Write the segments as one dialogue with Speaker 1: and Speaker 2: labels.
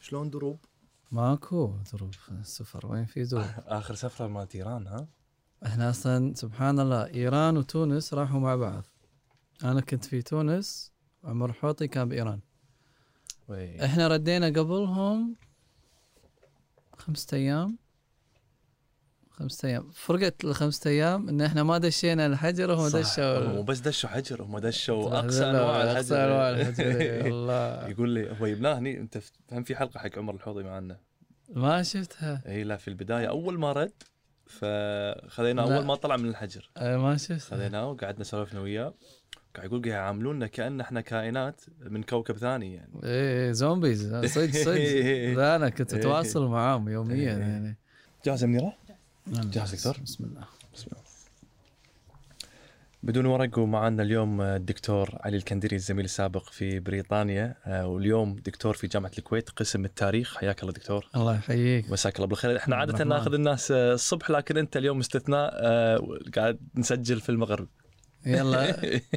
Speaker 1: شلون دروب؟
Speaker 2: ماكو دروب السفر وين في دروب
Speaker 3: اخر سفره مالت ايران ها
Speaker 2: احنا اصلا سبحان الله ايران وتونس راحوا مع بعض انا كنت في تونس عمر حوطي كان بايران
Speaker 3: وي.
Speaker 2: احنا ردينا قبلهم خمسة ايام خمسة ايام فرقة الخمسة ايام ان احنا ما دشينا الحجر وهم
Speaker 3: صح.
Speaker 2: دشوا
Speaker 3: هم بس دشوا حجر هم دشوا اقصى
Speaker 2: لا، لا،
Speaker 3: انواع الحجر
Speaker 2: اقصى انواع الحجر الله
Speaker 3: يقول لي هو جبناه هني انت فهم في حلقه حق عمر الحوضي معنا
Speaker 2: ما شفتها
Speaker 3: اي لا في البدايه اول ما رد فخذيناه
Speaker 2: لا.
Speaker 3: اول ما طلع من الحجر
Speaker 2: أه، ما شفتها
Speaker 3: خذيناه وقعدنا سولفنا وياه قاعد يقول قاعد يعاملونا كان احنا كائنات من كوكب ثاني يعني
Speaker 2: ايه زومبيز صدق صدق لا انا كنت
Speaker 3: إيه.
Speaker 2: اتواصل معاهم يوميا
Speaker 3: إيه.
Speaker 2: يعني
Speaker 3: جاهزه منيره؟
Speaker 2: نعم،
Speaker 3: جاهز دكتور؟
Speaker 2: بسم الله
Speaker 3: بسم الله. بدون ورق ومعنا اليوم الدكتور علي الكندري الزميل السابق في بريطانيا آه، واليوم دكتور في جامعه الكويت قسم التاريخ حياك الله دكتور
Speaker 2: الله يحييك
Speaker 3: مساك الله بالخير احنا
Speaker 2: عبد
Speaker 3: عاده
Speaker 2: الرحمن.
Speaker 3: ناخذ الناس آه، الصبح لكن انت اليوم استثناء آه، قاعد نسجل في المغرب
Speaker 2: يلا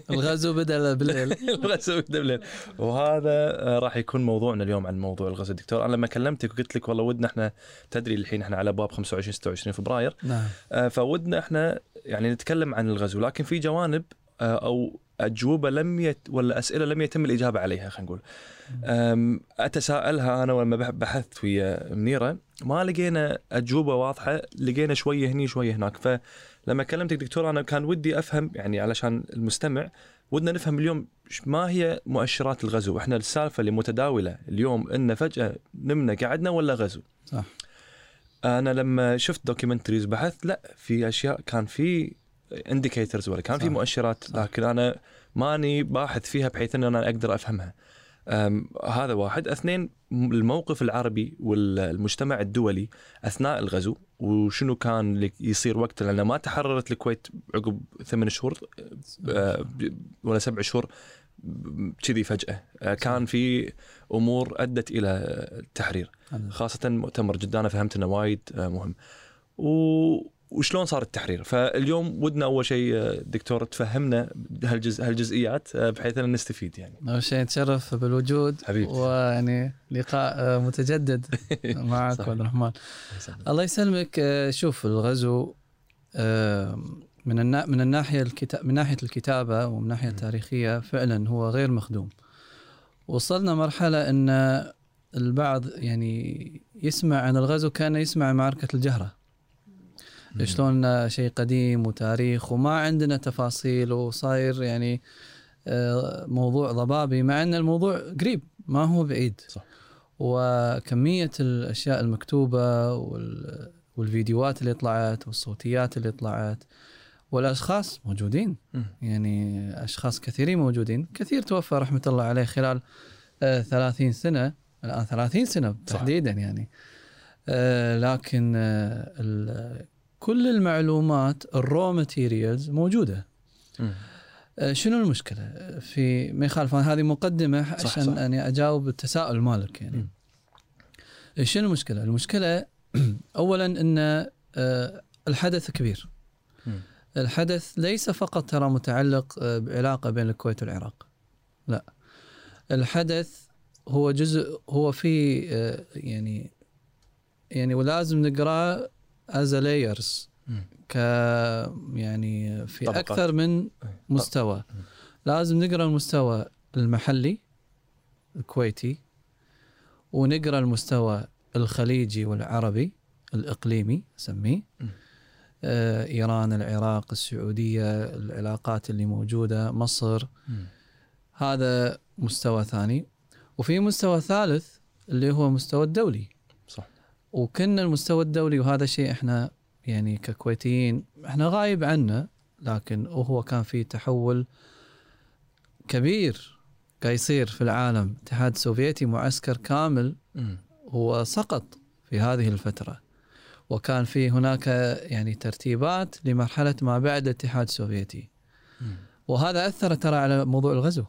Speaker 2: الغزو بدا بالليل
Speaker 3: الغزو بالليل وهذا آه، راح يكون موضوعنا اليوم عن موضوع الغزو دكتور انا لما كلمتك وقلت لك والله ودنا احنا تدري الحين احنا على ابواب 25 26 فبراير
Speaker 2: نعم
Speaker 3: آه، فودنا احنا يعني نتكلم عن الغزو لكن في جوانب آه، او اجوبه لم يت ولا اسئله لم يتم الاجابه عليها خلينا نقول. أم، اتساءلها انا لما بح- بحثت ويا منيره ما لقينا اجوبه واضحه لقينا شويه هني شويه هناك فلما كلمتك دكتور انا كان ودي افهم يعني علشان المستمع ودنا نفهم اليوم ش- ما هي مؤشرات الغزو؟ احنا السالفه اللي متداوله اليوم ان فجاه نمنا قعدنا ولا غزو؟
Speaker 2: صح
Speaker 3: انا لما شفت دوكيومنتريز بحثت لا في اشياء كان في انديكيترز ولا كان في
Speaker 2: صح.
Speaker 3: مؤشرات لكن انا ماني باحث فيها بحيث ان انا اقدر افهمها أم هذا واحد اثنين م- الموقف العربي والمجتمع الدولي اثناء الغزو وشنو كان اللي يصير وقته لان ما تحررت الكويت عقب ثمان شهور آه، ب- ولا سبع شهور ب- كذي فجاه آه، كان في امور ادت الى آه، التحرير خاصة مؤتمر جدة أنا فهمت أنه وايد آه، مهم و... وشلون صار التحرير فاليوم ودنا أول شيء آه، دكتور تفهمنا هالجز... هالجزئيات آه، بحيث أن نستفيد يعني
Speaker 2: اول شيء نتشرف بالوجود
Speaker 3: حبيبي.
Speaker 2: ويعني لقاء آه، متجدد معك
Speaker 3: صحيح.
Speaker 2: عبد الرحمن الله يسلمك آه، شوف الغزو آه، من النا... من الناحيه الكتا... من ناحيه الكتابه ومن ناحيه التاريخيه فعلا هو غير مخدوم وصلنا مرحله ان البعض يعني يسمع عن الغزو كان يسمع عن معركه الجهره شلون آه، شيء قديم وتاريخ وما عندنا تفاصيل وصاير يعني آه، موضوع ضبابي مع ان الموضوع قريب ما هو بعيد
Speaker 3: صح.
Speaker 2: وكميه الاشياء المكتوبه وال- والفيديوهات اللي طلعت والصوتيات اللي طلعت والاشخاص موجودين
Speaker 3: مم.
Speaker 2: يعني اشخاص كثيرين موجودين كثير توفى رحمه الله عليه خلال آه، 30 سنه الان 30 سنه تحديدا يعني آه، لكن آه، ال- كل المعلومات الرو ماتيريالز موجوده
Speaker 3: مم.
Speaker 2: آه، شنو المشكلة آه، في ما يخالف أنا هذه مقدمة
Speaker 3: صح،
Speaker 2: عشان
Speaker 3: صح.
Speaker 2: أني أجاوب التساؤل مالك يعني
Speaker 3: مم.
Speaker 2: آه، شنو المشكلة؟ المشكلة أولا أن آه، الحدث كبير
Speaker 3: مم.
Speaker 2: الحدث ليس فقط ترى متعلق آه، بعلاقة بين الكويت والعراق لا الحدث هو جزء هو في آه، يعني يعني ولازم نقراه از لايرز
Speaker 3: مم.
Speaker 2: ك يعني في
Speaker 3: طبقات.
Speaker 2: اكثر من مستوى لازم نقرا المستوى المحلي الكويتي ونقرا المستوى الخليجي والعربي الاقليمي اسميه
Speaker 3: مم.
Speaker 2: آه، ايران العراق السعوديه العلاقات اللي موجوده مصر
Speaker 3: مم.
Speaker 2: هذا مستوى ثاني وفي مستوى ثالث اللي هو مستوى الدولي
Speaker 3: صح
Speaker 2: وكنا المستوى الدولي وهذا شيء احنا يعني ككويتيين احنا غايب عنا لكن هو كان في تحول كبير قاعد يصير في العالم الاتحاد السوفيتي معسكر كامل
Speaker 3: مم.
Speaker 2: هو سقط في هذه الفترة وكان في هناك يعني ترتيبات لمرحلة ما بعد الاتحاد السوفيتي
Speaker 3: مم.
Speaker 2: وهذا أثر ترى على موضوع الغزو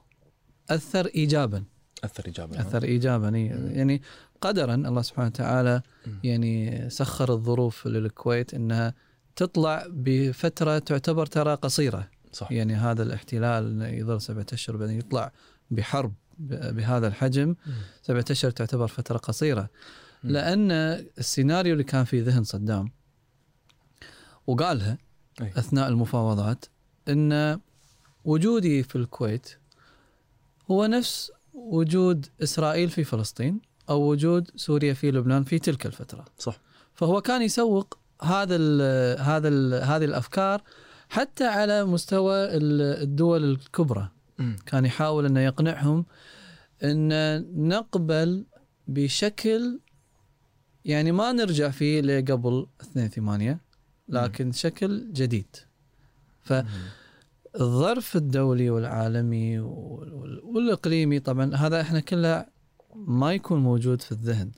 Speaker 2: أثر إيجابا
Speaker 3: أثر إيجابي
Speaker 2: اثر ايجابا إي. يعني قدرا الله سبحانه وتعالى
Speaker 3: مم.
Speaker 2: يعني سخر الظروف للكويت انها تطلع بفتره تعتبر ترى قصيره
Speaker 3: صح
Speaker 2: يعني هذا الاحتلال إنه يظل سبعة اشهر بعدين يطلع بحرب ب- بهذا الحجم سبعة أشهر تعتبر فترة قصيرة
Speaker 3: مم.
Speaker 2: لأن السيناريو اللي كان في ذهن صدام وقالها
Speaker 3: أي.
Speaker 2: أثناء المفاوضات أن وجودي في الكويت هو نفس وجود إسرائيل في فلسطين أو وجود سوريا في لبنان في تلك الفترة
Speaker 3: صح
Speaker 2: فهو كان يسوق هذا ال هذا ال هذه الافكار حتى على مستوى ال- الدول الكبرى
Speaker 3: مم.
Speaker 2: كان يحاول انه يقنعهم ان نقبل بشكل يعني ما نرجع فيه لقبل 2 8 لكن شكل جديد فالظرف الدولي والعالمي وال- وال- والاقليمي طبعا هذا احنا كله ما يكون موجود في الذهن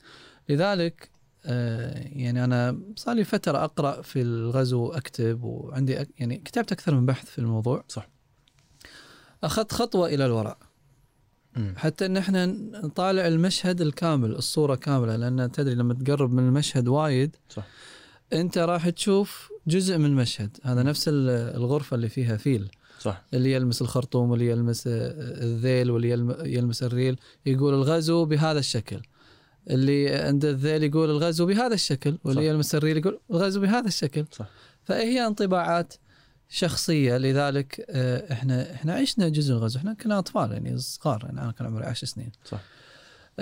Speaker 2: لذلك آه، يعني انا صار لي فتره اقرا في الغزو واكتب وعندي أك- يعني كتبت اكثر من بحث في الموضوع
Speaker 3: صح.
Speaker 2: اخذت خطوه الى الوراء
Speaker 3: مم.
Speaker 2: حتى ان احنا نطالع المشهد الكامل الصوره كامله لان تدري لما تقرب من المشهد وايد
Speaker 3: صح.
Speaker 2: انت راح تشوف جزء من المشهد هذا نفس ال- الغرفه اللي فيها فيل
Speaker 3: صح
Speaker 2: اللي يلمس الخرطوم واللي يلمس آه، الذيل واللي يلم- يلمس الريل يقول الغزو بهذا الشكل اللي عند الذيل يقول الغزو بهذا الشكل واللي
Speaker 3: صح.
Speaker 2: يلمس الريل يقول الغزو بهذا الشكل
Speaker 3: صح.
Speaker 2: فهي انطباعات شخصيه لذلك آه، احنا احنا عشنا جزء الغزو احنا كنا اطفال يعني صغار يعني انا كان عمري 10 سنين
Speaker 3: صح.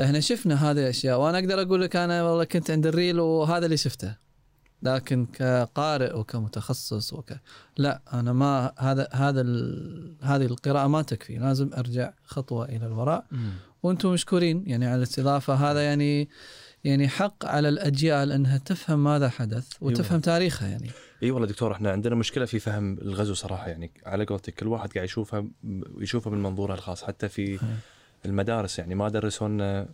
Speaker 2: احنا شفنا هذه الاشياء وانا اقدر اقول لك انا والله كنت عند الريل وهذا اللي شفته لكن كقارئ وكمتخصص وك لا انا ما هذا هذا ال- هذه القراءه ما تكفي لازم ارجع خطوه الى الوراء
Speaker 3: مم.
Speaker 2: وانتم مشكورين يعني على الاستضافه هذا يعني يعني حق على الاجيال انها تفهم ماذا حدث وتفهم تاريخها يعني
Speaker 3: اي والله دكتور احنا عندنا مشكله في فهم الغزو صراحه يعني على قولتك كل واحد قاعد يشوفها يشوفها من منظوره الخاص حتى في
Speaker 2: صحيح.
Speaker 3: المدارس يعني ما درسون انا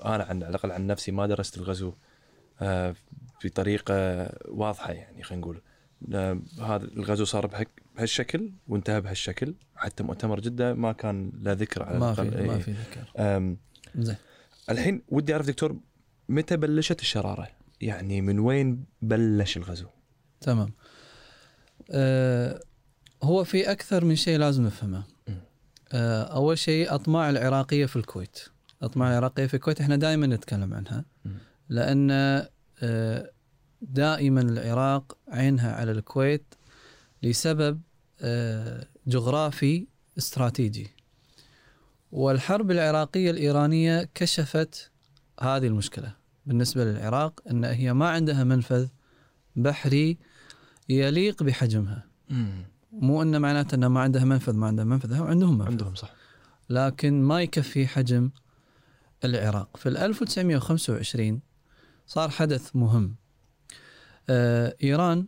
Speaker 3: عن على الاقل عن نفسي ما درست الغزو آه، بطريقه واضحه يعني خلينا نقول آه، هذا الغزو صار بهك- بهالشكل وانتهى بهالشكل حتى مؤتمر جده ما كان لا ذكر على
Speaker 2: ما في
Speaker 3: الاقل
Speaker 2: ما
Speaker 3: إي.
Speaker 2: في ذكر
Speaker 3: آم،
Speaker 2: زين
Speaker 3: الحين ودي اعرف دكتور متى بلشت الشراره؟ يعني من وين بلش الغزو؟
Speaker 2: تمام آه هو في اكثر من شيء لازم نفهمه
Speaker 3: مم.
Speaker 2: آه اول شيء اطماع العراقيه في الكويت اطماع العراقيه في الكويت احنا دائما نتكلم عنها
Speaker 3: مم.
Speaker 2: لان آه دائما العراق عينها على الكويت لسبب آه جغرافي استراتيجي والحرب العراقيه الايرانيه كشفت هذه المشكله بالنسبه للعراق ان هي ما عندها منفذ بحري يليق بحجمها مو انه معناته انه ما عندها منفذ ما عندها منفذ هم عندهم منفذ
Speaker 3: عندهم صح
Speaker 2: لكن ما يكفي حجم العراق في ال 1925 صار حدث مهم آه، إيران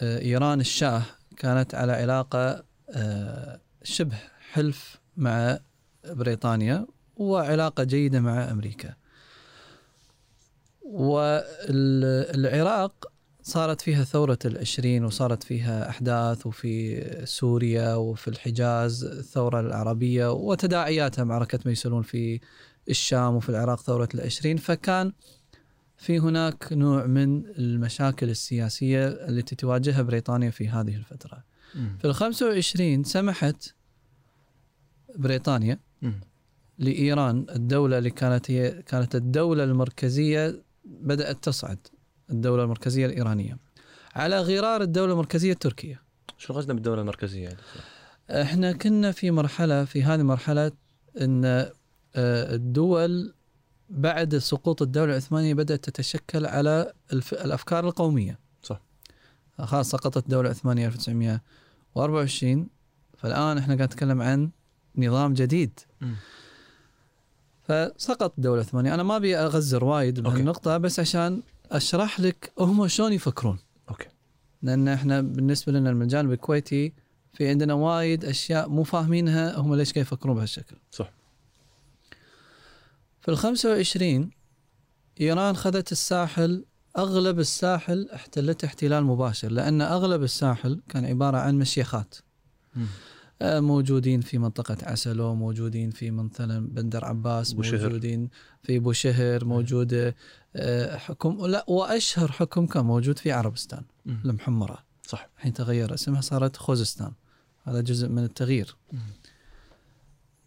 Speaker 2: آه، إيران الشاه كانت على علاقة آه، شبه حلف مع بريطانيا وعلاقة جيدة مع أمريكا والعراق صارت فيها ثورة العشرين وصارت فيها أحداث وفي سوريا وفي الحجاز الثورة العربية وتداعياتها معركة ميسلون في الشام وفي العراق ثورة العشرين فكان في هناك نوع من المشاكل السياسية التي تواجهها بريطانيا في هذه الفترة في الخمسة وعشرين سمحت بريطانيا لايران الدوله اللي كانت هي كانت الدوله المركزيه بدات تصعد الدوله المركزيه الايرانيه على غرار الدوله المركزيه التركيه
Speaker 3: شو غزنا بالدوله المركزيه يعني؟
Speaker 2: احنا كنا في مرحله في هذه المرحله ان آه، الدول بعد سقوط الدوله العثمانيه بدات تتشكل على الف... الافكار القوميه
Speaker 3: صح.
Speaker 2: خلاص سقطت الدوله العثمانيه 1924 فالان احنا قاعد نتكلم عن نظام جديد فسقط الدوله العثمانيه انا ما ابي اغزر وايد
Speaker 3: أوكي.
Speaker 2: بهالنقطه بس عشان اشرح لك هم شلون يفكرون
Speaker 3: اوكي
Speaker 2: لان احنا بالنسبه لنا من الجانب الكويتي في عندنا وايد اشياء مو فاهمينها هم ليش قاعد يفكرون بهالشكل
Speaker 3: صح.
Speaker 2: في ال 25 ايران خذت الساحل اغلب الساحل احتلته احتلال مباشر لان اغلب الساحل كان عباره عن مشيخات آه، موجودين في منطقة عسلو موجودين في مثلا بندر عباس
Speaker 3: بوشهر.
Speaker 2: موجودين في بوشهر موجودة آه، حكم لا وأشهر حكم كان موجود في عربستان
Speaker 3: مم.
Speaker 2: المحمرة
Speaker 3: صح
Speaker 2: الحين تغير اسمها صارت خوزستان هذا جزء من التغيير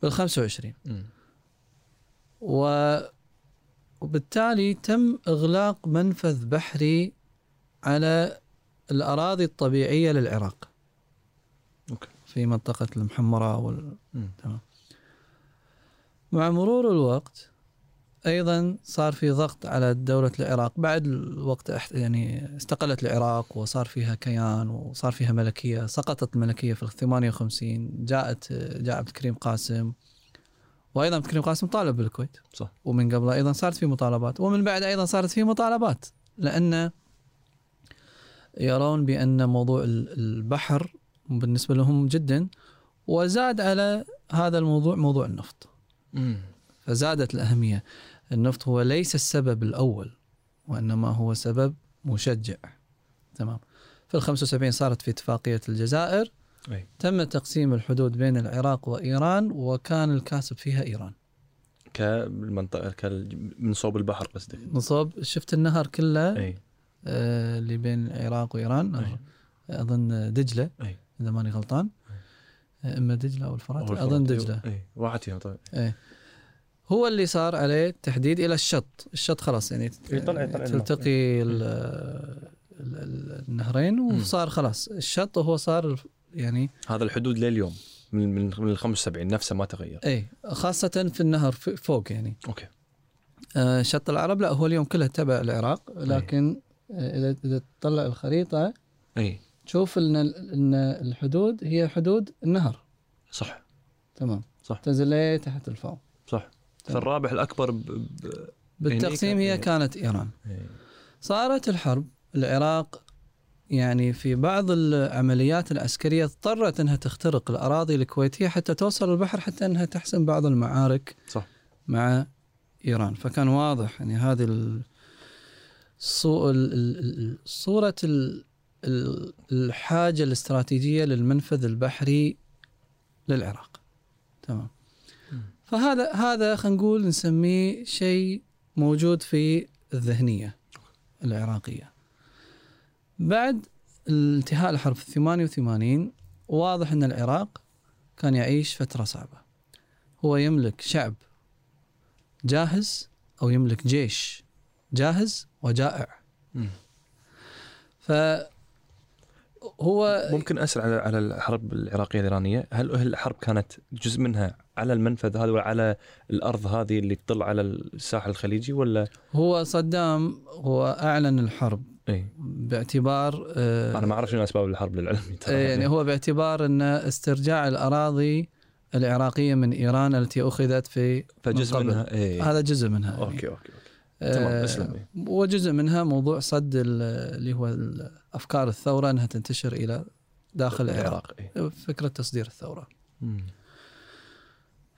Speaker 2: بال 25
Speaker 3: مم.
Speaker 2: و- وبالتالي تم اغلاق منفذ بحري على الاراضي الطبيعيه للعراق
Speaker 3: اوكي
Speaker 2: في منطقه المحمره وال...
Speaker 3: مم.
Speaker 2: مع مرور الوقت ايضا صار في ضغط على دوله العراق بعد الوقت أح- يعني استقلت العراق وصار فيها كيان وصار فيها ملكيه سقطت الملكيه في ال 58 جاءت جاء عبد الكريم قاسم وايضا عبد الكريم قاسم طالب بالكويت
Speaker 3: صح.
Speaker 2: ومن قبل ايضا صارت في مطالبات ومن بعد ايضا صارت في مطالبات لان يرون بان موضوع ال- البحر بالنسبه لهم جدا وزاد على هذا الموضوع موضوع النفط
Speaker 3: مم.
Speaker 2: فزادت الأهمية النفط هو ليس السبب الأول وإنما هو سبب مشجع تمام في الخمسة وسبعين صارت في اتفاقية الجزائر
Speaker 3: أي.
Speaker 2: تم تقسيم الحدود بين العراق وإيران وكان الكاسب فيها إيران
Speaker 3: كالمنطقه كال... من صوب البحر قصدك
Speaker 2: نصب شفت النهر كله
Speaker 3: اي
Speaker 2: آه، اللي بين العراق وإيران
Speaker 3: أي.
Speaker 2: أظن دجلة
Speaker 3: أي.
Speaker 2: إذا ماني غلطان آه، إما دجلة أو الفرات
Speaker 3: أو
Speaker 2: أظن
Speaker 3: الفرات. أيوه.
Speaker 2: دجلة
Speaker 3: اي واحد فيهم طيب. طبعا
Speaker 2: هو اللي صار عليه تحديد الى الشط الشط خلاص يعني
Speaker 3: يطلع- يطلع
Speaker 2: تلتقي ال- ال- ال- النهرين وصار خلاص الشط هو صار الف- يعني
Speaker 3: هذا الحدود لليوم من من من ال 75 نفسه ما تغير
Speaker 2: اي خاصه في النهر في- فوق يعني
Speaker 3: اوكي
Speaker 2: آه، شط العرب لا هو اليوم كله تبع العراق لكن آه، اذا اذا تطلع الخريطه
Speaker 3: اي
Speaker 2: تشوف ان ال- ان الحدود هي حدود النهر
Speaker 3: صح
Speaker 2: تمام
Speaker 3: صح.
Speaker 2: تنزل ليه تحت الفوق
Speaker 3: صح
Speaker 2: تمام.
Speaker 3: فالرابح الاكبر ب... ب...
Speaker 2: بالتقسيم هي
Speaker 3: إيه.
Speaker 2: كانت ايران
Speaker 3: إي.
Speaker 2: صارت الحرب العراق يعني في بعض العمليات العسكرية اضطرت أنها تخترق الأراضي الكويتية حتى توصل البحر حتى أنها تحسم بعض المعارك
Speaker 3: صح.
Speaker 2: مع إيران فكان واضح يعني هذه ال- الصو- ال- ال- ال- صورة ال- ال- الحاجة الاستراتيجية للمنفذ البحري للعراق تمام
Speaker 3: مم.
Speaker 2: فهذا هذا خلينا نقول نسميه شيء موجود في الذهنية العراقية بعد انتهاء الحرب في 88 واضح أن العراق كان يعيش فترة صعبة هو يملك شعب جاهز أو يملك جيش جاهز وجائع
Speaker 3: مم.
Speaker 2: فهو
Speaker 3: ممكن اسال على على الحرب العراقيه الايرانيه هل هل الحرب كانت جزء منها على المنفذ هذا ولا على الارض هذه اللي تطل على الساحل الخليجي ولا
Speaker 2: هو صدام هو أعلن الحرب
Speaker 3: اي
Speaker 2: باعتبار آه،
Speaker 3: انا ما اعرف شنو اسباب الحرب للعلم ترى.
Speaker 2: إيه، يعني هو باعتبار أن استرجاع الأراضي العراقية من إيران التي أخذت في
Speaker 3: فجزء
Speaker 2: من قبل.
Speaker 3: منها إيه. اي
Speaker 2: هذا جزء منها يعني.
Speaker 3: اوكي اوكي اوكي تمام
Speaker 2: آه،
Speaker 3: اسلم
Speaker 2: وجزء منها موضوع صد ال- اللي هو ال- افكار الثوره انها تنتشر الى داخل
Speaker 3: إيه.
Speaker 2: العراق
Speaker 3: اي
Speaker 2: فكره تصدير الثوره
Speaker 3: مم.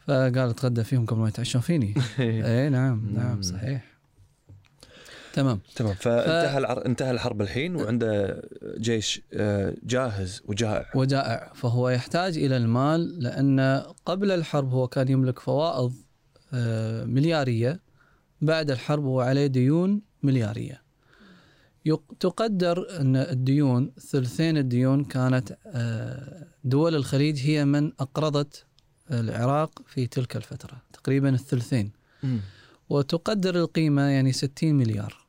Speaker 2: فقال اتغدى فيهم قبل ما يتعشون فيني
Speaker 3: إيه.
Speaker 2: اي نعم
Speaker 3: مم.
Speaker 2: نعم صحيح تمام
Speaker 3: تمام فانتهى العر... انتهى الحرب الحين وعنده جيش آه، جاهز وجائع
Speaker 2: وجائع فهو يحتاج الى المال لان قبل الحرب هو كان يملك فوائض آه، ملياريه بعد الحرب هو عليه ديون ملياريه يق- تقدر ان الديون ثلثين الديون كانت آه، دول الخليج هي من اقرضت العراق في تلك الفتره تقريبا الثلثين
Speaker 3: مم.
Speaker 2: وتقدر القيمه يعني 60 مليار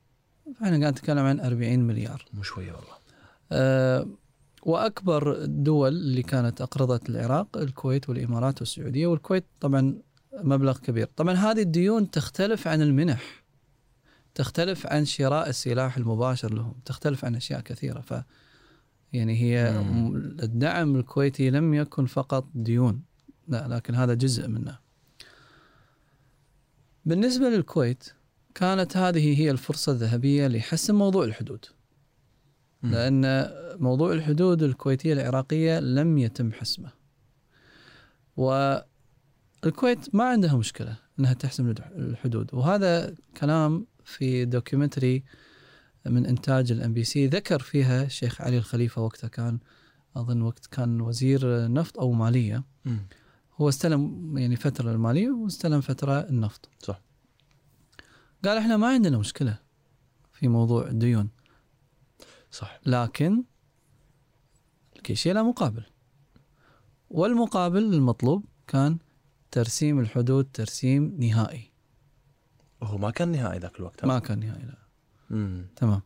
Speaker 2: فاحنا قاعد نتكلم عن 40 مليار
Speaker 3: مو شويه والله
Speaker 2: آه، واكبر الدول اللي كانت اقرضت العراق الكويت والامارات والسعوديه والكويت طبعا مبلغ كبير طبعا هذه الديون تختلف عن المنح تختلف عن شراء السلاح المباشر لهم تختلف عن اشياء كثيره ف يعني هي
Speaker 3: مم.
Speaker 2: م- الدعم الكويتي لم يكن فقط ديون لا لكن هذا جزء منه بالنسبه للكويت كانت هذه هي الفرصه الذهبيه لحسم موضوع الحدود
Speaker 3: مم.
Speaker 2: لان موضوع الحدود الكويتيه العراقيه لم يتم حسمه. والكويت ما عندها مشكله انها تحسم الح- الحدود وهذا كلام في دوكيومنتري من انتاج الام بي سي ذكر فيها الشيخ علي الخليفه وقتها كان اظن وقت كان وزير نفط او ماليه
Speaker 3: مم.
Speaker 2: هو استلم يعني فتره الماليه واستلم فتره النفط.
Speaker 3: صح.
Speaker 2: قال احنا ما عندنا مشكله في موضوع الديون
Speaker 3: صح
Speaker 2: لكن كل شيء له مقابل والمقابل المطلوب كان ترسيم الحدود ترسيم نهائي
Speaker 3: هو ما كان نهائي ذاك الوقت
Speaker 2: ما كان نهائي لا
Speaker 3: مم.
Speaker 2: تمام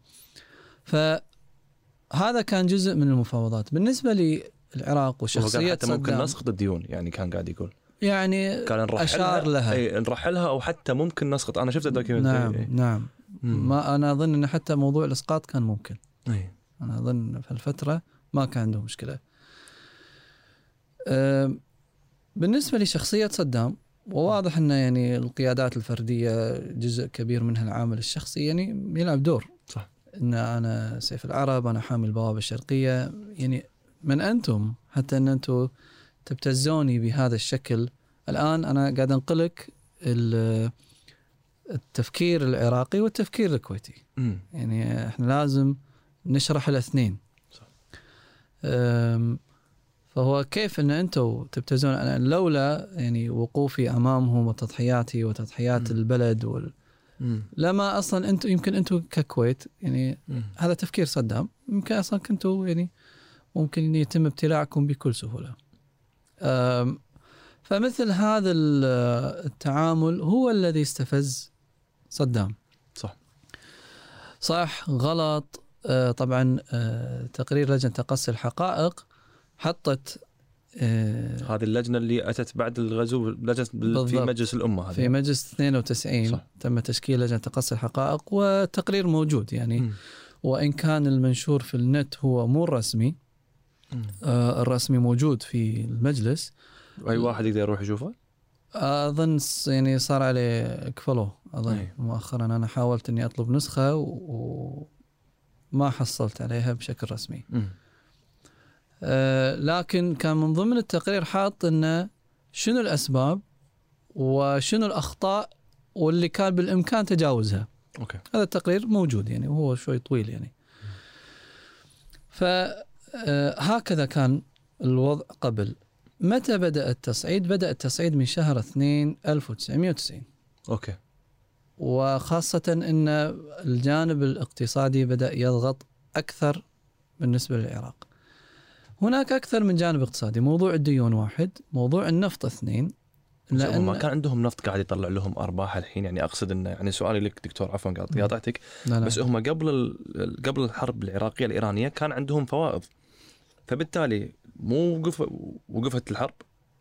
Speaker 2: فهذا كان جزء من المفاوضات بالنسبة للعراق
Speaker 3: هو كان
Speaker 2: وشخصية
Speaker 3: حتى ممكن
Speaker 2: صدام
Speaker 3: نسقط الديون يعني كان قاعد يقول
Speaker 2: يعني
Speaker 3: كان نرحلها
Speaker 2: أشار لها.
Speaker 3: اي نرحلها او حتى ممكن نسقط انا شفت الدوكيومنتري
Speaker 2: نعم
Speaker 3: إي.
Speaker 2: نعم
Speaker 3: إيه؟ مم.
Speaker 2: ما أنا أظن أن حتى موضوع الإسقاط كان ممكن
Speaker 3: إي.
Speaker 2: أنا أظن في الفترة ما كان عنده مشكلة أم، بالنسبة لشخصية صدام وواضح أنه يعني القيادات الفردية جزء كبير منها العامل الشخصي يعني يلعب دور
Speaker 3: صح.
Speaker 2: أن أنا سيف العرب أنا حامي البوابة الشرقية يعني من أنتم حتى أن أنتم تبتزوني بهذا الشكل الآن أنا قاعد أنقلك ال- التفكير العراقي والتفكير الكويتي
Speaker 3: مم.
Speaker 2: يعني احنا لازم نشرح الاثنين
Speaker 3: صح.
Speaker 2: أم، فهو كيف ان انتم تبتزون أنا لولا يعني وقوفي امامهم وتضحياتي وتضحيات
Speaker 3: مم.
Speaker 2: البلد وال...
Speaker 3: مم.
Speaker 2: لما اصلا انتم يمكن انتم ككويت يعني
Speaker 3: مم.
Speaker 2: هذا تفكير صدام يمكن اصلا كنتوا يعني ممكن إن يتم ابتلاعكم بكل سهوله. أم، فمثل هذا ال- التعامل هو الذي استفز صدام.
Speaker 3: صح.
Speaker 2: صح غلط آه، طبعا آه، تقرير لجنه تقصي الحقائق حطت آه،
Speaker 3: هذه اللجنه اللي اتت بعد الغزو لجنه في
Speaker 2: بالضبط.
Speaker 3: مجلس الامه هذه
Speaker 2: في مجلس 92
Speaker 3: صح.
Speaker 2: تم تشكيل لجنه تقصي الحقائق والتقرير موجود يعني
Speaker 3: مم.
Speaker 2: وان كان المنشور في النت هو مو رسمي
Speaker 3: مم.
Speaker 2: آه، الرسمي موجود في المجلس
Speaker 3: اي واحد يقدر يروح يشوفه
Speaker 2: اظن س- يعني صار عليه كفلو اظن
Speaker 3: أي.
Speaker 2: مؤخرا انا حاولت اني اطلب نسخه و- وما حصلت عليها بشكل رسمي
Speaker 3: مم.
Speaker 2: آه، لكن كان من ضمن التقرير حاط انه شنو الاسباب وشنو الاخطاء واللي كان بالامكان تجاوزها
Speaker 3: اوكي
Speaker 2: هذا التقرير موجود يعني وهو شوي طويل يعني فهكذا آه، كان الوضع قبل متى بدأ التصعيد؟ بدأ التصعيد من شهر 2 1990
Speaker 3: اوكي
Speaker 2: وخاصة أن الجانب الاقتصادي بدأ يضغط أكثر بالنسبة للعراق هناك أكثر من جانب اقتصادي موضوع الديون واحد موضوع النفط اثنين
Speaker 3: لأن... ما كان عندهم نفط قاعد يطلع لهم ارباح الحين يعني اقصد انه يعني سؤالي لك دكتور عفوا قاعد
Speaker 2: مم.
Speaker 3: قاطعتك
Speaker 2: لا لا.
Speaker 3: بس هم قبل ال... قبل الحرب العراقيه الايرانيه كان عندهم فوائض فبالتالي مو وقف وقفت الحرب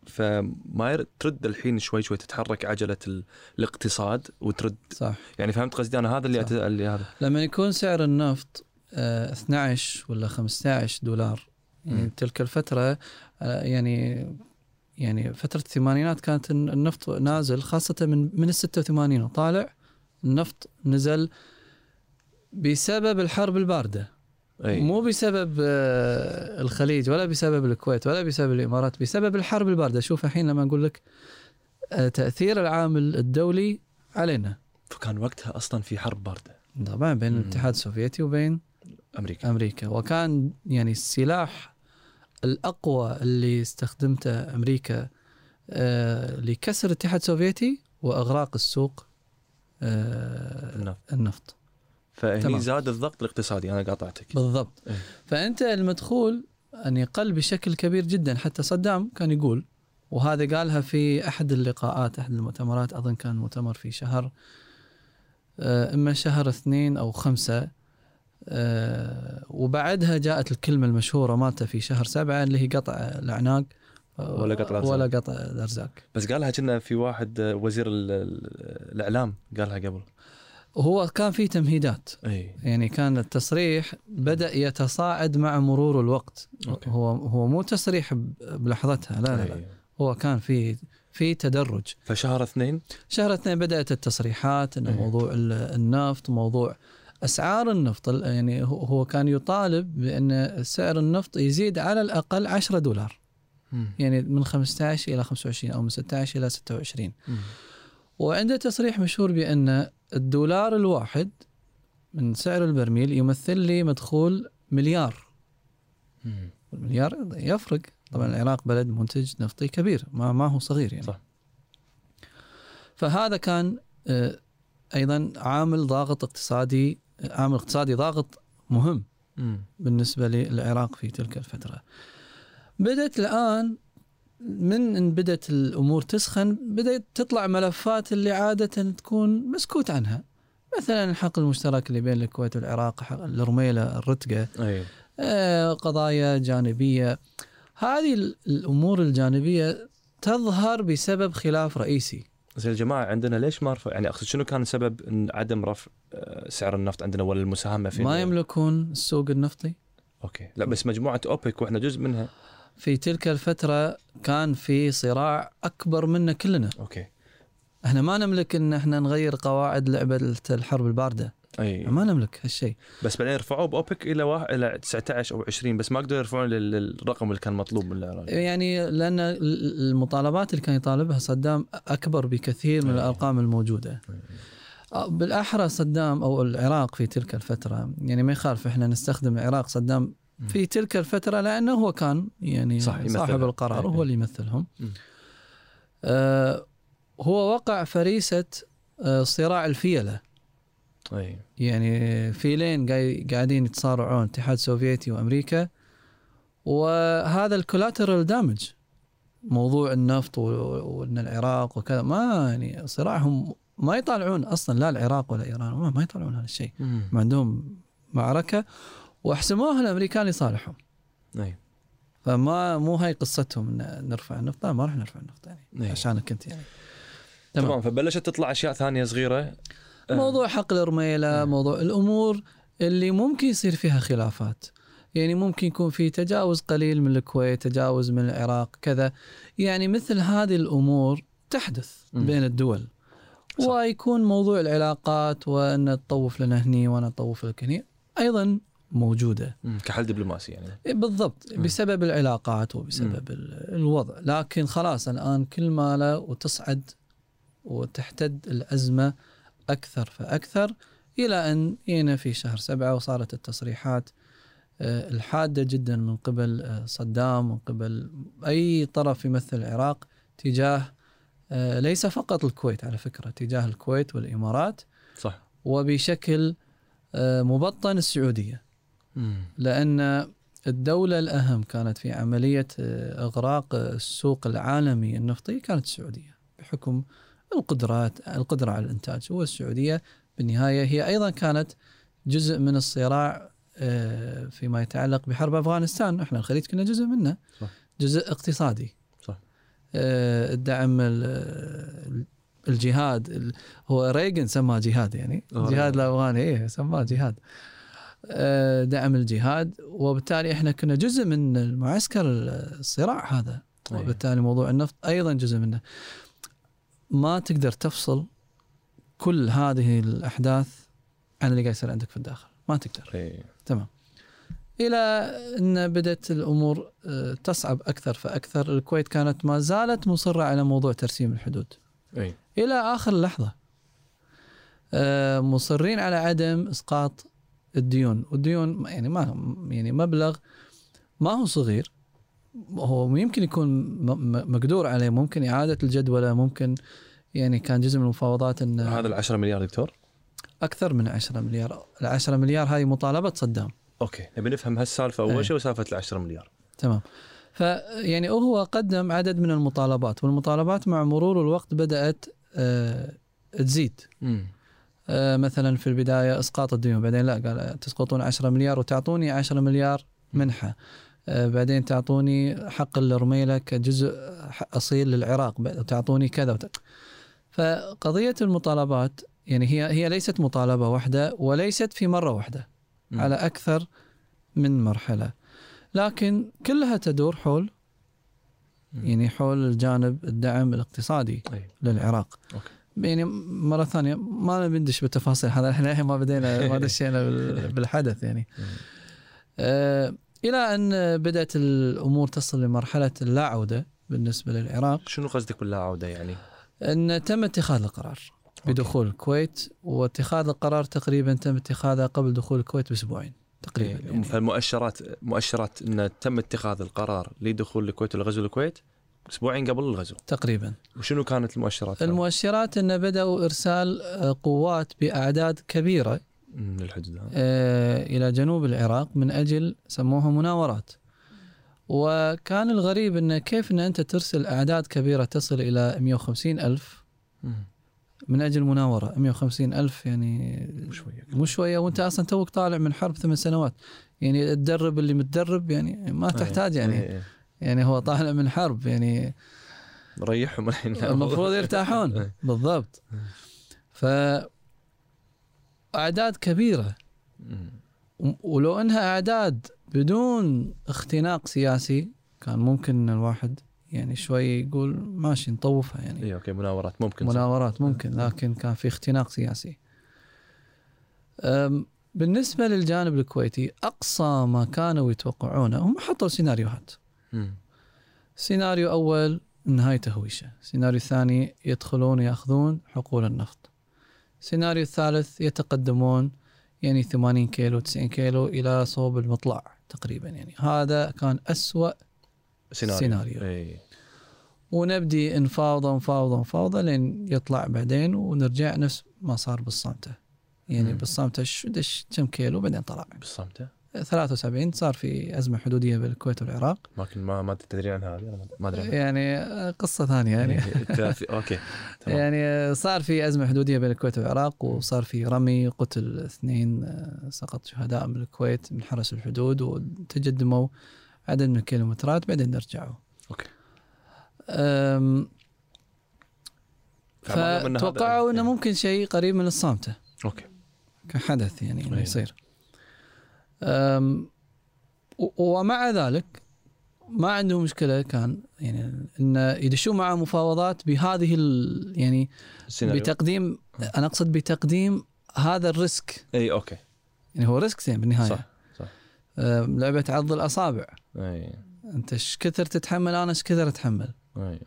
Speaker 3: فما ير- ترد الحين شوي شوي تتحرك عجله ال... الاقتصاد وترد
Speaker 2: صح
Speaker 3: يعني فهمت قصدي انا هذا اللي,
Speaker 2: صح.
Speaker 3: أت... اللي هذا
Speaker 2: لما يكون سعر النفط آه، 12 ولا 15 دولار يعني
Speaker 3: مم.
Speaker 2: بتلك الفترة آه، يعني يعني فترة الثمانينات كانت الن- النفط نازل خاصة من من ال 86 وطالع النفط نزل بسبب الحرب الباردة
Speaker 3: اي
Speaker 2: مو بسبب آه، الخليج ولا بسبب الكويت ولا بسبب الإمارات بسبب الحرب الباردة شوف الحين لما أقول لك آه، تأثير العامل الدولي علينا
Speaker 3: فكان وقتها اصلا في حرب بارده
Speaker 2: طبعا بين
Speaker 3: مم.
Speaker 2: الاتحاد السوفيتي وبين
Speaker 3: امريكا
Speaker 2: امريكا وكان يعني السلاح الاقوى اللي استخدمته امريكا آه لكسر الاتحاد السوفيتي واغراق السوق آه
Speaker 3: النفط.
Speaker 2: النفط
Speaker 3: نعم. فهني
Speaker 2: تمام.
Speaker 3: زاد الضغط الاقتصادي انا قاطعتك
Speaker 2: بالضبط
Speaker 3: إيه.
Speaker 2: فانت المدخول ان يقل بشكل كبير جدا حتى صدام كان يقول وهذا قالها في احد اللقاءات احد المؤتمرات اظن كان مؤتمر في شهر آه، اما شهر اثنين او خمسه آه، وبعدها جاءت الكلمه المشهوره مالته في شهر سبعه اللي هي قطع الاعناق آه،
Speaker 3: ولا قطع الأرزاق.
Speaker 2: ولا قطع الارزاق
Speaker 3: بس قالها كنا في واحد آه، وزير ال- ال- الاعلام قالها قبل إيه.
Speaker 2: وهو كان في تمهيدات
Speaker 3: اي
Speaker 2: يعني كان التصريح بدا يتصاعد مع مرور الوقت
Speaker 3: أوكي.
Speaker 2: هو هو مو تصريح ب- بلحظتها لا لا, لا.
Speaker 3: أي.
Speaker 2: هو كان في في تدرج
Speaker 3: فشهر اثنين
Speaker 2: شهر اثنين بدات التصريحات انه
Speaker 3: أي.
Speaker 2: موضوع ال- النفط موضوع اسعار النفط ال- يعني هو- هو كان يطالب بان سعر النفط يزيد على الاقل 10 دولار
Speaker 3: إيه.
Speaker 2: يعني من 15 الى 25 او من 16 الى 26 وعنده تصريح مشهور بان الدولار الواحد من سعر البرميل يمثل لي مدخول مليار المليار يفرق طبعا العراق بلد منتج نفطي كبير ما, ما هو صغير يعني
Speaker 3: صح.
Speaker 2: فهذا كان آه، ايضا عامل ضاغط اقتصادي آه، عامل اقتصادي ضاغط مهم بالنسبه للعراق في تلك الفتره بدات الان من ان بدات الامور تسخن بدات تطلع ملفات اللي عاده تكون مسكوت عنها مثلا الحق المشترك اللي بين الكويت والعراق حق الرميله الرتقه
Speaker 3: اي
Speaker 2: آه، قضايا جانبيه هذه ال- الامور الجانبيه تظهر بسبب خلاف رئيسي
Speaker 3: زين الجماعه عندنا ليش ما رفع يعني اقصد شنو كان سبب إن عدم رفع آه، سعر النفط عندنا ولا المساهمه في
Speaker 2: ما يملكون السوق النفطي
Speaker 3: اوكي لا بس مجموعه اوبك واحنا جزء منها
Speaker 2: في تلك الفتره كان في صراع اكبر منا كلنا
Speaker 3: اوكي
Speaker 2: احنا ما نملك ان احنا نغير قواعد لعبه الحرب البارده
Speaker 3: اي
Speaker 2: ما نملك هالشيء
Speaker 3: إيه. بس بعدين رفعوه باوبك الى واحد الى 19 او 20 بس ما قدروا يرفعون لل- للرقم اللي كان مطلوب من العراق
Speaker 2: يعني لان المطالبات اللي كان يطالبها صدام اكبر بكثير من
Speaker 3: أي.
Speaker 2: الارقام الموجوده بالاحرى صدام او العراق في تلك الفتره يعني ما يخالف احنا نستخدم العراق صدام في تلك الفتره لانه هو كان يعني
Speaker 3: صح، يمثلها.
Speaker 2: صاحب القرار
Speaker 3: أي.
Speaker 2: وهو اللي يمثلهم
Speaker 3: مم.
Speaker 2: آه هو وقع فريسه آه صراع الفيله
Speaker 3: اي
Speaker 2: يعني فيلين قاي- قاعدين يتصارعون اتحاد سوفيتي وامريكا وهذا الكولاترال دامج موضوع النفط و- وان العراق وكذا ما يعني صراعهم ما يطالعون اصلا لا العراق ولا ايران ما, ما يطالعون هذا الشيء ما عندهم معركه واحسموها الامريكان لصالحهم
Speaker 3: اي
Speaker 2: فما مو هاي قصتهم ان نرفع النفط لا ما راح نرفع النفط يعني
Speaker 3: إيه.
Speaker 2: عشانك انت يعني تمام.
Speaker 3: تمام فبلشت تطلع اشياء ثانيه صغيره آه،
Speaker 2: موضوع حق
Speaker 3: إيه.
Speaker 2: الرميلة موضوع الأمور اللي ممكن يصير فيها خلافات يعني ممكن يكون في تجاوز قليل من الكويت تجاوز من العراق كذا يعني مثل هذه الأمور تحدث
Speaker 3: مم.
Speaker 2: بين الدول
Speaker 3: صح.
Speaker 2: ويكون موضوع العلاقات وأن تطوف لنا هني وأنا تطوف لك هني أيضا موجودة
Speaker 3: مم، كحل دبلوماسي يعني
Speaker 2: بالضبط
Speaker 3: مم.
Speaker 2: بسبب العلاقات وبسبب ال- الوضع لكن خلاص الآن كل ما لا وتصعد وتحتد الأزمة أكثر فأكثر إلى أن جينا في شهر سبعة وصارت التصريحات آه، الحادة جدا من قبل آه، صدام من قبل أي طرف يمثل العراق تجاه آه، ليس فقط الكويت على فكرة تجاه الكويت والإمارات
Speaker 3: صح
Speaker 2: وبشكل آه، مبطن السعودية لان الدوله الاهم كانت في عمليه آه، اغراق السوق العالمي النفطي كانت السعوديه بحكم القدرات القدره على الانتاج هو السعوديه بالنهايه هي ايضا كانت جزء من الصراع آه، فيما يتعلق بحرب افغانستان احنا الخليج كنا جزء منه
Speaker 3: صح.
Speaker 2: جزء اقتصادي
Speaker 3: صح.
Speaker 2: آه، الدعم ال- الجهاد ال- هو ريغن سماه جهاد يعني
Speaker 3: آه.
Speaker 2: الجهاد الافغاني ايه سماه جهاد آه، دعم الجهاد وبالتالي احنا كنا جزء من المعسكر الصراع هذا
Speaker 3: أي.
Speaker 2: وبالتالي موضوع النفط ايضا جزء منه ما تقدر تفصل كل هذه الاحداث عن اللي قاعد يصير عندك في الداخل ما تقدر
Speaker 3: اي
Speaker 2: تمام الى ان بدات الامور آه، تصعب اكثر فاكثر الكويت كانت ما زالت مصره على موضوع ترسيم الحدود
Speaker 3: اي
Speaker 2: الى اخر لحظه آه، مصرين على عدم اسقاط الديون والديون ما- يعني ما يعني مبلغ ما هو صغير هو يمكن يكون م- م- مقدور عليه ممكن اعاده الجدوله ممكن يعني كان جزء من المفاوضات ان
Speaker 3: هذا ال 10 مليار دكتور
Speaker 2: اكثر من 10 مليار ال 10 مليار هذه مطالبه صدام
Speaker 3: اوكي نبي نفهم هالسالفه
Speaker 2: أي.
Speaker 3: اول شيء وسالفه ال 10 مليار
Speaker 2: تمام فيعني هو قدم عدد من المطالبات والمطالبات مع مرور الوقت بدات آه، تزيد آه، مثلا في البدايه اسقاط الديون بعدين لا قال تسقطون 10 مليار وتعطوني 10 مليار منحه آه، بعدين تعطوني حق الرميله كجزء ح- اصيل للعراق ب- تعطوني كذا وت... فقضيه المطالبات يعني هي هي ليست مطالبه واحده وليست في مره واحده
Speaker 3: مم.
Speaker 2: على اكثر من مرحله لكن كلها تدور حول
Speaker 3: مم.
Speaker 2: يعني حول الجانب الدعم الاقتصادي
Speaker 3: أي.
Speaker 2: للعراق
Speaker 3: أوكي.
Speaker 2: يعني مره ثانيه ما نبي ندش بالتفاصيل هذا احنا للحين ما بدينا ما دشينا بال- بالحدث يعني
Speaker 3: مم.
Speaker 2: آه الى ان بدات الامور تصل لمرحله اللا عوده بالنسبه للعراق
Speaker 3: شنو قصدك باللا عوده يعني؟
Speaker 2: ان تم اتخاذ القرار بدخول الكويت واتخاذ القرار تقريبا تم اتخاذه قبل دخول الكويت باسبوعين تقريبا
Speaker 3: إيه.
Speaker 2: يعني.
Speaker 3: فالمؤشرات مؤشرات ان تم اتخاذ القرار لدخول الكويت ولغزو الكويت اسبوعين قبل الغزو
Speaker 2: تقريبا
Speaker 3: وشنو كانت المؤشرات؟
Speaker 2: المؤشرات انه بداوا ارسال آه، قوات باعداد كبيره
Speaker 3: مم، للحدود هذا
Speaker 2: آه، الى جنوب العراق من اجل سموها مناورات وكان الغريب أنه كيف أن أنت ترسل أعداد كبيرة تصل إلى 150 ألف
Speaker 3: مم.
Speaker 2: من أجل مناورة 150 ألف يعني
Speaker 3: مو شويه
Speaker 2: مو شويه وانت اصلا توك طالع من حرب ثمان سنوات يعني تدرب اللي متدرب يعني ما تحتاج يعني
Speaker 3: إيه، إيه.
Speaker 2: يعني هو طالع من حرب يعني
Speaker 3: ريحهم الحين
Speaker 2: المفروض يرتاحون
Speaker 3: إيه.
Speaker 2: بالضبط ف اعداد كبيره
Speaker 3: مم.
Speaker 2: و- ولو انها اعداد بدون اختناق سياسي كان ممكن إن الواحد يعني شوي يقول ماشي نطوفها يعني
Speaker 3: اي اوكي مناورات إيه، ممكن صح. إيه.
Speaker 2: مناورات ممكن لكن كان في اختناق سياسي أم، بالنسبة للجانب الكويتي أقصى ما كانوا يتوقعونه هم حطوا سيناريوهات
Speaker 3: مم.
Speaker 2: سيناريو أول نهاية تهويشة السيناريو الثاني يدخلون يأخذون حقول النفط السيناريو الثالث يتقدمون يعني 80 كيلو 90 كيلو إلى صوب المطلع تقريبا يعني هذا كان أسوأ
Speaker 3: سيناريو
Speaker 2: سيناريو.
Speaker 3: اي
Speaker 2: ونبدي نفاوضه نفاوضه نفاوضه لين يطلع بعدين ونرجع نفس ما صار بالصامته يعني
Speaker 3: مم.
Speaker 2: بالصامته ش- دش كم كيلو بعدين طلع
Speaker 3: بالصمت
Speaker 2: 73 صار في ازمه حدوديه بين الكويت والعراق
Speaker 3: ما كن ما ما تدري عنها هذه أنا ما ادري عنها.
Speaker 2: يعني آه، قصه ثانيه يعني
Speaker 3: إيه، الثلاثي- اوكي تمام
Speaker 2: يعني آه، صار في ازمه حدوديه بين الكويت والعراق وصار في رمي قتل اثنين آه، سقط شهداء من الكويت من حرس الحدود وتجدموا عدد من الكيلومترات بعدين رجعوا
Speaker 3: اوكي
Speaker 2: أم،
Speaker 3: فمعلوم إن هذا-
Speaker 2: فتوقعوا انه
Speaker 3: إيه.
Speaker 2: ممكن شيء قريب من الصامته
Speaker 3: اوكي
Speaker 2: كحدث يعني انه
Speaker 3: أيوة.
Speaker 2: يصير أم، و- ومع ذلك ما عندهم مشكله كان يعني انه يدشون مع مفاوضات بهذه ال- يعني
Speaker 3: السيناريو
Speaker 2: بتقديم انا اقصد بتقديم هذا الريسك
Speaker 3: اي اوكي
Speaker 2: يعني هو ريسكتين بالنهايه
Speaker 3: صح صح
Speaker 2: أم، لعبه عض الاصابع
Speaker 3: اي
Speaker 2: انت ايش كثر تتحمل انا ايش كثر اتحمل
Speaker 3: اي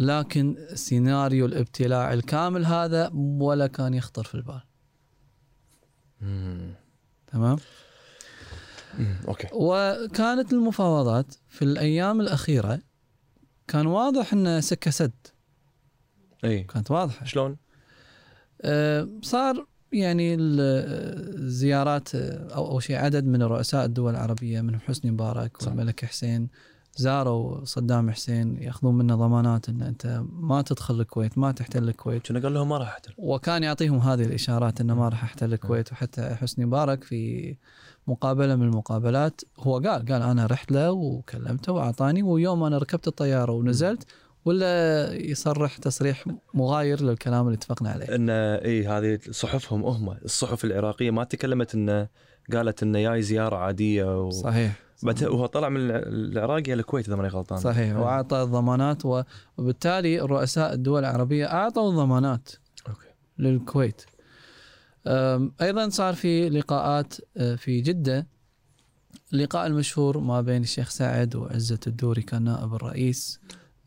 Speaker 2: لكن سيناريو الابتلاع الكامل هذا ولا كان يخطر في البال
Speaker 3: مم.
Speaker 2: تمام
Speaker 3: مم. اوكي
Speaker 2: وكانت المفاوضات في الايام الاخيره كان واضح ان سكه سد
Speaker 3: اي
Speaker 2: كانت واضحه
Speaker 3: شلون؟
Speaker 2: أه، صار يعني الزيارات أه، او او شيء عدد من رؤساء الدول العربيه منهم حسني مبارك
Speaker 3: صح.
Speaker 2: والملك حسين زاروا صدام حسين ياخذون منه ضمانات ان انت ما تدخل الكويت ما تحتل الكويت
Speaker 3: كنا قال لهم ما راح احتل
Speaker 2: وكان يعطيهم هذه الاشارات انه ما راح احتل الكويت وحتى حسني مبارك في مقابله من المقابلات هو قال قال انا رحت له وكلمته واعطاني ويوم انا ركبت الطياره ونزلت ولا يصرح تصريح مغاير للكلام اللي اتفقنا عليه
Speaker 3: ان اي هذه صحفهم هم الصحف العراقيه ما تكلمت انه قالت انه جاي زياره عاديه و...
Speaker 2: صحيح إيه.
Speaker 3: بعد وهو طلع من الع- العراق الى الكويت اذا ماني غلطان
Speaker 2: صحيح واعطى الضمانات و- وبالتالي رؤساء الدول العربيه اعطوا ضمانات
Speaker 3: اوكي
Speaker 2: للكويت أم، أيضا صار في لقاءات أه، في جدة اللقاء المشهور ما بين الشيخ سعد وعزة الدوري كان نائب الرئيس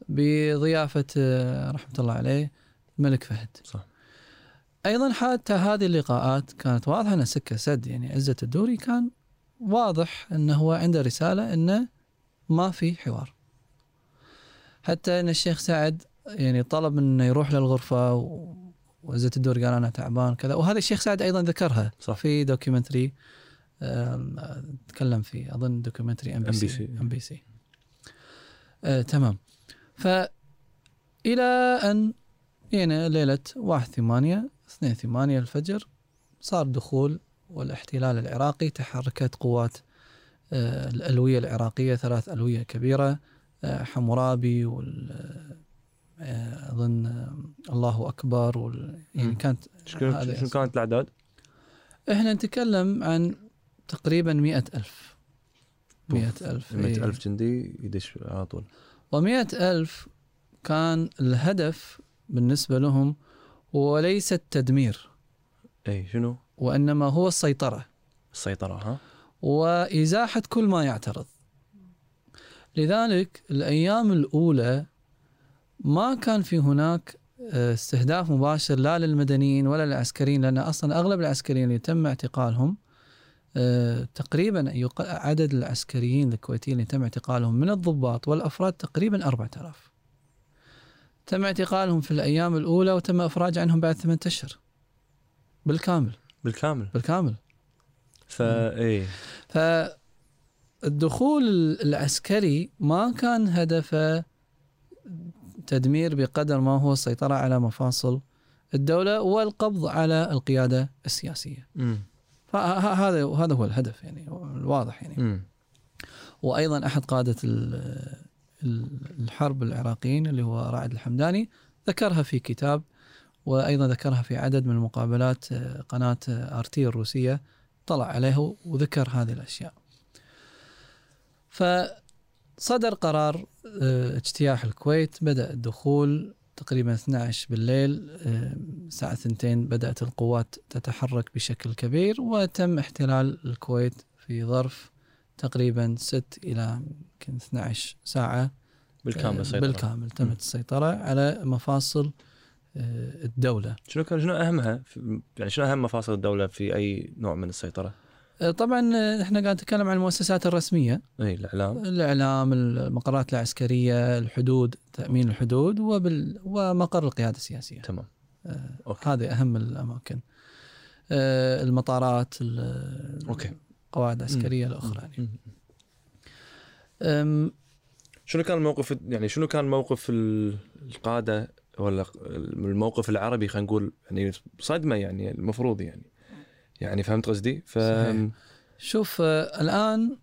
Speaker 2: بضيافة أه، رحمة الله عليه الملك فهد
Speaker 3: صح.
Speaker 2: أيضا حتى هذه اللقاءات كانت واضحة أن سكة سد يعني عزة الدوري كان واضح أنه هو عنده رسالة أنه ما في حوار حتى أن الشيخ سعد يعني طلب أنه يروح للغرفة و- وعزة الدور قال انا تعبان كذا وهذا الشيخ سعد ايضا ذكرها
Speaker 3: صح.
Speaker 2: في دوكيومنتري آم، آه، تكلم فيه اظن دوكيومنتري ام بي سي
Speaker 3: NBC.
Speaker 2: ام بي سي آه، تمام ف الى ان جينا ليله 1 8 2 8 الفجر صار دخول والاحتلال العراقي تحركت قوات آه، الالويه العراقيه ثلاث الويه كبيره آه، حمورابي وال آه، اظن آه، الله اكبر وال... يعني
Speaker 3: مم.
Speaker 2: كانت هذا
Speaker 3: شكون- شنو
Speaker 2: اسم.
Speaker 3: كانت الاعداد؟
Speaker 2: احنا نتكلم عن تقريبا مئة ألف
Speaker 3: بوف.
Speaker 2: مئة ألف إيه.
Speaker 3: 100 ألف جندي يدش على طول
Speaker 2: ومئة ألف كان الهدف بالنسبة لهم هو ليس التدمير
Speaker 3: اي إيه، شنو؟
Speaker 2: وإنما هو السيطرة
Speaker 3: السيطره ها؟
Speaker 2: وإزاحة كل ما يعترض لذلك الأيام الأولى ما كان في هناك آه، استهداف مباشر لا للمدنيين ولا للعسكريين لأن أصلا أغلب العسكريين اللي تم اعتقالهم آه، تقريبا يق- عدد العسكريين الكويتيين اللي تم اعتقالهم من الضباط والأفراد تقريبا 4000 تم اعتقالهم في الأيام الأولى وتم إفراج عنهم بعد ثمانية أشهر بالكامل
Speaker 3: بالكامل إيه.
Speaker 2: بالكامل
Speaker 3: فا اي
Speaker 2: ف الدخول العسكري ما كان هدفه تدمير بقدر ما هو السيطرة على مفاصل الدولة والقبض على القيادة السياسية
Speaker 3: مم.
Speaker 2: فهذا هذا هو الهدف يعني الواضح يعني
Speaker 3: مم.
Speaker 2: وايضا احد قاده ال- ال- الحرب العراقيين اللي هو رائد الحمداني ذكرها في كتاب وايضا ذكرها في عدد من مقابلات آه، قناه ار تي الروسيه طلع عليها وذكر هذه الاشياء. فصدر قرار آه، اجتياح الكويت بدا الدخول تقريبا 12 بالليل آه، الساعه 2 بدات القوات تتحرك بشكل كبير وتم احتلال الكويت في ظرف تقريبا 6 الى يمكن 12 ساعه
Speaker 3: إيه، بالكامل
Speaker 2: آه،
Speaker 3: السيطرة
Speaker 2: بالكامل
Speaker 3: مم.
Speaker 2: تمت السيطره على مفاصل آه، الدوله
Speaker 3: شنو كان شنو اهمها في يعني شنو اهم مفاصل الدوله في اي نوع من السيطره؟
Speaker 2: آه، طبعا آه، احنا قاعد نتكلم عن المؤسسات الرسميه
Speaker 3: اي الاعلام
Speaker 2: الاعلام المقرات العسكريه الحدود تامين الحدود وبال ومقر القياده السياسيه
Speaker 3: تمام أوكي.
Speaker 2: هذه اهم الاماكن آه، المطارات ال-
Speaker 3: اوكي
Speaker 2: القواعد العسكريه الاخرى يعني.
Speaker 3: مم.
Speaker 2: أم،
Speaker 3: شنو كان الموقف يعني شنو كان موقف ال- القاده ولا الموقف العربي خلينا نقول يعني صدمه يعني المفروض يعني يعني فهمت قصدي؟ ف
Speaker 2: صحيح. شوف آه، الآن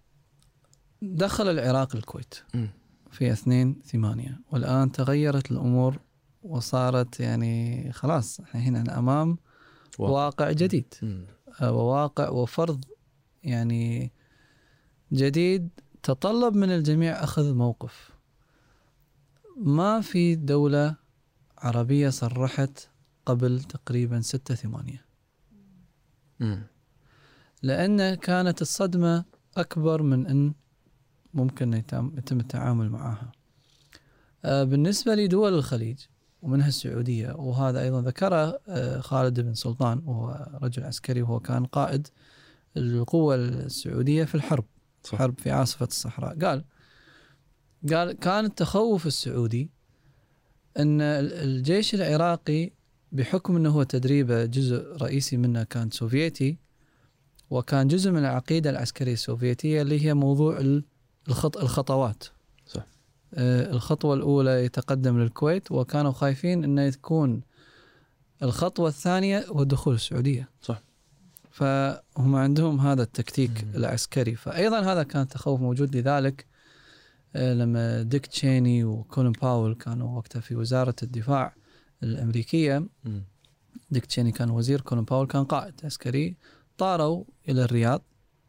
Speaker 2: دخل العراق الكويت
Speaker 3: مم.
Speaker 2: في 2 8 والآن تغيرت الأمور وصارت يعني خلاص إحنا هنا أمام
Speaker 3: واقع.
Speaker 2: واقع, واقع جديد
Speaker 3: مم.
Speaker 2: آه، وواقع وفرض يعني جديد تطلب من الجميع أخذ موقف ما في دولة عربية صرحت قبل تقريبا 6 8
Speaker 3: مم.
Speaker 2: لأن كانت الصدمة أكبر من أن ممكن يتم يتم التعامل معها آه، بالنسبة لدول الخليج ومنها السعودية وهذا أيضا ذكره آه، خالد بن سلطان وهو رجل عسكري وهو كان قائد القوة السعودية في الحرب
Speaker 3: صح.
Speaker 2: حرب في عاصفة الصحراء قال قال كان التخوف السعودي أن ال- الجيش العراقي بحكم أنه هو تدريبه جزء رئيسي منه كان سوفيتي وكان جزء من العقيدة العسكرية السوفيتية اللي هي موضوع ال- الخط الخطوات
Speaker 3: صح.
Speaker 2: آه، الخطوة الأولى يتقدم للكويت وكانوا خايفين أنه تكون الخطوة الثانية هو دخول السعودية
Speaker 3: صح.
Speaker 2: فهم عندهم هذا التكتيك
Speaker 3: مم.
Speaker 2: العسكري فأيضا هذا كان تخوف موجود لذلك آه، لما ديك تشيني وكولين باول كانوا وقتها في وزارة الدفاع الأمريكية
Speaker 3: مم.
Speaker 2: ديك تشيني كان وزير كولين باول كان قائد عسكري طاروا إلى الرياض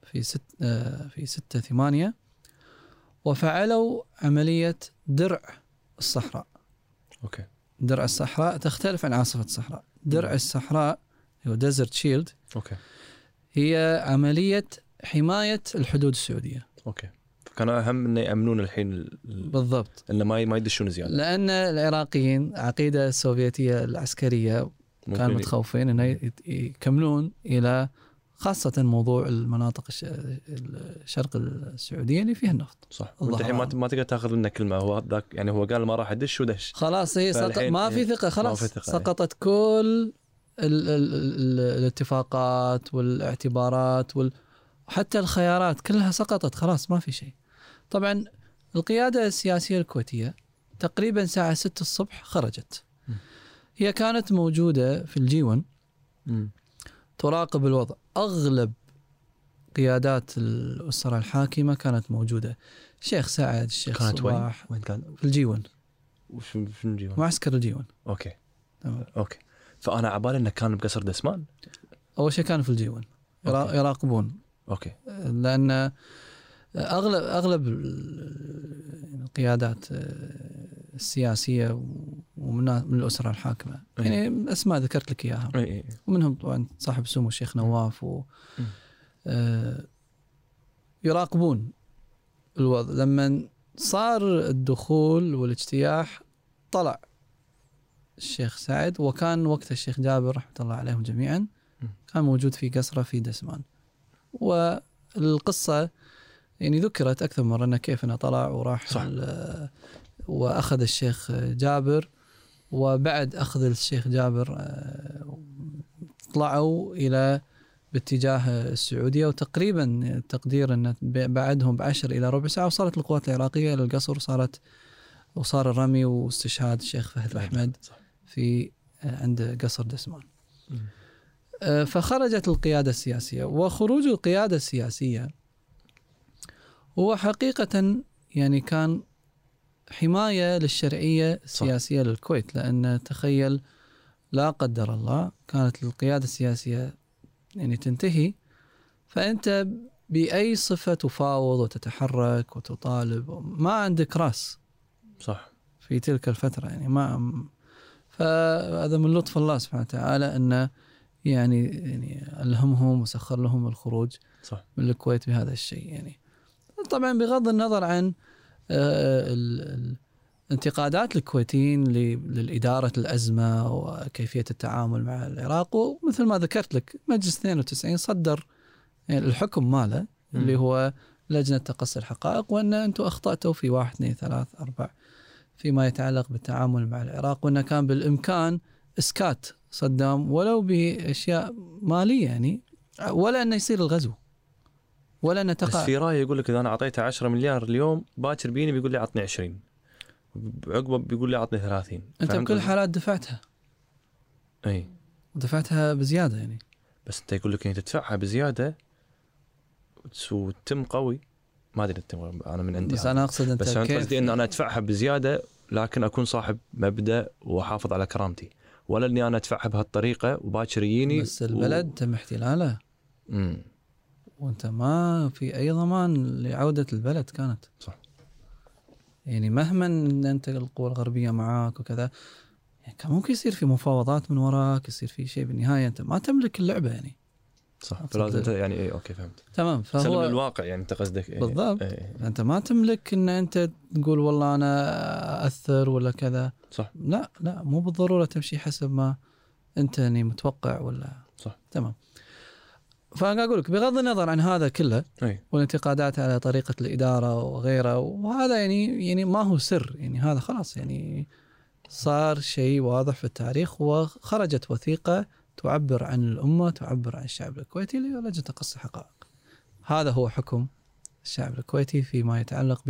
Speaker 2: في ست آه، في ستة ثمانية وفعلوا عملية درع الصحراء
Speaker 3: اوكي
Speaker 2: درع الصحراء تختلف عن عاصفة الصحراء درع الصحراء هو ديزرت شيلد
Speaker 3: اوكي
Speaker 2: هي عملية حماية الحدود السعودية
Speaker 3: اوكي كانوا اهم انه يامنون الحين ال- ال-
Speaker 2: بالضبط
Speaker 3: انه ما ي- ما يدشون زياده
Speaker 2: لأن العراقيين عقيدة السوفيتية العسكرية كانوا
Speaker 3: ممكن ي-
Speaker 2: متخوفين انه
Speaker 3: إيه.
Speaker 2: يت- يكملون الى خاصة موضوع المناطق الش- ال- الشرق السعودية اللي فيها النفط
Speaker 3: صح
Speaker 2: الله
Speaker 3: انت الحين ما ت-
Speaker 2: أعلم.
Speaker 3: ما تقدر تاخذ منه كلمه هو ذاك يعني هو قال ما راح ادش ودش
Speaker 2: خلاص هي سقط
Speaker 3: فالحين-
Speaker 2: ما في ثقة خلاص
Speaker 3: ما في ثقة، إيه.
Speaker 2: سقطت كل ال ال ال الاتفاقات والاعتبارات وال حتى الخيارات كلها سقطت خلاص ما في شيء طبعا القيادة السياسية الكويتية تقريبا الساعة 6 الصبح خرجت
Speaker 3: م.
Speaker 2: هي كانت موجودة في الجيون
Speaker 3: مم.
Speaker 2: تراقب الوضع أغلب قيادات الأسرة الحاكمة كانت موجودة الشيخ سعد الشيخ
Speaker 3: كانت وين؟
Speaker 2: صباح
Speaker 3: وين كان؟
Speaker 2: في الجيون
Speaker 3: وش وش نجيبها؟
Speaker 2: معسكر الجيون
Speaker 3: اوكي
Speaker 2: تمام.
Speaker 3: اوكي فانا عبالي انه كان بقصر دسمان
Speaker 2: أول شيء كانوا في الجيون يرا-
Speaker 3: أوكي.
Speaker 2: يراقبون
Speaker 3: اوكي
Speaker 2: لأن أغلب أغلب ال- القيادات السياسية ومن من الأسرة الحاكمة
Speaker 3: أي.
Speaker 2: يعني أسماء ذكرت لك إياها
Speaker 3: اي اي
Speaker 2: ومنهم طبعا صاحب سمو الشيخ نواف و
Speaker 3: مم.
Speaker 2: آه، يراقبون الوضع لما صار الدخول والاجتياح طلع الشيخ سعد وكان وقت الشيخ جابر رحمه الله عليهم جميعا
Speaker 3: مم.
Speaker 2: كان موجود في قصره في دسمان والقصه يعني ذكرت اكثر من مره انه كيف انه طلع وراح
Speaker 3: صح.
Speaker 2: ال- واخذ الشيخ جابر وبعد اخذ الشيخ جابر آه، طلعوا الى باتجاه السعوديه وتقريبا تقدير ان بعدهم بعشر الى ربع ساعه وصلت القوات العراقيه الى القصر وصارت وصار الرمي واستشهاد الشيخ فهد الاحمد في آه، عند قصر دسمان. آه، فخرجت القياده السياسيه وخروج القياده السياسيه هو حقيقه يعني كان حمايه للشرعيه السياسيه صح. للكويت لان تخيل لا قدر الله كانت القياده السياسيه يعني تنتهي فانت باي صفه تفاوض وتتحرك وتطالب ما عندك راس
Speaker 3: صح
Speaker 2: في تلك الفتره يعني ما فهذا من لطف الله سبحانه وتعالى انه يعني يعني الهمهم وسخر لهم الخروج
Speaker 3: صح.
Speaker 2: من الكويت بهذا الشيء يعني طبعا بغض النظر عن آه، انتقادات الكويتيين لإدارة الأزمة وكيفية التعامل مع العراق ومثل ما ذكرت لك مجلس 92 صدر يعني الحكم ماله اللي هو لجنة تقصي الحقائق وأن أنتم أخطأتوا في واحد اثنين ثلاث أربع فيما يتعلق بالتعامل مع العراق وأنه كان بالإمكان إسكات صدام ولو بأشياء مالية يعني ولا أنه يصير الغزو ولا أنه تقع
Speaker 3: بس في راي يقول لك اذا انا اعطيته 10 مليار اليوم باكر بيني بيقول لي عطني 20 عقبه بيقول لي عطني 30
Speaker 2: انت بكل الحالات دفعتها
Speaker 3: اي
Speaker 2: دفعتها بزياده يعني
Speaker 3: بس انت يقول لك يعني تدفعها بزياده وتم قوي ما ادري التم قوي، انا من عندي
Speaker 2: بس
Speaker 3: هذا.
Speaker 2: انا اقصد انت
Speaker 3: يعني بس انا
Speaker 2: طيب كيف
Speaker 3: قصدي ان انا ادفعها بزياده لكن اكون صاحب مبدا واحافظ على كرامتي ولا اني انا ادفعها بهالطريقه وباكر يجيني
Speaker 2: بس البلد تم احتلاله
Speaker 3: و... مم.
Speaker 2: وانت ما في اي ضمان لعوده البلد كانت
Speaker 3: صح.
Speaker 2: يعني مهما ان انت القوى الغربيه معاك وكذا يعني كان ممكن يصير في مفاوضات من وراك يصير في شيء بالنهايه انت ما تملك اللعبه يعني
Speaker 3: صح
Speaker 2: أقصد
Speaker 3: فلازم
Speaker 2: ال-
Speaker 3: ت- يعني اي اوكي فهمت
Speaker 2: تمام
Speaker 3: سلم
Speaker 2: فهو
Speaker 3: الواقع يعني انت قصدك إيه.
Speaker 2: بالضبط.
Speaker 3: إيه.
Speaker 2: انت ما تملك ان انت تقول والله انا اثر ولا كذا
Speaker 3: صح.
Speaker 2: لا لا مو بالضروره تمشي حسب ما انت يعني متوقع ولا
Speaker 3: صح.
Speaker 2: تمام فانا اقول لك بغض النظر عن هذا كله
Speaker 3: اي
Speaker 2: والانتقادات على طريقة الإدارة وغيره وهذا يعني يعني ما هو سر يعني هذا خلاص يعني صار شيء واضح في التاريخ وخرجت وثيقة تعبر عن الأمة تعبر عن الشعب الكويتي اللي هو لجنة تقصي الحقائق هذا هو حكم الشعب الكويتي فيما يتعلق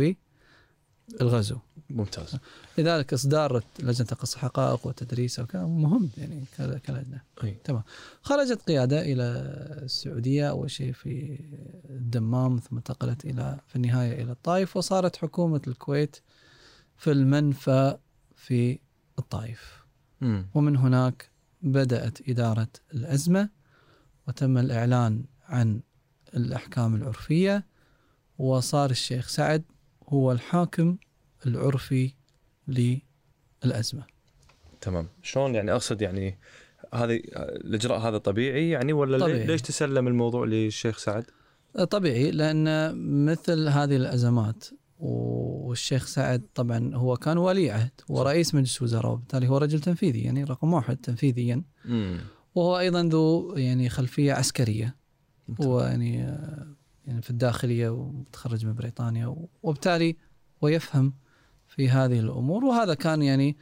Speaker 2: بالغزو
Speaker 3: ممتاز
Speaker 2: لذلك إصدار لجنة تقصي الحقائق وتدريسها وكذا مهم يعني كلا- كلجنة
Speaker 3: اي
Speaker 2: خرجت قيادة إلى السعودية أول شيء في الدمام ثم انتقلت إلى في النهاية إلى الطائف وصارت حكومة الكويت في المنفى في الطائف
Speaker 3: مم.
Speaker 2: ومن هناك بدأت إدارة الأزمة وتم الإعلان عن الأحكام العرفية وصار الشيخ سعد هو الحاكم العرفي للأزمة
Speaker 3: تمام شلون يعني اقصد يعني هذه الاجراء هذا طبيعي يعني ولا
Speaker 2: طبيعي.
Speaker 3: طبيعي. ليش تسلم الموضوع للشيخ سعد؟
Speaker 2: طبيعي لان مثل هذه الازمات والشيخ سعد طبعا هو كان ولي عهد ورئيس مجلس وزراء وبالتالي هو رجل تنفيذي يعني رقم واحد تنفيذيا
Speaker 3: امم
Speaker 2: وهو ايضا ذو يعني خلفيه عسكريه هو يعني آه، يعني في الداخليه وتخرج من بريطانيا و- وبالتالي ويفهم في هذه الامور وهذا كان يعني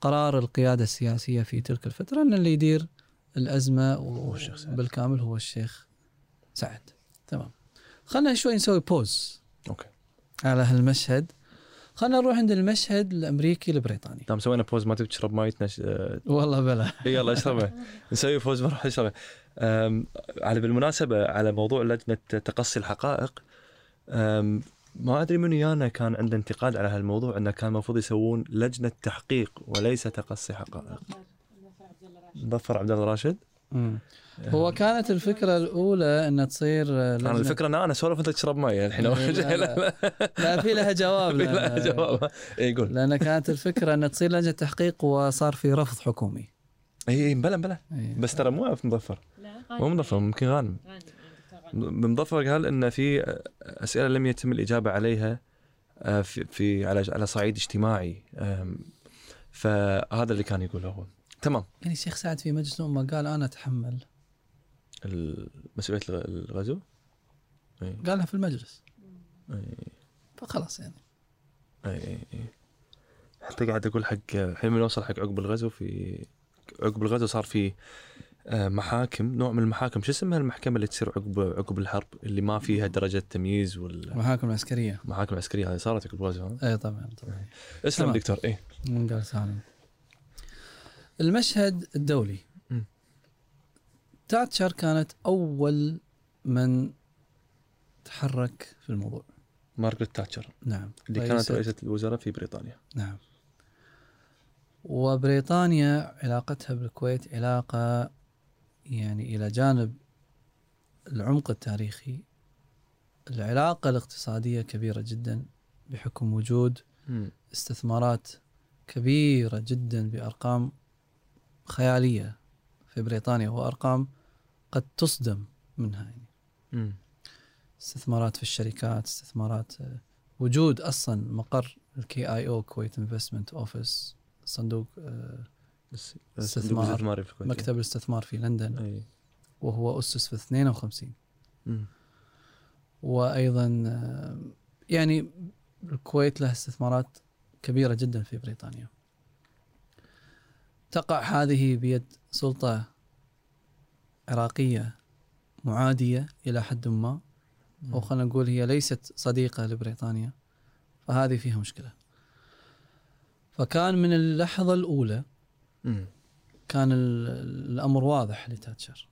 Speaker 2: قرار القياده السياسيه في تلك الفتره ان اللي يدير الازمه و-
Speaker 3: الشيخ سعد.
Speaker 2: بالكامل هو الشيخ سعد تمام خلنا شوي نسوي بوز
Speaker 3: اوكي
Speaker 2: على هالمشهد خلنا نروح عند المشهد الامريكي البريطاني
Speaker 3: دام سوينا بوز ما تبي تشرب مايتنا ش- آه،
Speaker 2: والله بلا
Speaker 3: يلا اشربه نسوي بوز بروح اشربه أم، على بالمناسبه على موضوع لجنه تقصي الحقائق أم، ما ادري من ويانا كان عنده انتقاد على هالموضوع انه كان المفروض يسوون لجنه تحقيق وليس تقصي حقائق ظفر عبد الله راشد
Speaker 2: هو كانت الفكره الاولى ان تصير آه،
Speaker 3: انا
Speaker 2: لجنة-
Speaker 3: الفكره ان انا اسولف انت تشرب ماي يعني، الحين أول شيء.
Speaker 2: لا، لا. لا في لها جواب
Speaker 3: في لها
Speaker 2: لأن-
Speaker 3: جواب إيه، يقول
Speaker 2: لان كانت الفكره ان تصير لجنه تحقيق وصار في رفض حكومي
Speaker 3: اي اي بلا بلا
Speaker 2: إيه.
Speaker 3: بس ترى مو عارف مظفر
Speaker 1: لا
Speaker 3: مو مظفر ممكن غانم م- مظفر قال ان في اسئله لم يتم الاجابه عليها آه، في, في على على صعيد اجتماعي آم، فهذا اللي كان يقوله هو تمام
Speaker 2: يعني الشيخ سعد في مجلس الامه قال انا اتحمل
Speaker 3: ال- مسؤوليه الغ- الغزو اي
Speaker 2: قالها في المجلس
Speaker 3: اي
Speaker 2: فخلاص يعني
Speaker 3: اي اي اي حتى قاعد اقول حق الحين بنوصل حق عقب الغزو في عقب الغزو صار في آه، محاكم نوع من المحاكم شو اسمها المحكمه اللي تصير عقب عقب الحرب اللي ما فيها درجه تمييز والمحاكم
Speaker 2: المحاكم العسكريه
Speaker 3: العسكريه هذه صارت عقب الغزو ها؟
Speaker 2: اي طبعا طبعا
Speaker 3: اسلم
Speaker 2: تمام.
Speaker 3: دكتور إيه. اي
Speaker 2: إيه من قال سالم المشهد الدولي
Speaker 3: مم.
Speaker 2: تاتشر كانت اول من تحرك في الموضوع
Speaker 3: مارغريت تاتشر
Speaker 2: نعم
Speaker 3: اللي كانت
Speaker 2: رئيسة-
Speaker 3: رئيسه الوزراء في بريطانيا
Speaker 2: نعم وبريطانيا علاقتها بالكويت علاقة يعني إلى جانب العمق التاريخي العلاقة الاقتصادية كبيرة جدا بحكم وجود استثمارات كبيرة جدا بأرقام خيالية في بريطانيا وأرقام قد تصدم منها يعني
Speaker 3: امم
Speaker 2: استثمارات في الشركات استثمارات آه، وجود اصلا مقر الكي اي او كويت انفستمنت اوفيس صندوق آه،
Speaker 3: بس
Speaker 2: استثمار.
Speaker 3: استثمار في الكويت
Speaker 2: مكتب الاستثمار في لندن
Speaker 3: اي
Speaker 2: وهو اسس في 52
Speaker 3: مم.
Speaker 2: وايضا آه، يعني الكويت لها استثمارات كبيره جدا في بريطانيا. تقع هذه بيد سلطه عراقيه معاديه الى حد ما او خلينا نقول هي ليست صديقه لبريطانيا فهذه فيها مشكله. فكان من اللحظه الاولى
Speaker 3: مم.
Speaker 2: كان ال- الامر واضح لتاتشر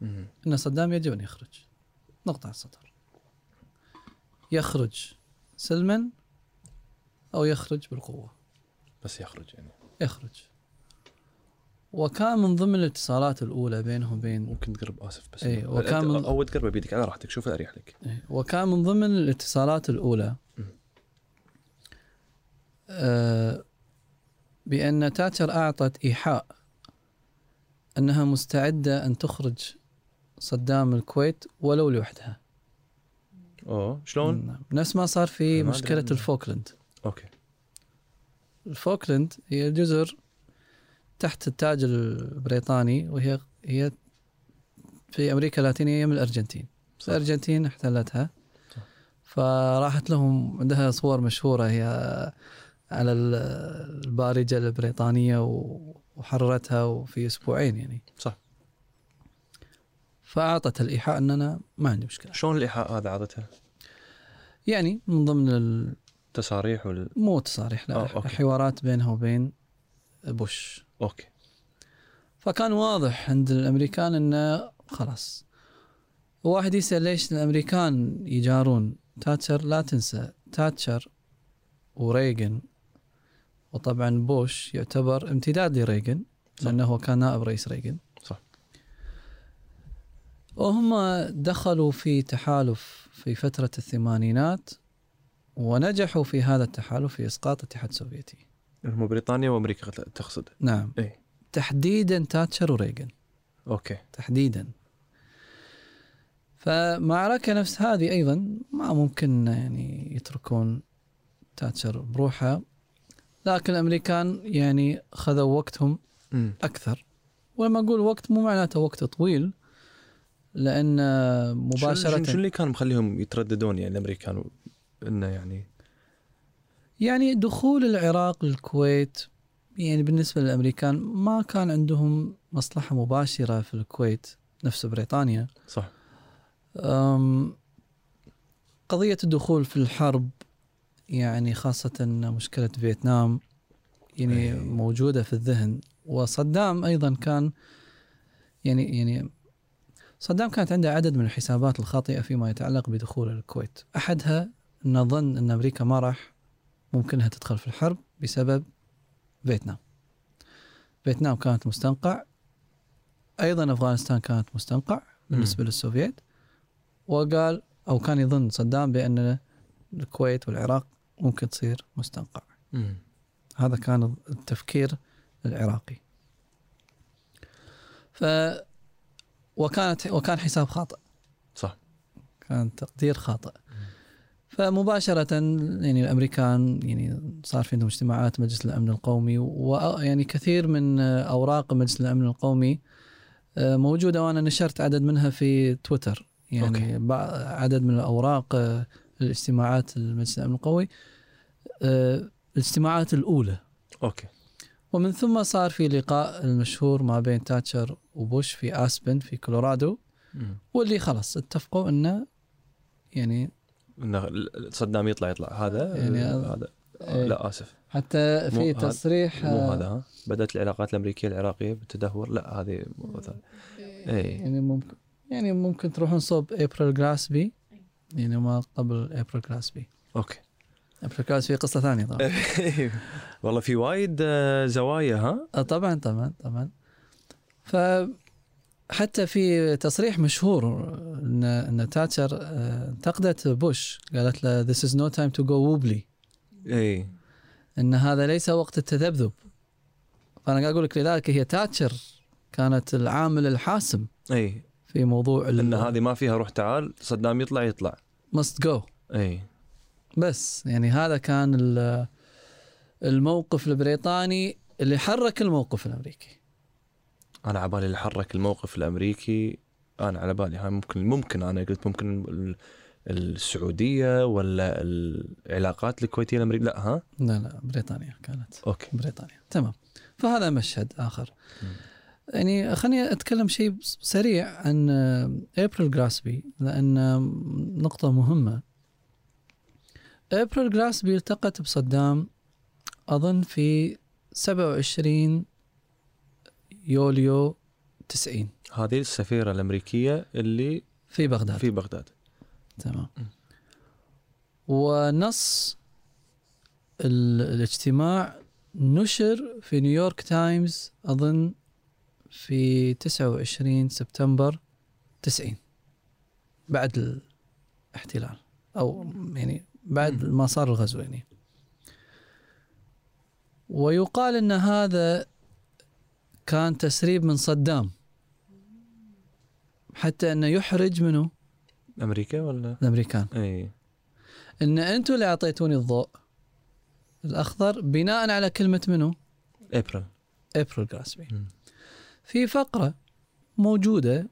Speaker 3: مم.
Speaker 2: ان صدام يجب ان يخرج. نقطع السطر. يخرج سلما او يخرج بالقوه.
Speaker 3: بس يخرج يعني
Speaker 2: يخرج. وكان من ضمن الاتصالات الاولى بينهم وبين
Speaker 3: ممكن تقرب اسف بس
Speaker 2: إي،
Speaker 3: أنت-
Speaker 2: وكان من-
Speaker 3: اول تقربه بيدك على راحتك شوف اريح لك
Speaker 2: وكان من ضمن الاتصالات الاولى آه، بان تاتشر اعطت ايحاء انها مستعده ان تخرج صدام الكويت ولو لوحدها
Speaker 3: اوه شلون؟
Speaker 2: نعم. نفس ما صار في
Speaker 3: أنا ما
Speaker 2: مشكله
Speaker 3: أدري.
Speaker 2: الفوكلاند
Speaker 3: اوكي
Speaker 2: الفوكلاند هي جزر تحت التاج البريطاني وهي هي في امريكا اللاتينيه يم الارجنتين
Speaker 3: صح.
Speaker 2: الارجنتين احتلتها فراحت لهم عندها صور مشهوره هي على ال- البارجه البريطانيه و- وحررتها وفي اسبوعين يعني
Speaker 3: صح.
Speaker 2: فاعطت الايحاء ان انا ما عندي مشكله
Speaker 3: شلون الايحاء هذا عادتها؟
Speaker 2: يعني من ضمن ال-
Speaker 3: تصاريح وال
Speaker 2: مو تصاريح لا
Speaker 3: آه، أوكي.
Speaker 2: حوارات بينها وبين بوش
Speaker 3: اوكي
Speaker 2: فكان واضح عند الامريكان انه خلاص واحد يسال ليش الامريكان يجارون تاتشر لا تنسى تاتشر وريغن وطبعا بوش يعتبر امتداد لريغن
Speaker 3: صح.
Speaker 2: لانه هو كان نائب رئيس ريغن
Speaker 3: صح.
Speaker 2: وهم دخلوا في تحالف في فتره الثمانينات ونجحوا في هذا التحالف في اسقاط الاتحاد السوفيتي
Speaker 3: هم بريطانيا وامريكا قتل- تقصد
Speaker 2: نعم
Speaker 3: إيه.
Speaker 2: تحديدا تاتشر وريغن
Speaker 3: اوكي
Speaker 2: تحديدا فمعركة نفس هذه أيضا ما ممكن يعني يتركون تاتشر بروحها لكن الأمريكان يعني خذوا وقتهم
Speaker 3: امم
Speaker 2: أكثر ولما أقول وقت مو معناته وقت طويل لأن
Speaker 3: مباشره شنو
Speaker 2: مباشرة
Speaker 3: اللي كان مخليهم يترددون يعني الامريكان و- انه يعني
Speaker 2: يعني دخول العراق للكويت يعني بالنسبة للأمريكان ما كان عندهم مصلحة مباشرة في الكويت نفس بريطانيا
Speaker 3: صح
Speaker 2: أم، قضية الدخول في الحرب يعني خاصة مشكلة فيتنام يعني
Speaker 3: أي.
Speaker 2: موجودة في الذهن وصدام أيضا كان يعني يعني صدام كانت عنده عدد من الحسابات الخاطئة فيما يتعلق بدخول الكويت أحدها أن ظن أن أمريكا ما راح ممكنها تدخل في الحرب بسبب فيتنام فيتنام كانت مستنقع أيضا أفغانستان كانت مستنقع بالنسبة للسوفيت وقال او كان يظن صدام بان الكويت والعراق ممكن تصير مستنقع
Speaker 3: امم
Speaker 2: هذا كان التفكير العراقي ف وكانت وكان حساب خاطئ
Speaker 3: صح
Speaker 2: كان تقدير خاطئ فمباشرة يعني الامريكان يعني صار في عندهم اجتماعات مجلس الامن القومي ويعني كثير من اوراق مجلس الامن القومي آه، موجودة وانا نشرت عدد منها في تويتر يعني
Speaker 3: أوكي.
Speaker 2: بع- عدد من الاوراق آه، الاجتماعات المجلس الامن القومي آه، الاجتماعات الاولى
Speaker 3: اوكي
Speaker 2: ومن ثم صار في لقاء المشهور ما بين تاتشر وبوش في اسبن في كولورادو
Speaker 3: مم.
Speaker 2: واللي خلاص اتفقوا انه يعني
Speaker 3: انه صدام يطلع يطلع هذا
Speaker 2: يعني
Speaker 3: هذا
Speaker 2: إيه.
Speaker 3: لا اسف
Speaker 2: حتى
Speaker 3: مو
Speaker 2: في
Speaker 3: هذا-
Speaker 2: تصريح
Speaker 3: مو
Speaker 2: آه،
Speaker 3: هذا ها بدات العلاقات الامريكيه العراقيه بالتدهور لا هذه إيه. موضوع ثاني اي
Speaker 2: يعني ممكن يعني ممكن تروحون صوب ابريل جراسبي يعني ما قبل ابريل جراسبي
Speaker 3: اوكي
Speaker 2: ابريل جراسبي قصه ثانيه طبعا
Speaker 3: والله في وايد آه، زوايا ها
Speaker 2: آه، طبعا طبعا طبعا ف حتى في تصريح مشهور ان ان تاتشر آه، انتقدت بوش قالت له this is no time to go wobbly
Speaker 3: اي
Speaker 2: ان هذا ليس وقت التذبذب فانا قاعد اقول لك لذلك هي تاتشر كانت العامل الحاسم
Speaker 3: اي
Speaker 2: في موضوع
Speaker 3: ان إيه. هذه ما فيها روح تعال صدام يطلع يطلع إيه.
Speaker 2: ماست جو
Speaker 3: اي
Speaker 2: بس يعني هذا كان ال- الموقف البريطاني اللي حرك الموقف الامريكي
Speaker 3: انا على بالي اللي حرك الموقف الامريكي انا على بالي هاي ممكن ممكن انا قلت ممكن ال- السعوديه ولا العلاقات الكويتيه الامريكيه لا ها
Speaker 2: لا لا بريطانيا كانت
Speaker 3: اوكي
Speaker 2: بريطانيا تمام فهذا مشهد اخر
Speaker 3: مم.
Speaker 2: يعني خليني اتكلم شيء بس- سريع عن ابريل جراسبي لان نقطه مهمه ابريل جراسبي التقت بصدام اظن في 27 يوليو 90
Speaker 3: هذه السفيره الامريكيه اللي
Speaker 2: في بغداد
Speaker 3: في بغداد
Speaker 2: تمام
Speaker 3: مم.
Speaker 2: ونص ال- الاجتماع نشر في نيويورك تايمز اظن في 29 سبتمبر 90 بعد الاحتلال او يعني بعد
Speaker 3: مم.
Speaker 2: ما صار الغزو يعني ويقال ان هذا كان تسريب من صدام حتى انه يحرج منه
Speaker 3: امريكا ولا إيه،
Speaker 2: الامريكان
Speaker 3: اي
Speaker 2: ان انتم اللي اعطيتوني الضوء الاخضر بناء على كلمه منو؟
Speaker 3: ابريل
Speaker 2: ابريل جراسبي
Speaker 3: مم.
Speaker 2: في فقره موجوده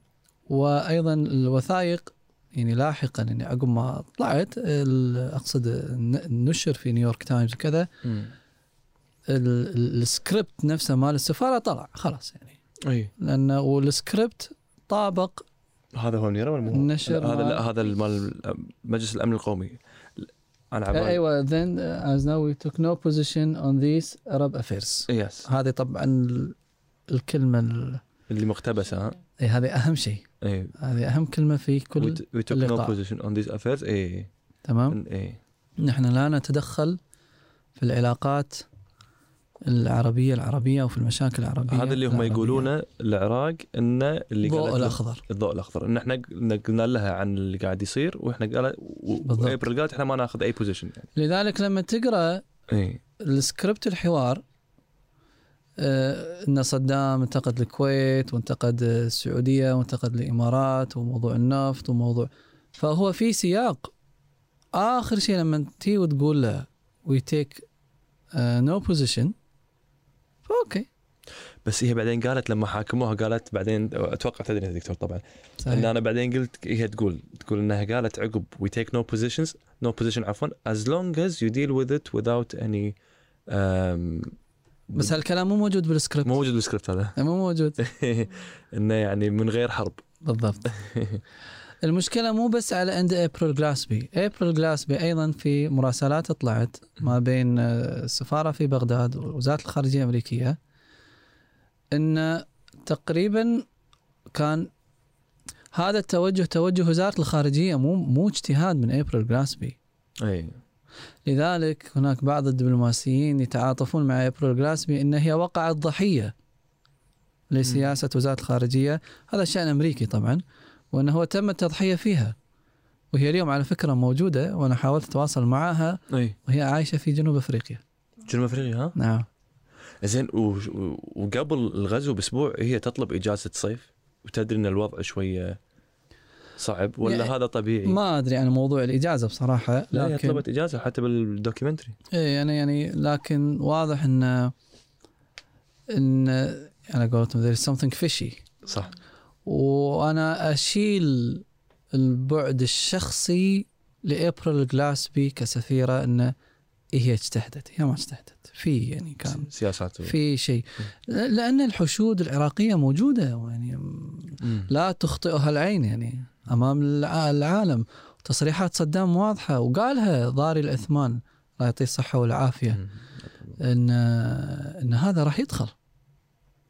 Speaker 2: وايضا الوثائق يعني لاحقا يعني عقب ما طلعت ال- اقصد ن- نشر في نيويورك تايمز وكذا ال- ال- السكريبت نفسه مال السفاره طلع خلاص يعني
Speaker 3: اي
Speaker 2: لانه والسكريبت طابق
Speaker 3: هذا هو منيره ولا مو هو؟
Speaker 2: النشر
Speaker 3: لا، هذا
Speaker 2: مال-
Speaker 3: لا هذا المال مجلس الامن القومي انا على بالي
Speaker 2: ايوه then uh, as now we took no position on these Arab affairs
Speaker 3: يس
Speaker 2: هذه طبعا ال- الكلمه ال-
Speaker 3: اللي مقتبسه ها
Speaker 2: إيه هذه اهم شيء
Speaker 3: اي
Speaker 2: هذه اهم كلمه في
Speaker 3: we,
Speaker 2: كل
Speaker 3: we took no
Speaker 2: اللقاء. نعم.
Speaker 3: position on these affairs إيه، اي
Speaker 2: تمام
Speaker 3: اي
Speaker 2: نحن لا نتدخل في العلاقات العربيه العربيه وفي المشاكل العربيه
Speaker 3: هذا اللي هم
Speaker 2: العربية.
Speaker 3: يقولونه العراق ان اللي
Speaker 2: الضوء
Speaker 3: قالت له-
Speaker 2: الاخضر
Speaker 3: الضوء الاخضر ان احنا قلنا- قلنا لها عن اللي قاعد يصير واحنا قال
Speaker 2: بالضبط.
Speaker 3: وابريل قالت احنا ما ناخذ اي بوزيشن يعني إيه.
Speaker 2: لذلك لما تقرا
Speaker 3: اي
Speaker 2: السكريبت الحوار آه، ان صدام انتقد الكويت وانتقد السعوديه وانتقد الامارات وموضوع النفط وموضوع فهو في سياق اخر شيء لما تي وتقول له آه، وي تيك نو بوزيشن اوكي
Speaker 3: بس هي بعدين قالت لما حاكموها قالت بعدين اتوقع تدري يا دكتور طبعا ان
Speaker 2: صحيح
Speaker 3: انا بعدين قلت هي تقول تقول انها قالت عقب we take no positions no position عفوا as long as you deal with it without any um,
Speaker 2: بس هالكلام مو موجود بالسكريبت يعني
Speaker 3: مو موجود بالسكريبت هذا
Speaker 2: مو موجود
Speaker 3: انه يعني من غير حرب
Speaker 2: بالضبط المشكلة مو بس على عند ابريل جلاسبي، ابريل جلاسبي ايضا في مراسلات طلعت ما بين آه، السفارة في بغداد ووزارة الخارجية الامريكية ان تقريبا كان هذا التوجه توجه وزارة الخارجية مو مو اجتهاد من ابريل جلاسبي،
Speaker 3: اي
Speaker 2: لذلك هناك بعض الدبلوماسيين يتعاطفون مع ابريل جلاسبي ان هي وقعت ضحية لسياسة وزارة الخارجية، هذا شأن امريكي طبعا. وانه هو تم التضحيه فيها وهي اليوم على فكره موجوده وانا حاولت اتواصل معها
Speaker 3: اي
Speaker 2: وهي عايشه في جنوب افريقيا
Speaker 3: جنوب افريقيا ها
Speaker 2: نعم
Speaker 3: زين و- و- وقبل الغزو باسبوع هي تطلب اجازه صيف وتدري ان الوضع شويه صعب ولا
Speaker 2: يعني
Speaker 3: هذا طبيعي؟
Speaker 2: ما ادري عن موضوع الاجازه بصراحه
Speaker 3: لا هي
Speaker 2: لكن
Speaker 3: طلبت اجازه حتى بالدوكيومنتري
Speaker 2: ايه يعني يعني لكن واضح ان ان على قولتهم there is something fishy
Speaker 3: صح
Speaker 2: وانا اشيل البعد الشخصي لابريل جلاسبي كسفيره انه هي اجتهدت هي ما اجتهدت في يعني كان
Speaker 3: سياسات و-
Speaker 2: في شيء لان الحشود العراقيه موجوده يعني
Speaker 3: مم.
Speaker 2: لا تخطئها العين يعني امام الع- العالم تصريحات صدام واضحه وقالها ضاري الاثمان الله يعطيه الصحه والعافيه
Speaker 3: مم.
Speaker 2: ان ان هذا راح يدخل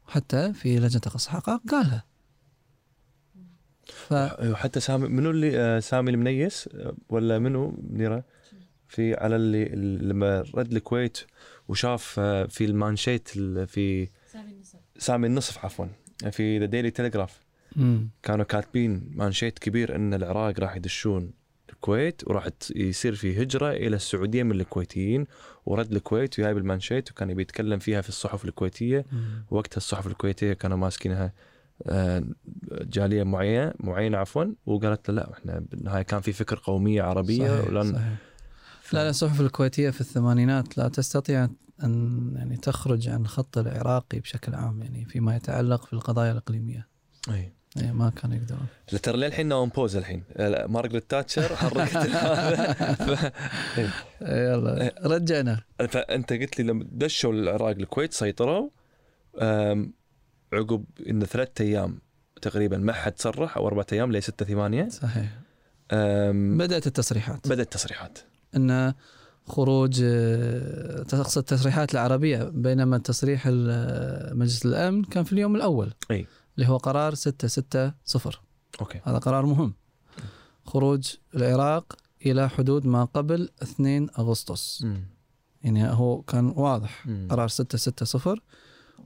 Speaker 2: حتى في لجنه تقصي الحقائق قالها ف
Speaker 3: وحتى آه، سامي منو اللي آه، سامي المنيس آه، ولا منو منيره في على اللي لما رد الكويت وشاف آه، في المانشيت ال- في
Speaker 1: سامي النصر
Speaker 3: سامي النصف عفوا في ذا ديلي تلغراف
Speaker 2: مم.
Speaker 3: كانوا كاتبين مانشيت كبير ان العراق راح يدشون الكويت وراح ت- يصير في هجره الى السعوديه من الكويتيين ورد الكويت وجايب المانشيت وكان يبي يتكلم فيها في الصحف الكويتيه وقتها الصحف الكويتيه كانوا ماسكينها آه، جاليه معينه معينه عفوا وقالت له لا احنا بالنهايه كان في فكر قوميه عربيه
Speaker 2: صحيح،
Speaker 3: ولن
Speaker 2: صحيح.
Speaker 3: ف-
Speaker 2: لا لا الصحف الكويتيه في الثمانينات لا تستطيع ان يعني تخرج عن خط العراقي بشكل عام يعني فيما يتعلق في القضايا الاقليميه
Speaker 3: إي.
Speaker 2: يعني ما كانوا يقدرون
Speaker 3: لا، ترى للحين اون بوز الحين آه، لا، مارغريت تاتشر حركت هذا ف-
Speaker 2: يلا إيه، رجعنا
Speaker 3: فانت قلت لي لما دشوا العراق الكويت سيطروا أم، عقب ان ثلاثة ايام تقريبا ما حد صرح او اربعة ايام لي ستة ثمانية
Speaker 2: صحيح
Speaker 3: أم،
Speaker 2: بدات التصريحات
Speaker 3: بدات التصريحات
Speaker 2: ان خروج آه، تقصد التصريحات العربيه بينما تصريح ال- آه، مجلس الامن كان في اليوم الاول
Speaker 3: أي.
Speaker 2: اللي هو قرار 660
Speaker 3: اوكي
Speaker 2: هذا قرار مهم خروج العراق الى حدود ما قبل 2 اغسطس
Speaker 3: مم.
Speaker 2: يعني هو كان واضح
Speaker 3: مم.
Speaker 2: قرار 660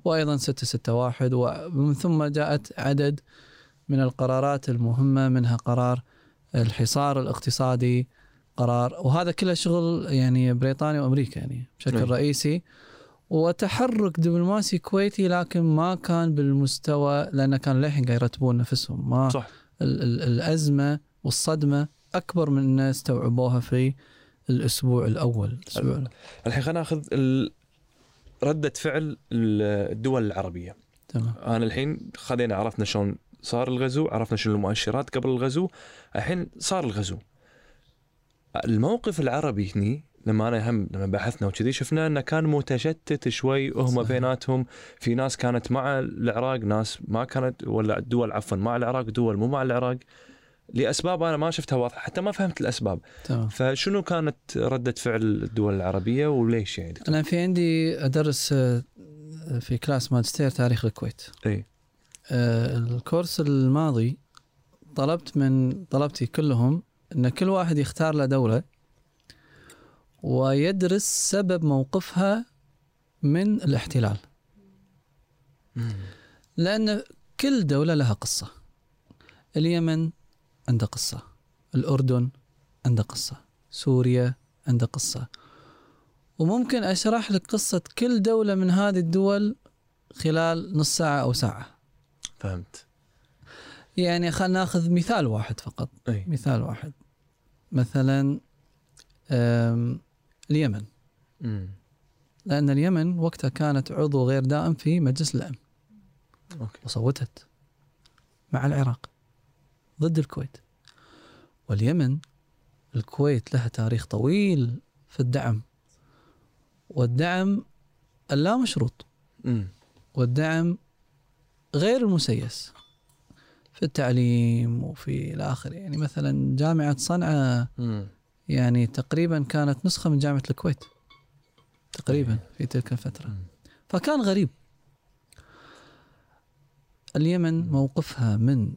Speaker 2: وايضا 661 ومن ثم جاءت عدد من القرارات المهمه منها قرار الحصار الاقتصادي قرار وهذا كله شغل يعني بريطانيا وامريكا يعني بشكل
Speaker 3: أي.
Speaker 2: رئيسي وتحرك دبلوماسي كويتي لكن ما كان بالمستوى لان كان للحين قاعد يرتبون نفسهم ما
Speaker 3: صح
Speaker 2: ال- ال- الازمه والصدمه اكبر من انه استوعبوها في الاسبوع الاول
Speaker 3: أه.
Speaker 2: الاسبوع الأول.
Speaker 3: الحين خلينا ناخذ ال- ردة فعل ال- الدول العربية
Speaker 2: تمام
Speaker 3: انا الحين خلينا عرفنا شلون صار الغزو عرفنا شنو المؤشرات قبل الغزو الحين صار الغزو الموقف العربي هني لما انا هم لما بحثنا وكذي شفنا انه كان متشتت شوي هم
Speaker 2: صحيح.
Speaker 3: بيناتهم في ناس كانت مع العراق ناس ما كانت ولا دول عفوا مع العراق دول مو مع العراق لاسباب انا ما شفتها واضحه حتى ما فهمت الاسباب
Speaker 2: تمام
Speaker 3: فشنو كانت رده فعل الدول العربيه وليش يعني دكتور؟
Speaker 2: انا في عندي ادرس آه، في كلاس ماجستير تاريخ الكويت
Speaker 3: اي
Speaker 2: آه، الكورس الماضي طلبت من طلبتي كلهم ان كل واحد يختار له دوله ويدرس سبب موقفها من الاحتلال لأن كل دولة لها قصة اليمن عنده قصة الأردن عنده قصة سوريا عنده قصة وممكن أشرح لك قصة كل دولة من هذه الدول خلال نص ساعة أو ساعة
Speaker 3: فهمت
Speaker 2: يعني خلينا ناخذ مثال واحد فقط
Speaker 3: اي
Speaker 2: مثال واحد مثلا أم، اليمن
Speaker 3: أمم.
Speaker 2: لأن اليمن وقتها كانت عضو غير دائم في مجلس الأمن
Speaker 3: اوكي
Speaker 2: وصوتت مع العراق ضد الكويت واليمن الكويت لها تاريخ طويل في الدعم والدعم اللامشروط
Speaker 3: أمم.
Speaker 2: والدعم غير المسيس في التعليم وفي الآخر يعني مثلا جامعة صنعاء
Speaker 3: أمم.
Speaker 2: يعني تقريبا كانت نسخة من جامعة الكويت تقريبا في تلك الفترة
Speaker 3: مم.
Speaker 2: فكان غريب اليمن موقفها من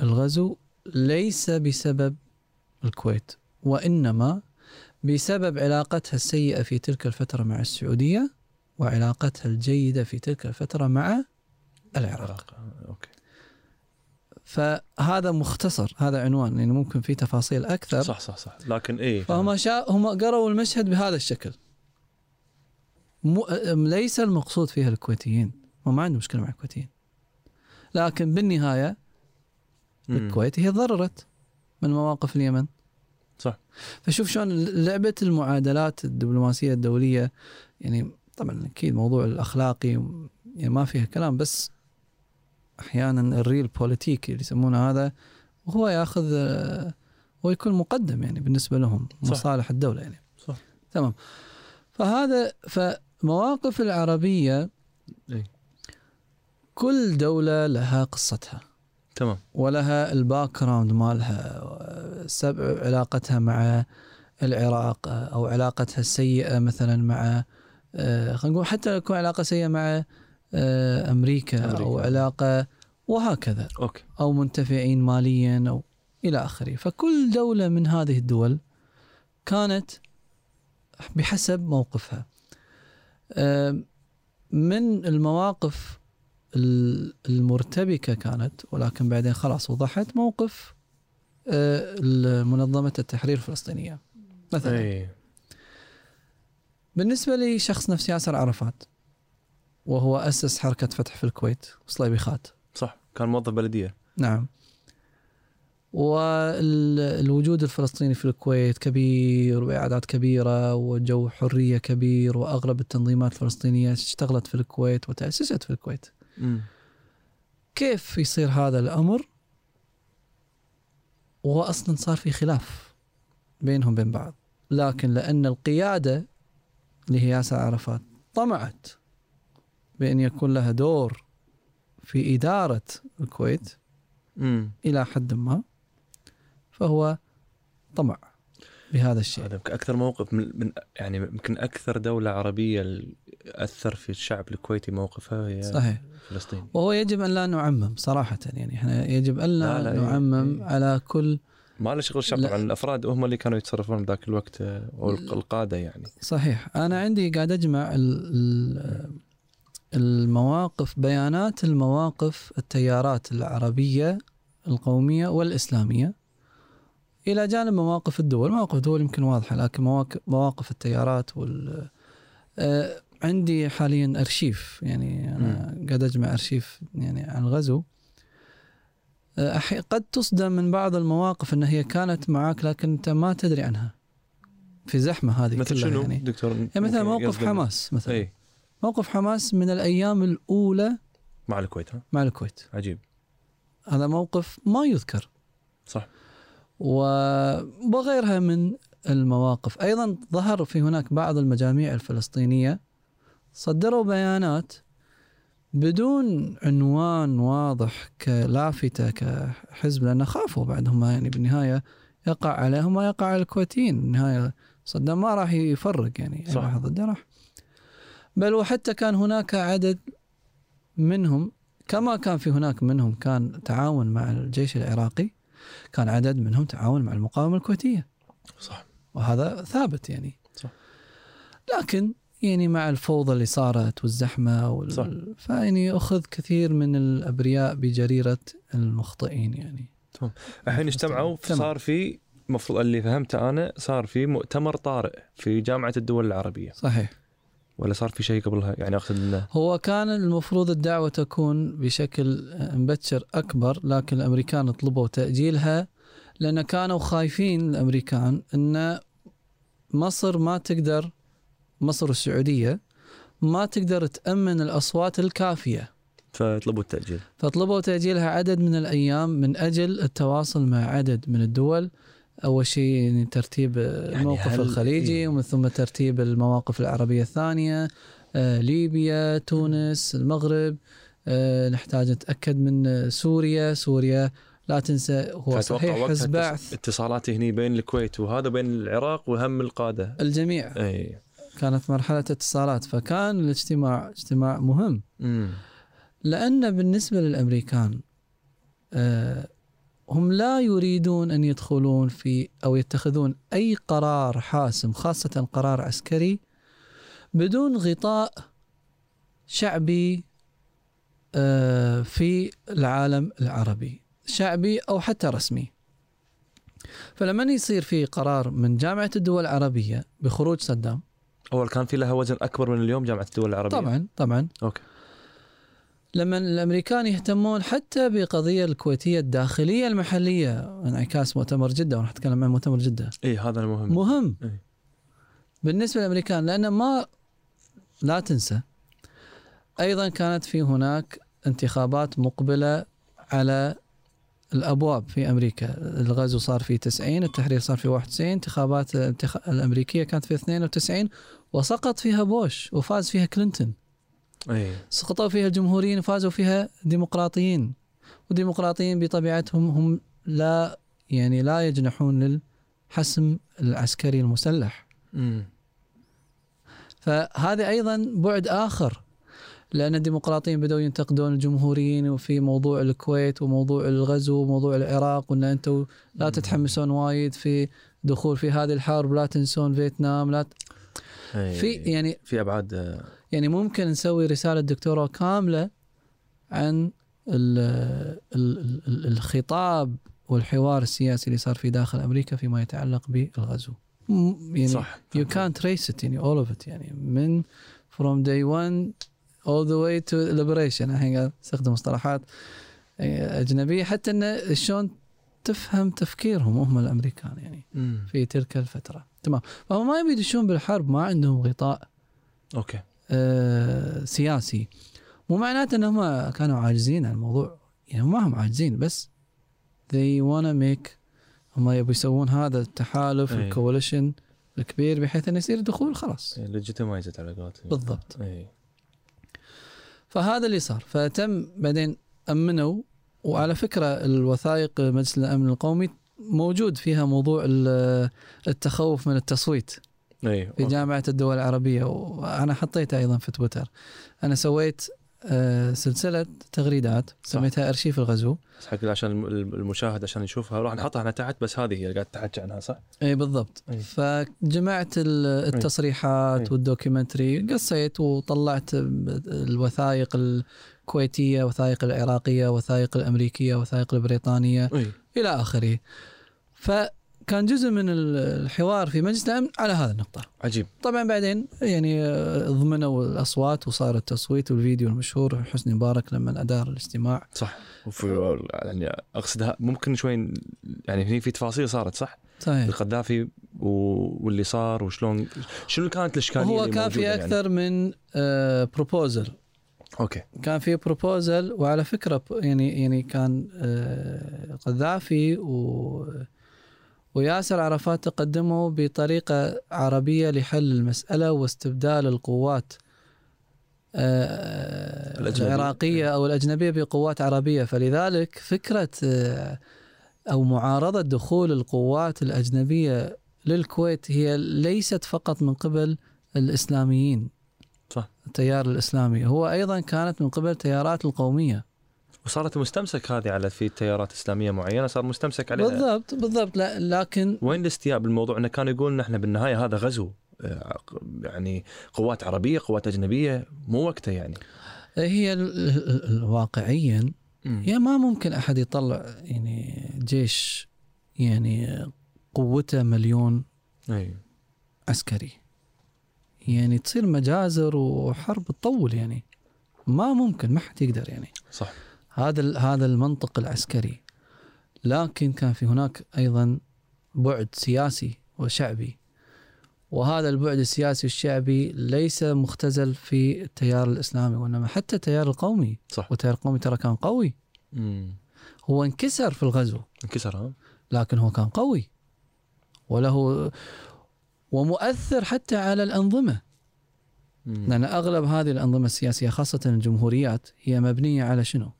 Speaker 2: الغزو ليس بسبب الكويت وإنما بسبب علاقتها السيئة في تلك الفترة مع السعودية وعلاقتها الجيدة في تلك الفترة مع العراق
Speaker 3: العراق اوكي
Speaker 2: فهذا مختصر هذا عنوان يعني ممكن في تفاصيل أكثر
Speaker 3: صح صح صح لكن ايه
Speaker 2: فهم شا... هم قروا المشهد بهذا الشكل مو... أم- ليس المقصود فيها الكويتيين هم ما عندهم مشكله مع الكويتيين لكن بالنهايه
Speaker 3: مم.
Speaker 2: الكويت هي ضررت من مواقف اليمن
Speaker 3: صح.
Speaker 2: فشوف شلون لعبه المعادلات الدبلوماسيه الدوليه يعني طبعا اكيد موضوع الاخلاقي يعني ما فيها كلام بس احيانا الريل بوليتيك اللي يسمونه هذا وهو ياخذ آه، هو يكون مقدم يعني بالنسبه لهم
Speaker 3: صح.
Speaker 2: مصالح الدوله يعني
Speaker 3: صح.
Speaker 2: تمام فهذا فمواقف العربية
Speaker 3: إيه.
Speaker 2: كل دولة لها قصتها
Speaker 3: تمام
Speaker 2: ولها الباك جراوند مالها سبع علاقتها مع العراق او علاقتها السيئه مثلا مع آه، خلينا نقول حتى لو تكون علاقه سيئه مع آه، امريكا او
Speaker 3: أمريكا.
Speaker 2: علاقه وهكذا
Speaker 3: اوكي
Speaker 2: او منتفعين ماليا او الى اخره فكل دوله من هذه الدول كانت بحسب موقفها آم، من المواقف ال- المرتبكه كانت ولكن بعدين خلاص وضحت موقف آه، منظمه التحرير الفلسطينيه مثلا
Speaker 3: اي
Speaker 2: بالنسبة لي شخص نفس ياسر عرفات وهو أسس حركة فتح في الكويت وصليبيخات
Speaker 3: صح كان موظف بلديه
Speaker 2: نعم والوجود الفلسطيني في الكويت كبير وإعادات كبيرة وجو حرية كبير وأغلب التنظيمات الفلسطينية اشتغلت في الكويت وتأسست في الكويت
Speaker 3: امم
Speaker 2: كيف يصير هذا الأمر وأصلا صار في خلاف بينهم بين بعض لكن لأن القيادة اللي هي ياسر عرفات طمعت بأن يكون لها دور في إدارة الكويت
Speaker 3: امم
Speaker 2: إلى حد ما فهو طمع بهذا الشيء
Speaker 3: هذا يمكن اكثر موقف من, من يعني يمكن اكثر دوله عربيه ال- اثر في الشعب الكويتي موقفها هي
Speaker 2: صحيح
Speaker 3: فلسطين
Speaker 2: وهو يجب أن لا نعمم صراحة يعني إحنا يجب أن لا,
Speaker 3: لا، لا، إيه،
Speaker 2: نعمم
Speaker 3: إيه.
Speaker 2: على كل
Speaker 3: ما له شغل الشعب
Speaker 2: لا.
Speaker 3: طبعا الافراد هم اللي كانوا يتصرفون ذاك الوقت آه، او الق- القاده يعني
Speaker 2: صحيح انا عندي قاعد اجمع ال- ال- المواقف بيانات المواقف التيارات العربيه القوميه والاسلاميه الى جانب مواقف الدول مواقف الدول يمكن واضحه لكن مواقف, مواقف التيارات وال آه، عندي حاليا ارشيف يعني انا قاعد اجمع ارشيف يعني عن الغزو آه، أحي- قد تصدم من بعض المواقف ان هي كانت معك لكن انت ما تدري عنها في زحمه هذه
Speaker 3: مثل
Speaker 2: كلها
Speaker 3: شنو
Speaker 2: يعني
Speaker 3: دكتور
Speaker 2: يعني مثلا
Speaker 3: ممكن إيه.
Speaker 2: موقف
Speaker 3: يقصد-
Speaker 2: حماس مثلا
Speaker 3: اي
Speaker 2: موقف حماس من الايام الاولى
Speaker 3: مع الكويت ها
Speaker 2: مع الكويت
Speaker 3: عجيب
Speaker 2: هذا موقف ما يذكر
Speaker 3: صح
Speaker 2: و- وغيرها من المواقف ايضا ظهر في هناك بعض المجاميع الفلسطينيه صدروا بيانات بدون عنوان واضح كلافته كحزب لان خافوا بعدهم يعني بالنهايه يقع عليهم ما يقع على الكويتيين بالنهايه صدام ما راح يفرق يعني
Speaker 3: صح.
Speaker 2: صح. واحد ضده راح بل وحتى كان هناك عدد منهم كما كان في هناك منهم كان تعاون مع الجيش العراقي كان عدد منهم تعاون مع المقاومه الكويتيه
Speaker 3: صح
Speaker 2: وهذا ثابت يعني
Speaker 3: صح.
Speaker 2: لكن يعني مع الفوضى اللي صارت والزحمه وال...
Speaker 3: صح.
Speaker 2: فيعني اخذ كثير من الابرياء بجريره المخطئين يعني
Speaker 3: الحين اجتمعوا
Speaker 2: تمام.
Speaker 3: صار في المفروض اللي فهمته انا صار في مؤتمر طارئ في جامعه الدول العربيه
Speaker 2: صحيح
Speaker 3: ولا صار في شيء قبلها يعني اقصد انه
Speaker 2: هو كان المفروض الدعوه تكون بشكل مبكر اكبر لكن الامريكان طلبوا تاجيلها لان كانوا خايفين الامريكان ان مصر ما تقدر مصر والسعوديه ما تقدر تامن الاصوات الكافيه
Speaker 3: فطلبوا التاجيل
Speaker 2: فطلبوا تأجيلها عدد من الأيام من أجل التواصل مع عدد من الدول أول شيء يعني ترتيب الموقف
Speaker 3: هل-
Speaker 2: الخليجي
Speaker 3: إيه.
Speaker 2: ومن ثم ترتيب المواقف العربية الثانية آه، ليبيا تونس المغرب آه، نحتاج نتأكد من آه، سوريا سوريا لا تنسى هو صحيح حزب بعث
Speaker 3: اتصالات هني بين الكويت وهذا بين العراق وهم إيه. القاده
Speaker 2: الجميع
Speaker 3: اي
Speaker 2: كانت مرحلة اتصالات فكان الاجتماع اجتماع مهم
Speaker 3: امم
Speaker 2: لأن بالنسبة للأمريكان آه، هم لا يريدون أن يدخلون في أو يتخذون أي قرار حاسم خاصة قرار عسكري بدون غطاء شعبي آه، في العالم العربي شعبي أو حتى رسمي فلما يصير في قرار من جامعة الدول العربية بخروج صدام
Speaker 3: اول كان في لها وزن اكبر من اليوم جامعه الدول العربيه
Speaker 2: طبعا طبعا
Speaker 3: اوكي
Speaker 2: لما الامريكان يهتمون حتى بقضيه الكويتيه الداخليه المحليه انعكاس مؤتمر جده ونحن نتكلم عن مؤتمر جده
Speaker 3: اي هذا المهم
Speaker 2: مهم
Speaker 3: إيه.
Speaker 2: بالنسبه للامريكان لان ما لا تنسى ايضا كانت في هناك انتخابات مقبله على الابواب في امريكا الغزو صار في 90 التحرير صار في 91 انتخابات الانتخ... الامريكيه كانت في 92 وسقط فيها بوش وفاز فيها كلينتون
Speaker 3: اي
Speaker 2: سقطوا فيها الجمهوريين وفازوا فيها ديمقراطيين والديمقراطيين بطبيعتهم هم لا يعني لا يجنحون للحسم العسكري المسلح
Speaker 3: أمم.
Speaker 2: فهذا ايضا بعد اخر لان الديمقراطيين بداوا ينتقدون الجمهوريين وفي موضوع الكويت وموضوع الغزو وموضوع العراق وان انتم لا تتحمسون وايد في دخول في هذه الحرب لا تنسون فيتنام لا ت...
Speaker 3: أي.
Speaker 2: في يعني
Speaker 3: إيه. في ابعاد آه،
Speaker 2: يعني ممكن نسوي رساله دكتوراه كامله عن ال ال ال الخطاب والحوار السياسي اللي صار في داخل امريكا فيما يتعلق بالغزو م- يعني
Speaker 3: صح
Speaker 2: you can't trace it يعني all of it يعني من from day one all the way to liberation الحين قاعد استخدم مصطلحات أجنبية حتى أن شلون تفهم تفكيرهم هم الأمريكان يعني
Speaker 3: أمم.
Speaker 2: في تلك الفترة تمام فهم ما يبي يدشون بالحرب ما عندهم غطاء
Speaker 3: اوكي
Speaker 2: آه سياسي مو معناته أنهم كانوا عاجزين عن الموضوع يعني هم ما هم عاجزين بس they wanna make هم يبوا يسوون هذا التحالف
Speaker 3: أي.
Speaker 2: الكوليشن الكبير بحيث انه يصير دخول
Speaker 3: إيه.
Speaker 2: خلاص
Speaker 3: ليجيتمايزد على قولتهم إيه.
Speaker 2: بالضبط
Speaker 3: اي
Speaker 2: فهذا اللي صار فتم بعدين امنوا وعلى فكره الوثائق مجلس الامن القومي موجود فيها موضوع ال- التخوف من التصويت
Speaker 3: اي
Speaker 2: في جامعه الدول العربيه وانا حطيتها ايضا في تويتر انا سويت آه، سلسله تغريدات سميتها ارشيف الغزو
Speaker 3: بس حق عشان الم- المشاهد عشان يشوفها راح نحطها هنا تحت بس هذه هي اللي قاعد تحكي عنها صح؟
Speaker 2: اي بالضبط
Speaker 3: أي.
Speaker 2: فجمعت ال-
Speaker 3: أي.
Speaker 2: التصريحات والدوكيومنتري قصيت وطلعت الوثائق الكويتيه وثائق العراقيه وثائق الامريكيه وثائق البريطانيه
Speaker 3: اي
Speaker 2: الى اخره. فكان جزء من الحوار في مجلس الامن على هذه النقطه.
Speaker 3: عجيب
Speaker 2: طبعا بعدين يعني آه، ضمنوا الاصوات وصار التصويت والفيديو المشهور حسني مبارك لما ادار الاجتماع
Speaker 3: صح وفي يعني اقصدها ممكن شوي ن- يعني هني في تفاصيل صارت صح؟
Speaker 2: صحيح
Speaker 3: القذافي و... واللي صار وشلون شنو كانت الاشكاليه
Speaker 2: هو
Speaker 3: اللي
Speaker 2: كان في
Speaker 3: موجودة يعني؟
Speaker 2: اكثر من آه، بروبوزل
Speaker 3: اوكي
Speaker 2: كان في بروبوزل وعلى فكره ب- يعني يعني كان آه، قذافي و وياسر عرفات تقدموا بطريقه عربيه لحل المساله واستبدال القوات آه،
Speaker 3: الأجنبية.
Speaker 2: العراقيه او الاجنبيه بقوات عربيه فلذلك فكره آه، او معارضه دخول القوات الاجنبيه للكويت هي ليست فقط من قبل الاسلاميين
Speaker 3: صح.
Speaker 2: التيار الاسلامي هو ايضا كانت من قبل التيارات القوميه
Speaker 3: وصارت مستمسك هذه على في تيارات اسلاميه معينه صار مستمسك عليها
Speaker 2: بالضبط بالضبط لا لكن
Speaker 3: وين الاستياء بالموضوع انه كان يقول نحن بالنهايه هذا غزو آه، ق- يعني قوات عربيه قوات اجنبيه مو وقته يعني
Speaker 2: هي ال- ال- ال- واقعيا يا ما ممكن احد يطلع يعني جيش يعني قوته مليون
Speaker 3: اي
Speaker 2: عسكري يعني تصير مجازر وحرب تطول يعني ما ممكن ما حد يقدر يعني
Speaker 3: صح
Speaker 2: هذا ال- هذا المنطق العسكري لكن كان في هناك ايضا بعد سياسي وشعبي وهذا البعد السياسي والشعبي ليس مختزل في التيار الاسلامي وانما حتى التيار القومي
Speaker 3: صح
Speaker 2: والتيار القومي ترى كان قوي
Speaker 3: مم.
Speaker 2: هو انكسر في الغزو
Speaker 3: انكسر ها
Speaker 2: لكن هو كان قوي وله ومؤثر حتى على الانظمه
Speaker 3: مم.
Speaker 2: لان اغلب هذه الانظمه السياسيه خاصه الجمهوريات هي مبنيه على شنو؟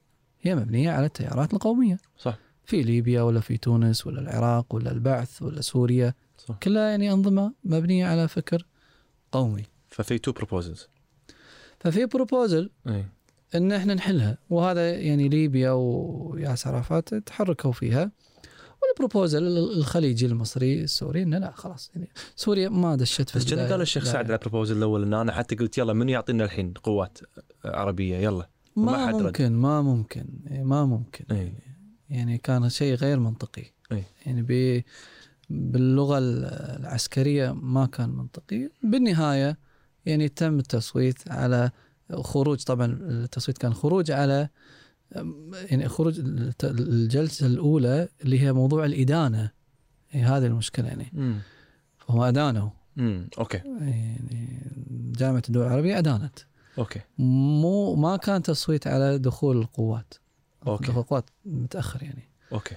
Speaker 2: هي مبنيه على التيارات القوميه
Speaker 3: صح
Speaker 2: في ليبيا ولا في تونس ولا العراق ولا البعث ولا سوريا
Speaker 3: صح
Speaker 2: كلها يعني انظمه مبنيه على فكر قومي
Speaker 3: ففي تو بروبوزلز
Speaker 2: ففي بروبوزل
Speaker 3: اي
Speaker 2: ان احنا نحلها وهذا يعني ليبيا وياسر عرفات تحركوا فيها والبروبوزل الخليجي المصري السوري انه لا خلاص يعني سوريا ما دشت في
Speaker 3: بس كان
Speaker 2: البداية.
Speaker 3: قال الشيخ
Speaker 2: لا،
Speaker 3: سعد على البروبوزل الاول ان انا حتى قلت يلا من يعطينا الحين قوات عربيه يلا وما
Speaker 2: ما
Speaker 3: حد رد. إيه.
Speaker 2: ممكن ما ممكن إيه، ما ممكن
Speaker 3: اي
Speaker 2: يعني كان شيء غير منطقي
Speaker 3: أي.
Speaker 2: يعني ب باللغه ال- العسكريه ما كان منطقي بالنهايه يعني تم التصويت على خروج طبعا التصويت كان خروج على يعني خروج الت- الجلسه الاولى اللي هي موضوع الادانه يعني هذه المشكله يعني
Speaker 3: امم
Speaker 2: فهم ادانوا
Speaker 3: امم اوكي
Speaker 2: يعني جامعه الدول العربيه ادانت
Speaker 3: اوكي
Speaker 2: مو ما كان تصويت على دخول القوات
Speaker 3: أوكي.
Speaker 2: دخول القوات متاخر يعني
Speaker 3: اوكي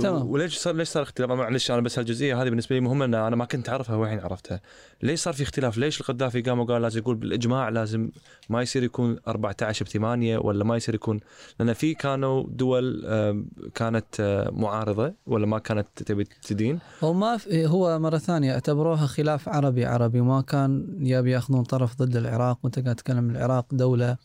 Speaker 2: تمام.
Speaker 3: تمام وليش صار ليش صار اختلاف معلش انا بس هالجزئيه هذه بالنسبه لي مهمه ان انا ما كنت اعرفها والحين عرفتها ليش صار في اختلاف ليش القذافي قام وقال لازم يقول بالاجماع لازم ما يصير يكون 14 ب 8 ولا ما يصير يكون لان في كانوا دول آم، كانت آه، معارضه ولا ما كانت تبي تدين
Speaker 2: هو ما في هو مره ثانيه اعتبروها خلاف عربي عربي ما كان يبي ياخذون طرف ضد العراق وانت قاعد تتكلم العراق دوله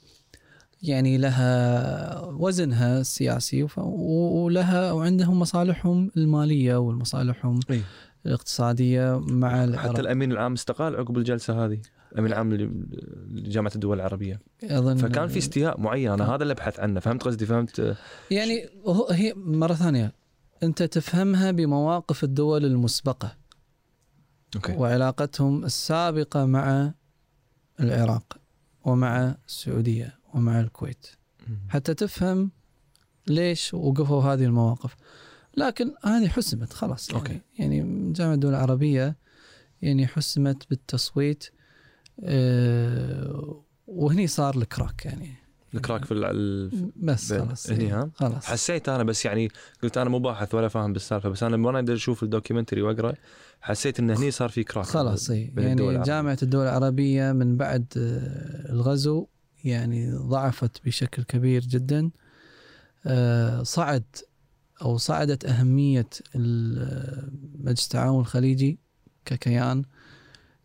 Speaker 2: يعني لها وزنها السياسي وف- و- ولها وعندهم مصالحهم الماليه والمصالحهم
Speaker 3: إيه.
Speaker 2: الاقتصاديه مع العراق
Speaker 3: حتى الامين العام استقال عقب الجلسه هذه الامين العام لجامعه الدول العربيه
Speaker 2: اظن
Speaker 3: فكان في استياء معين انا هذا اللي ابحث عنه فهمت قصدي فهمت آه،
Speaker 2: يعني هو- هي مره ثانيه انت تفهمها بمواقف الدول المسبقه
Speaker 3: اوكي
Speaker 2: وعلاقتهم السابقة مع العراق ومع السعودية ومع الكويت حتى تفهم ليش وقفوا هذه المواقف لكن هذه حسمت خلاص يعني,
Speaker 3: أوكي.
Speaker 2: يعني جامعة الدول العربية يعني حسمت بالتصويت آه، وهني صار الكراك يعني
Speaker 3: الكراك في ال-
Speaker 2: بس
Speaker 3: بين-
Speaker 2: خلاص
Speaker 3: هني
Speaker 2: يعني
Speaker 3: ها؟
Speaker 2: خلاص
Speaker 3: حسيت انا بس يعني قلت انا مو باحث ولا فاهم بالسالفه بس انا لما انا اشوف الدوكيومنتري واقرا حسيت ان هني صار في كراك
Speaker 2: خلاص إي.
Speaker 3: بين الدول
Speaker 2: يعني
Speaker 3: العربية.
Speaker 2: جامعة الدول العربية من بعد آه، الغزو يعني ضعفت بشكل كبير جدا آه، صعد أو صعدت أهمية ال- مجلس التعاون الخليجي ككيان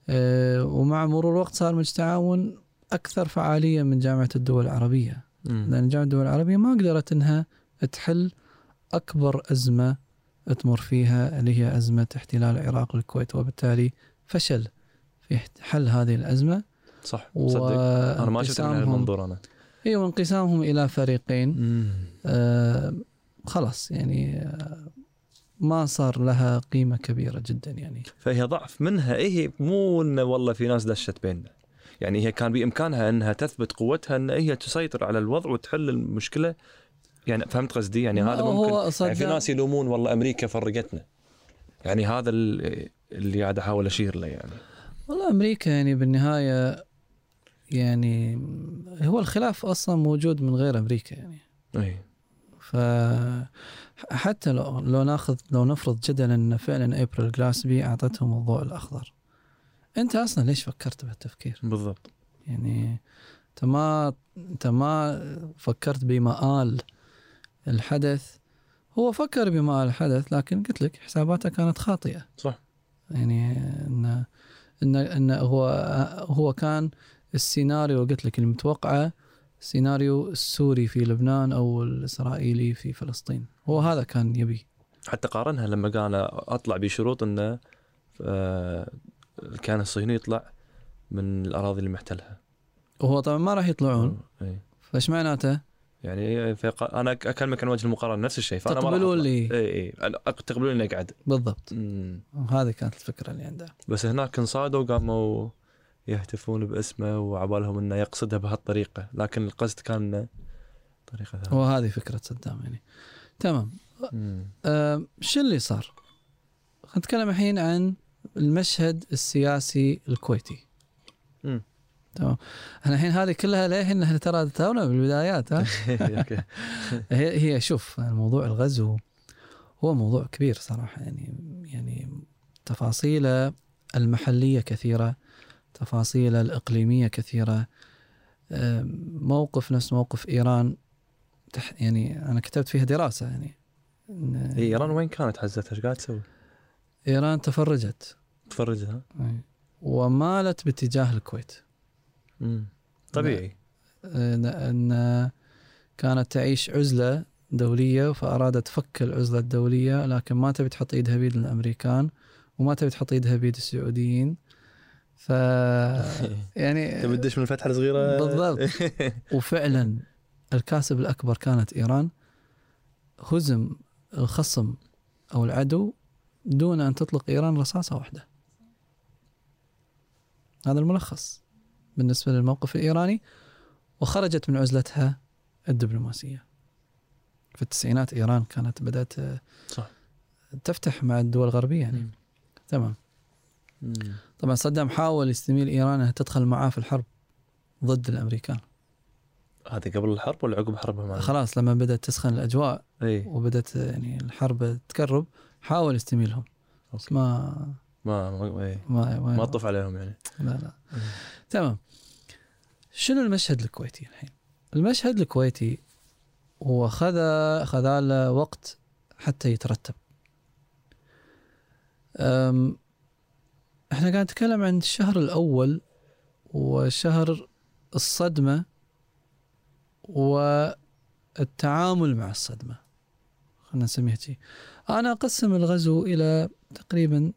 Speaker 2: آه، ومع مرور الوقت صار مجلس التعاون أكثر فعالية من جامعة الدول العربية
Speaker 3: مم.
Speaker 2: لأن جامعة الدول العربية ما قدرت أنها تحل أكبر أزمة تمر فيها اللي هي أزمة احتلال العراق للكويت وبالتالي فشل في حل هذه الأزمة
Speaker 3: صح صدق انا
Speaker 2: أنا
Speaker 3: ما شفت من هالمنظور انا
Speaker 2: أيوة وانقسامهم إلى فريقين آه خلاص يعني آه ما صار لها قيمة كبيرة جدا يعني
Speaker 3: فهي ضعف منها إيه هي مو انه والله في ناس دشت بيننا يعني هي كان بامكانها انها تثبت قوتها ان هي تسيطر على الوضع وتحل المشكله يعني فهمت قصدي يعني هذا ممكن
Speaker 2: هو صدام
Speaker 3: يعني في ناس يلومون والله امريكا فرقتنا يعني هذا ال- اللي قاعد احاول اشير له يعني
Speaker 2: والله امريكا يعني بالنهايه يعني هو الخلاف اصلا موجود من غير امريكا يعني
Speaker 3: اي
Speaker 2: ف حتى لو لو ناخذ لو نفرض جدلا ان فعلا ابريل جلاسبي اعطتهم الضوء الاخضر انت اصلا ليش فكرت بهالتفكير؟
Speaker 3: بالضبط
Speaker 2: يعني انت ما انت ما فكرت بمآل الحدث هو فكر بمآل الحدث لكن قلت لك حساباته كانت خاطئه
Speaker 3: صح
Speaker 2: يعني ان ان ان هو هو كان السيناريو قلت لك المتوقعه سيناريو السوري في لبنان او الاسرائيلي في فلسطين هو هذا كان يبي
Speaker 3: حتى قارنها لما قال اطلع بشروط انه آه، الكيان الصهيوني يطلع من الاراضي اللي محتلها إيه.
Speaker 2: وهو طبعا ما راح يطلعون
Speaker 3: إي.
Speaker 2: فايش معناته؟
Speaker 3: يعني فق... انا أك- اكلمك عن وجه المقارنه نفس الشيء فانا
Speaker 2: تقبلون لي.
Speaker 3: اي اي أنا أق- تقبلون لي اقعد
Speaker 2: بالضبط
Speaker 3: أمم.
Speaker 2: هذه كانت الفكره اللي عنده
Speaker 3: بس هناك انصادوا وقاموا يهتفون باسمه وعبالهم انه يقصدها بهالطريقه لكن القصد كان طريقه ثانيه
Speaker 2: وهذه فكره صدام يعني تمام
Speaker 3: أمم.
Speaker 2: أم، آه، شو اللي صار؟ خلينا نتكلم الحين عن المشهد السياسي الكويتي.
Speaker 3: مم.
Speaker 2: تمام احنا الحين هذه كلها للحين احنا ترى تونا بالبدايات ها
Speaker 3: أوكي.
Speaker 2: هي هي شوف موضوع الغزو هو موضوع كبير صراحه يعني يعني تفاصيله المحليه كثيره تفاصيله الاقليميه كثيره أم، موقف نفس موقف ايران تح- يعني انا كتبت فيها دراسه يعني إن-
Speaker 3: إي، ايران وين كانت حزتها ايش قاعد تسوي؟
Speaker 2: ايران تفرجت
Speaker 3: تفرجها
Speaker 2: ومالت باتجاه الكويت
Speaker 3: أمم. طبيعي
Speaker 2: نعم. ان كانت تعيش عزله دوليه فارادت فك العزله الدوليه لكن ما تبي تحط ايدها بيد الامريكان وما تبي تحط ايدها بيد السعوديين ف يعني
Speaker 3: تبي تدش من الفتحه الصغيره
Speaker 2: بالضبط. وفعلا الكاسب الاكبر كانت ايران هزم الخصم او العدو دون ان تطلق ايران رصاصه واحده. هذا الملخص بالنسبه للموقف الايراني وخرجت من عزلتها الدبلوماسيه. في التسعينات ايران كانت بدات آه،
Speaker 3: صح.
Speaker 2: تفتح مع الدول الغربيه يعني
Speaker 3: مم.
Speaker 2: تمام
Speaker 3: مم.
Speaker 2: طبعا صدام حاول يستميل ايران انها تدخل معاه في الحرب ضد الامريكان
Speaker 3: هذا قبل الحرب ولا عقب حربها معنا؟
Speaker 2: خلاص لما بدأت تسخن الأجواء
Speaker 3: اي
Speaker 2: وبدأت يعني الحرب تقرب حاول استميلهم بس
Speaker 3: أوكي.
Speaker 2: ما
Speaker 3: ما ما إي.
Speaker 2: ما
Speaker 3: ما طف عليهم يعني
Speaker 2: لا لا تمام شنو المشهد الكويتي الحين؟ المشهد الكويتي هو خذ خذال وقت حتى يترتب أم احنا قاعد نتكلم عن الشهر الأول وشهر الصدمة والتعامل مع الصدمة خلينا نسميها شي أنا أقسم الغزو إلى تقريبا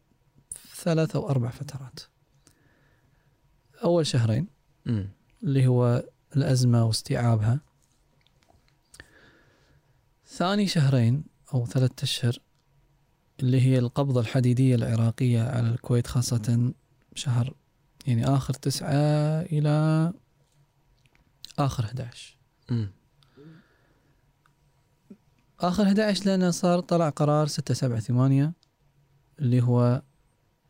Speaker 2: ثلاث أو أربع فترات أول شهرين
Speaker 3: أمم.
Speaker 2: اللي هو الأزمة واستيعابها ثاني شهرين أو ثلاثة أشهر اللي هي القبضة الحديدية العراقية على الكويت خاصة شهر يعني آخر تسعة إلى آخر 11
Speaker 3: أمم.
Speaker 2: آخر 11 لأنه صار طلع قرار 6 7 8 اللي هو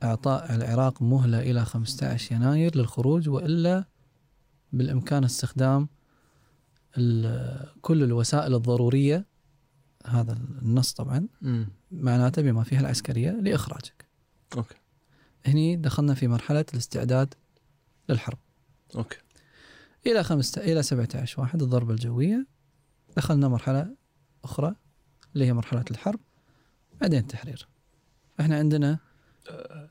Speaker 2: إعطاء العراق مهلة إلى 15 يناير للخروج وإلا بالإمكان استخدام ال- كل الوسائل الضرورية هذا النص طبعا
Speaker 3: أمم.
Speaker 2: معناته بما فيها العسكرية لإخراجك
Speaker 3: اوكي
Speaker 2: هني دخلنا في مرحلة الاستعداد للحرب
Speaker 3: اوكي
Speaker 2: إلى خمسة إلى 17 واحد الضربة الجوية دخلنا مرحلة أخرى اللي هي مرحلة الحرب بعدين التحرير احنا عندنا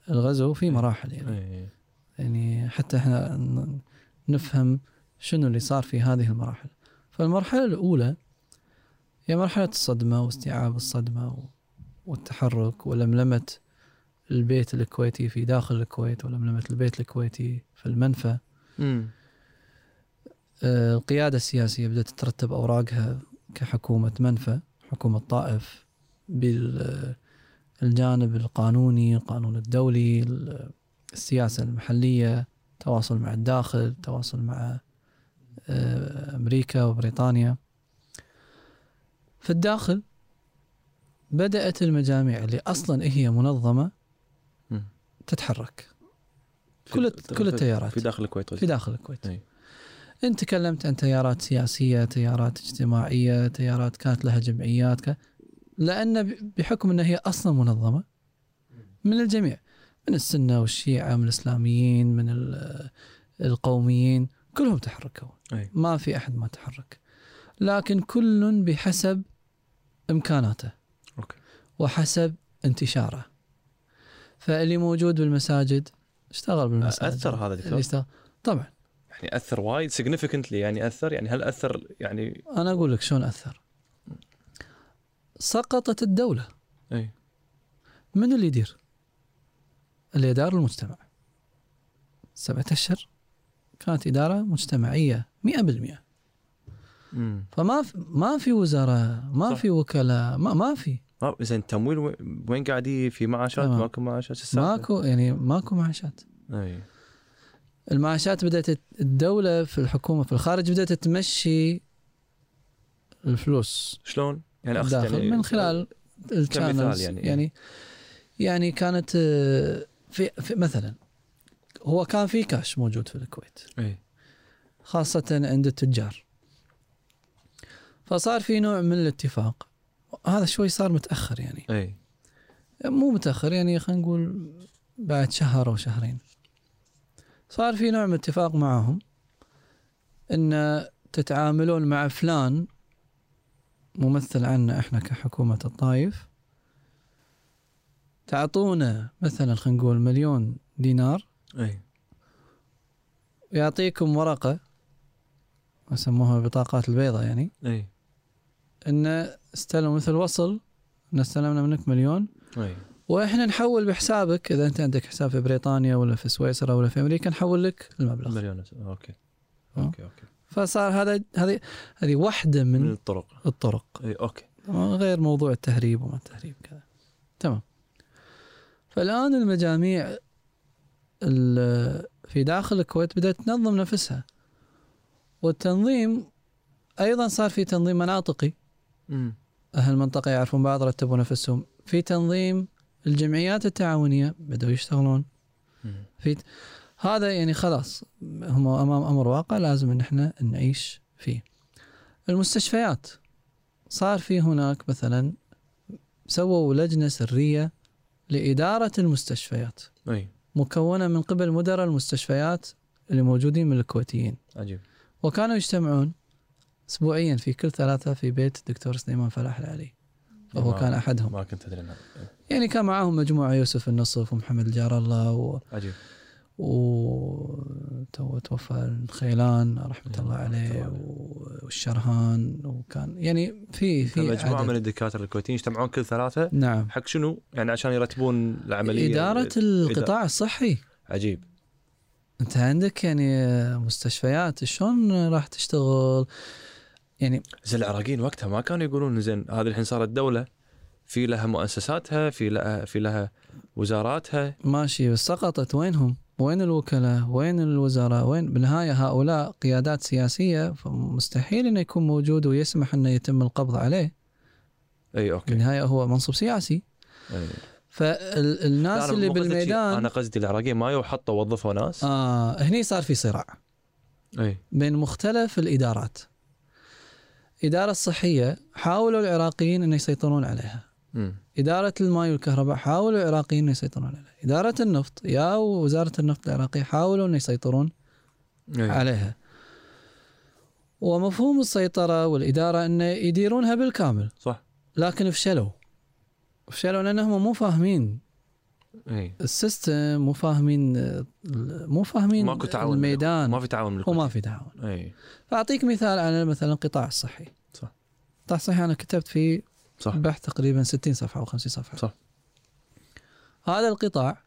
Speaker 2: الغزو في مراحل يعني
Speaker 3: إي.
Speaker 2: يعني حتى احنا ن- نفهم شنو اللي صار في هذه المراحل فالمرحلة الأولى هي مرحلة الصدمة واستيعاب الصدمة و- والتحرك ولملمة البيت الكويتي في داخل الكويت ولملمة البيت الكويتي في المنفى
Speaker 3: أمم.
Speaker 2: آه، القيادة السياسية بدأت ترتب أوراقها كحكومة منفى حكومة طائف بالجانب القانوني القانون الدولي ال- السياسة المحلية تواصل مع الداخل تواصل مع آه، أمريكا وبريطانيا في الداخل بدأت المجاميع اللي أصلا هي منظمة
Speaker 3: أمم.
Speaker 2: تتحرك
Speaker 3: في-
Speaker 2: كل
Speaker 3: في-
Speaker 2: كل التيارات
Speaker 3: في داخل الكويت
Speaker 2: في داخل الكويت
Speaker 3: أي.
Speaker 2: انت تكلمت عن تيارات سياسيه تيارات اجتماعيه تيارات كانت لها جمعيات ك... لان ب- بحكم انها هي اصلا منظمه من الجميع من السنه والشيعه من الاسلاميين من ال- القوميين كلهم تحركوا
Speaker 3: أي.
Speaker 2: ما في احد ما تحرك لكن كل بحسب امكاناته
Speaker 3: اوكي
Speaker 2: وحسب انتشاره فاللي موجود بالمساجد اشتغل بالمساجد
Speaker 3: اثر هذا
Speaker 2: اللي
Speaker 3: دكتور
Speaker 2: اشتغل طبعا
Speaker 3: يعني اثر وايد سيجنفكنتلي يعني اثر يعني هل اثر يعني
Speaker 2: انا اقول لك شلون اثر سقطت الدوله إيه.
Speaker 3: اي
Speaker 2: من اللي يدير اللي يدار المجتمع سبعة أشهر كانت إدارة مجتمعية مئة بالمئة
Speaker 3: امم
Speaker 2: فما في ما في وزراء ما
Speaker 3: صح.
Speaker 2: في وكلاء ما, ما في
Speaker 3: ما- آه، زين التمويل وين- وين قاعد يجي؟ في معاشات
Speaker 2: تمام.
Speaker 3: ماكو معاشات شو السالفة؟
Speaker 2: آه. ماكو يعني ماكو معاشات
Speaker 3: اي
Speaker 2: المعاشات بدأت الت- الدولة في الحكومة في الخارج بدأت تمشي الفلوس
Speaker 3: شلون؟ يعني أخذ
Speaker 2: الداخل
Speaker 3: يعني
Speaker 2: من خلال الشانلز
Speaker 3: يعني.
Speaker 2: يعني يعني يعني كانت آه، في, في مثلا هو كان في كاش موجود في الكويت
Speaker 3: اي
Speaker 2: خاصة عند التجار فصار في نوع من الاتفاق هذا شوي صار متأخر يعني
Speaker 3: اي
Speaker 2: مو متأخر يعني خلينا نقول بعد شهر أو شهرين صار في نوع من الاتفاق معهم أن تتعاملون مع فلان ممثل عنا احنا كحكومة الطائف تعطونا مثلا خلينا نقول مليون دينار
Speaker 3: اي
Speaker 2: ويعطيكم ورقة يسموها البطاقات البيضاء يعني
Speaker 3: اي
Speaker 2: ان استلموا مثل وصل ان استلمنا منك مليون
Speaker 3: اي
Speaker 2: واحنا نحول بحسابك اذا انت عندك حساب في بريطانيا ولا في سويسرا ولا في امريكا نحول لك المبلغ
Speaker 3: مليون أس- اوكي
Speaker 2: آه.
Speaker 3: اوكي اوكي
Speaker 2: فصار هذا هذه هذه واحده
Speaker 3: من
Speaker 2: من
Speaker 3: الطرق إيه،
Speaker 2: الطرق
Speaker 3: اي اوكي
Speaker 2: تمام؟ غير موضوع التهريب وما التهريب كذا تمام فالان المجاميع ال- في داخل الكويت بدات تنظم نفسها والتنظيم ايضا صار في تنظيم مناطقي
Speaker 3: امم
Speaker 2: أهل المنطقة يعرفون بعض رتبوا نفسهم في تنظيم الجمعيات التعاونية بدأوا يشتغلون
Speaker 3: مم.
Speaker 2: في هذا يعني خلاص هم أمام أمر واقع لازم إن إحنا نعيش فيه المستشفيات صار في هناك مثلا سووا لجنه سريه لاداره المستشفيات
Speaker 3: اي
Speaker 2: مكونه من قبل مدراء المستشفيات اللي موجودين من الكويتيين
Speaker 3: عجيب
Speaker 2: وكانوا يجتمعون اسبوعيا في كل ثلاثه في بيت الدكتور سليمان فلاح العلي وهو
Speaker 3: ما-
Speaker 2: كان احدهم
Speaker 3: ما كنت ادري عنها
Speaker 2: يعني كان معاهم مجموعه يوسف النصف ومحمد الجار الله و...
Speaker 3: عجيب
Speaker 2: و تو توفى الخيلان رحمه
Speaker 3: يا
Speaker 2: الله
Speaker 3: رحمة الله
Speaker 2: عليه
Speaker 3: عليه.
Speaker 2: و- والشرهان وكان يعني في في
Speaker 3: مجموعه
Speaker 2: عدد.
Speaker 3: طيب، من الدكاتره الكويتيين يجتمعون كل ثلاثه
Speaker 2: نعم
Speaker 3: حق شنو؟ يعني عشان يرتبون العمليه
Speaker 2: اداره القطاع الصحي
Speaker 3: عجيب
Speaker 2: انت عندك يعني مستشفيات شلون راح تشتغل يعني
Speaker 3: زين العراقيين وقتها ما كانوا يقولون زين هذه الحين صارت دوله في لها مؤسساتها في لها في لها وزاراتها
Speaker 2: ماشي بس سقطت وينهم؟ وين الوكلاء؟ وين الوزراء؟ وين بالنهايه هؤلاء قيادات سياسيه فمستحيل انه يكون موجود ويسمح انه يتم القبض عليه،
Speaker 3: اي اوكي
Speaker 2: بالنهايه هو منصب سياسي،
Speaker 3: أي. إيه. لا،
Speaker 2: فالناس
Speaker 3: أنا
Speaker 2: اللي
Speaker 3: مو قصدي شيء.
Speaker 2: بالميدان
Speaker 3: انا قصدي العراقيين ما يو حطوا وظفوا ناس
Speaker 2: آه هني صار في صراع
Speaker 3: اي
Speaker 2: بين مختلف الادارات. الاداره الصحيه حاولوا العراقيين ان يسيطرون عليها.
Speaker 3: أمم.
Speaker 2: إدارة الماء والكهرباء حاولوا العراقيين إنه يسيطرون عليها إدارة النفط يا وزارة النفط العراقية حاولوا أن يسيطرون
Speaker 3: أي.
Speaker 2: عليها ومفهوم السيطرة والإدارة أن يديرونها بالكامل
Speaker 3: صح
Speaker 2: لكن فشلوا فشلوا لأنهم مو فاهمين
Speaker 3: اي
Speaker 2: السيستم مو فاهمين مو فاهمين
Speaker 3: ماكو تعاون
Speaker 2: الميدان
Speaker 3: ما في تعاون من الكويت
Speaker 2: وما في تعاون
Speaker 3: اي
Speaker 2: فأعطيك مثال على مثلا القطاع الصحي
Speaker 3: صح.
Speaker 2: القطاع الصحي أنا كتبت فيه
Speaker 3: صح
Speaker 2: البحث تقريبا 60 صفحه او 50 صفحه
Speaker 3: صح.
Speaker 2: هذا القطاع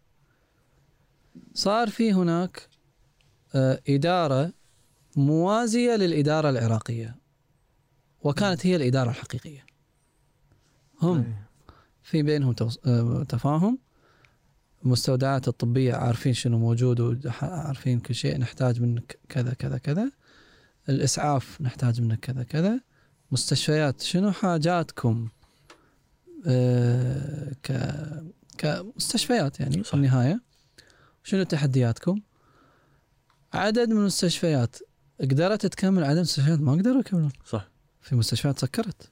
Speaker 2: صار في هناك آه، اداره موازيه للاداره العراقيه وكانت هي الاداره الحقيقيه هم
Speaker 3: أي.
Speaker 2: في بينهم توص- آه، تفاهم المستودعات الطبيه عارفين شنو موجود وعارفين كل شيء نحتاج منك كذا كذا كذا الاسعاف نحتاج منك كذا كذا مستشفيات شنو حاجاتكم آه، ك كمستشفيات يعني
Speaker 3: صح.
Speaker 2: في النهايه شنو تحدياتكم عدد من المستشفيات قدرت تكمل عدد من المستشفيات ما قدروا يكملون
Speaker 3: صح
Speaker 2: في مستشفيات سكرت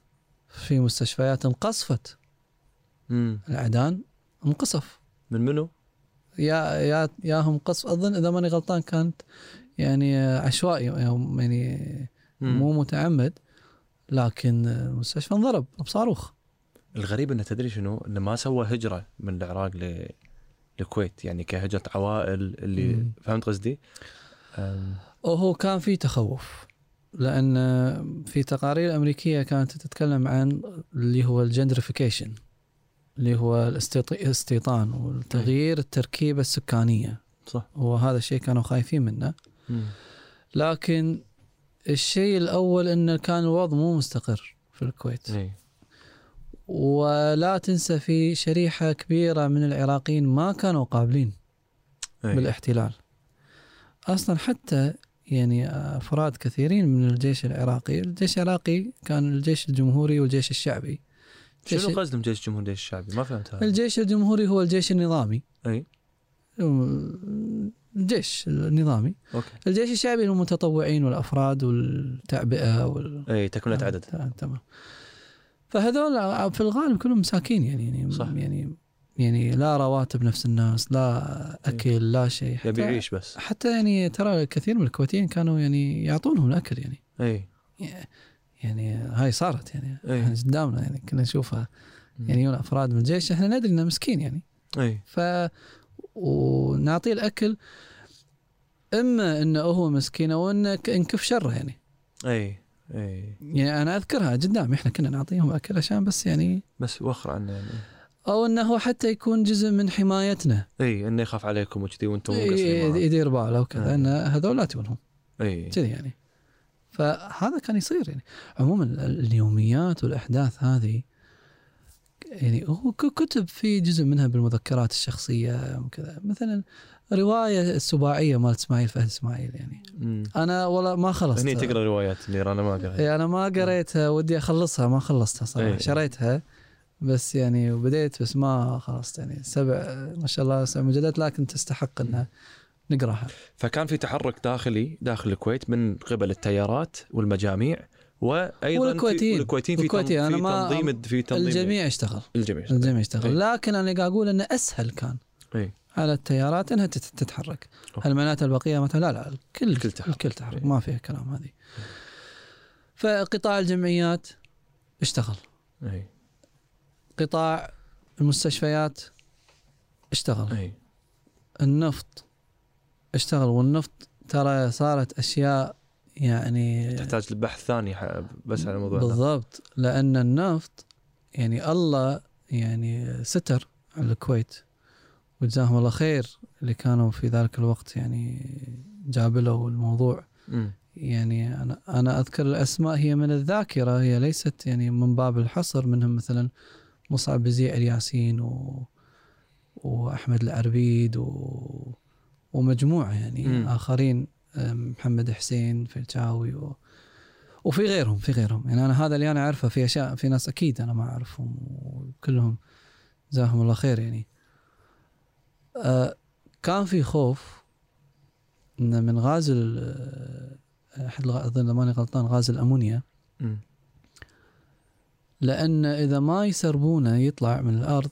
Speaker 2: في مستشفيات انقصفت
Speaker 3: امم
Speaker 2: العدان انقصف
Speaker 3: من منو؟
Speaker 2: يا يا يا هم قصف اظن اذا ماني غلطان كانت يعني آه، عشوائي يعني
Speaker 3: مم.
Speaker 2: مو متعمد لكن المستشفى انضرب بصاروخ
Speaker 3: الغريب انه تدري شنو؟ انه ما سوى هجره من العراق ل... للكويت يعني كهجره عوائل اللي
Speaker 2: مم.
Speaker 3: فهمت قصدي؟ أم،
Speaker 2: وهو كان في تخوف لان في تقارير امريكيه كانت تتكلم عن اللي هو الجندرفيكيشن اللي هو الاستيط- الاستيطان والتغيير التركيبه السكانيه
Speaker 3: صح
Speaker 2: وهذا الشيء كانوا خايفين منه
Speaker 3: مم.
Speaker 2: لكن الشيء الاول انه كان الوضع مو مستقر في الكويت
Speaker 3: إيه.
Speaker 2: ولا تنسى في شريحه كبيره من العراقيين ما كانوا قابلين
Speaker 3: إيه.
Speaker 2: بالاحتلال اصلا حتى يعني افراد كثيرين من الجيش العراقي الجيش العراقي كان الجيش الجمهوري والجيش الشعبي
Speaker 3: شنو
Speaker 2: جيش-
Speaker 3: قصدهم جيش الجمهور جيش الشعبي؟ ما فهمت هذا
Speaker 2: الجيش الجمهوري هو الجيش النظامي
Speaker 3: اي
Speaker 2: الجيش النظامي
Speaker 3: اوكي
Speaker 2: الجيش الشعبي هم المتطوعين والافراد والتعبئه وال
Speaker 3: اي تكمله عدد
Speaker 2: تمام تمام. فهذول في الغالب كلهم مساكين يعني يعني
Speaker 3: صح.
Speaker 2: يعني يعني لا رواتب نفس الناس لا اكل لا شيء حتى-
Speaker 3: إيه. يبي يعيش بس
Speaker 2: حتى يعني ترى كثير من الكويتيين كانوا يعني يعطونهم الاكل يعني
Speaker 3: اي
Speaker 2: يعني هاي صارت يعني
Speaker 3: إيه.
Speaker 2: إحنا قدامنا يعني كنا نشوفها
Speaker 3: مم.
Speaker 2: يعني يجون افراد من الجيش احنا ندري انه مسكين يعني
Speaker 3: اي
Speaker 2: ف ونعطيه الاكل اما انه هو مسكين او انه ك- نكف شره يعني
Speaker 3: اي اي
Speaker 2: يعني انا اذكرها قدامي احنا كنا نعطيهم اكل عشان بس يعني
Speaker 3: بس وخر عنه يعني
Speaker 2: او انه هو حتى يكون جزء من حمايتنا
Speaker 3: اي انه يخاف عليكم وكذي وانتم مو
Speaker 2: ي-
Speaker 3: مقصرين
Speaker 2: يدير باله وكذا
Speaker 3: آه.
Speaker 2: ان هذول لا تونهم
Speaker 3: معاه. اي
Speaker 2: كذي يعني فهذا كان يصير يعني عموما ال- اليوميات والاحداث هذه يعني هو ك- كتب في جزء منها بالمذكرات الشخصيه وكذا مثلا روايه السباعيه مال اسماعيل فهد اسماعيل يعني
Speaker 3: مم.
Speaker 2: انا والله ما خلصت
Speaker 3: هني تقرا روايات اللي انا ما اقرا
Speaker 2: إيه، انا ما قريتها ودي اخلصها ما خلصتها صراحه
Speaker 3: إيه.
Speaker 2: شريتها بس يعني وبديت بس ما خلصت يعني سبع ما شاء الله سبع مجلدات لكن تستحق انها
Speaker 3: إيه.
Speaker 2: نقراها
Speaker 3: فكان في تحرك داخلي داخل الكويت من قبل التيارات والمجاميع وايضا في-
Speaker 2: والكويتيين.
Speaker 3: والكويتيين في,
Speaker 2: والكويتيين.
Speaker 3: تنظيم
Speaker 2: أنا
Speaker 3: في
Speaker 2: ما-
Speaker 3: تنظيم في تنظيم
Speaker 2: الجميع اشتغل
Speaker 3: الجميع
Speaker 2: الجميع اشتغل
Speaker 3: إيه.
Speaker 2: لكن انا قاعد اقول انه اسهل كان
Speaker 3: إيه.
Speaker 2: على التيارات انها تت- تتحرك
Speaker 3: أوكي.
Speaker 2: المناطق البقيه مثلا لا لا الكل
Speaker 3: الكل تحرك. إيه.
Speaker 2: الكل تحرك, الكل تحرك. ما فيها كلام هذه فقطاع الجمعيات اشتغل
Speaker 3: اي
Speaker 2: قطاع المستشفيات اشتغل
Speaker 3: اي
Speaker 2: النفط اشتغل والنفط ترى صارت اشياء يعني
Speaker 3: تحتاج لبحث ثاني ح- بس على الموضوع هذا
Speaker 2: بالضبط لان النفط يعني الله يعني ستر على الكويت وجزاهم الله خير اللي كانوا في ذلك الوقت يعني جابلوا الموضوع
Speaker 3: مم.
Speaker 2: يعني انا انا اذكر الاسماء هي من الذاكره هي ليست يعني من باب الحصر منهم مثلا مصعب بزيع الياسين و واحمد العربيد و ومجموعه يعني
Speaker 3: مم.
Speaker 2: م. اخرين أم، محمد حسين فلتاوي و وفي غيرهم في غيرهم يعني انا هذا اللي انا اعرفه في اشياء في ناس اكيد انا ما اعرفهم وكلهم جزاهم الله خير يعني آه، كان في خوف إن من غاز ال- آه، احد الغ- اظن إذا ماني غلطان غاز الامونيا
Speaker 3: مم.
Speaker 2: لان اذا ما يسربونه يطلع من الارض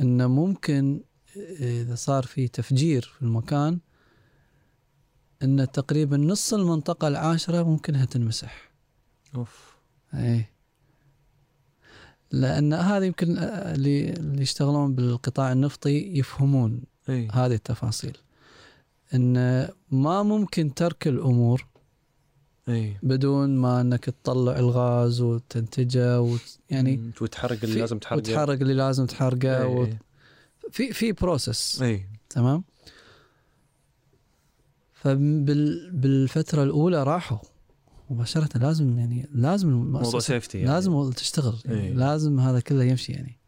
Speaker 2: انه ممكن اذا صار في تفجير في المكان ان تقريبا نص المنطقه العاشره ممكنها تنمسح
Speaker 3: اوف
Speaker 2: اي لان هذا يمكن آه، اللي اللي يشتغلون بالقطاع النفطي يفهمون
Speaker 3: اي
Speaker 2: هذه التفاصيل ان ما ممكن ترك الامور
Speaker 3: اي
Speaker 2: بدون ما انك تطلع الغاز وتنتجه وت... يعني
Speaker 3: مم. وتحرق اللي
Speaker 2: في-
Speaker 3: لازم تحرقه إيه.
Speaker 2: وتحرق اللي لازم تحرقه و...
Speaker 3: اي
Speaker 2: في في بروسس
Speaker 3: اي
Speaker 2: تمام فبالفتره الاولى راحوا مباشره لازم يعني لازم
Speaker 3: موضوع
Speaker 2: المؤسسه
Speaker 3: سيفتي يعني.
Speaker 2: لازم تشتغل يعني
Speaker 3: إيه.
Speaker 2: لازم هذا كله يمشي يعني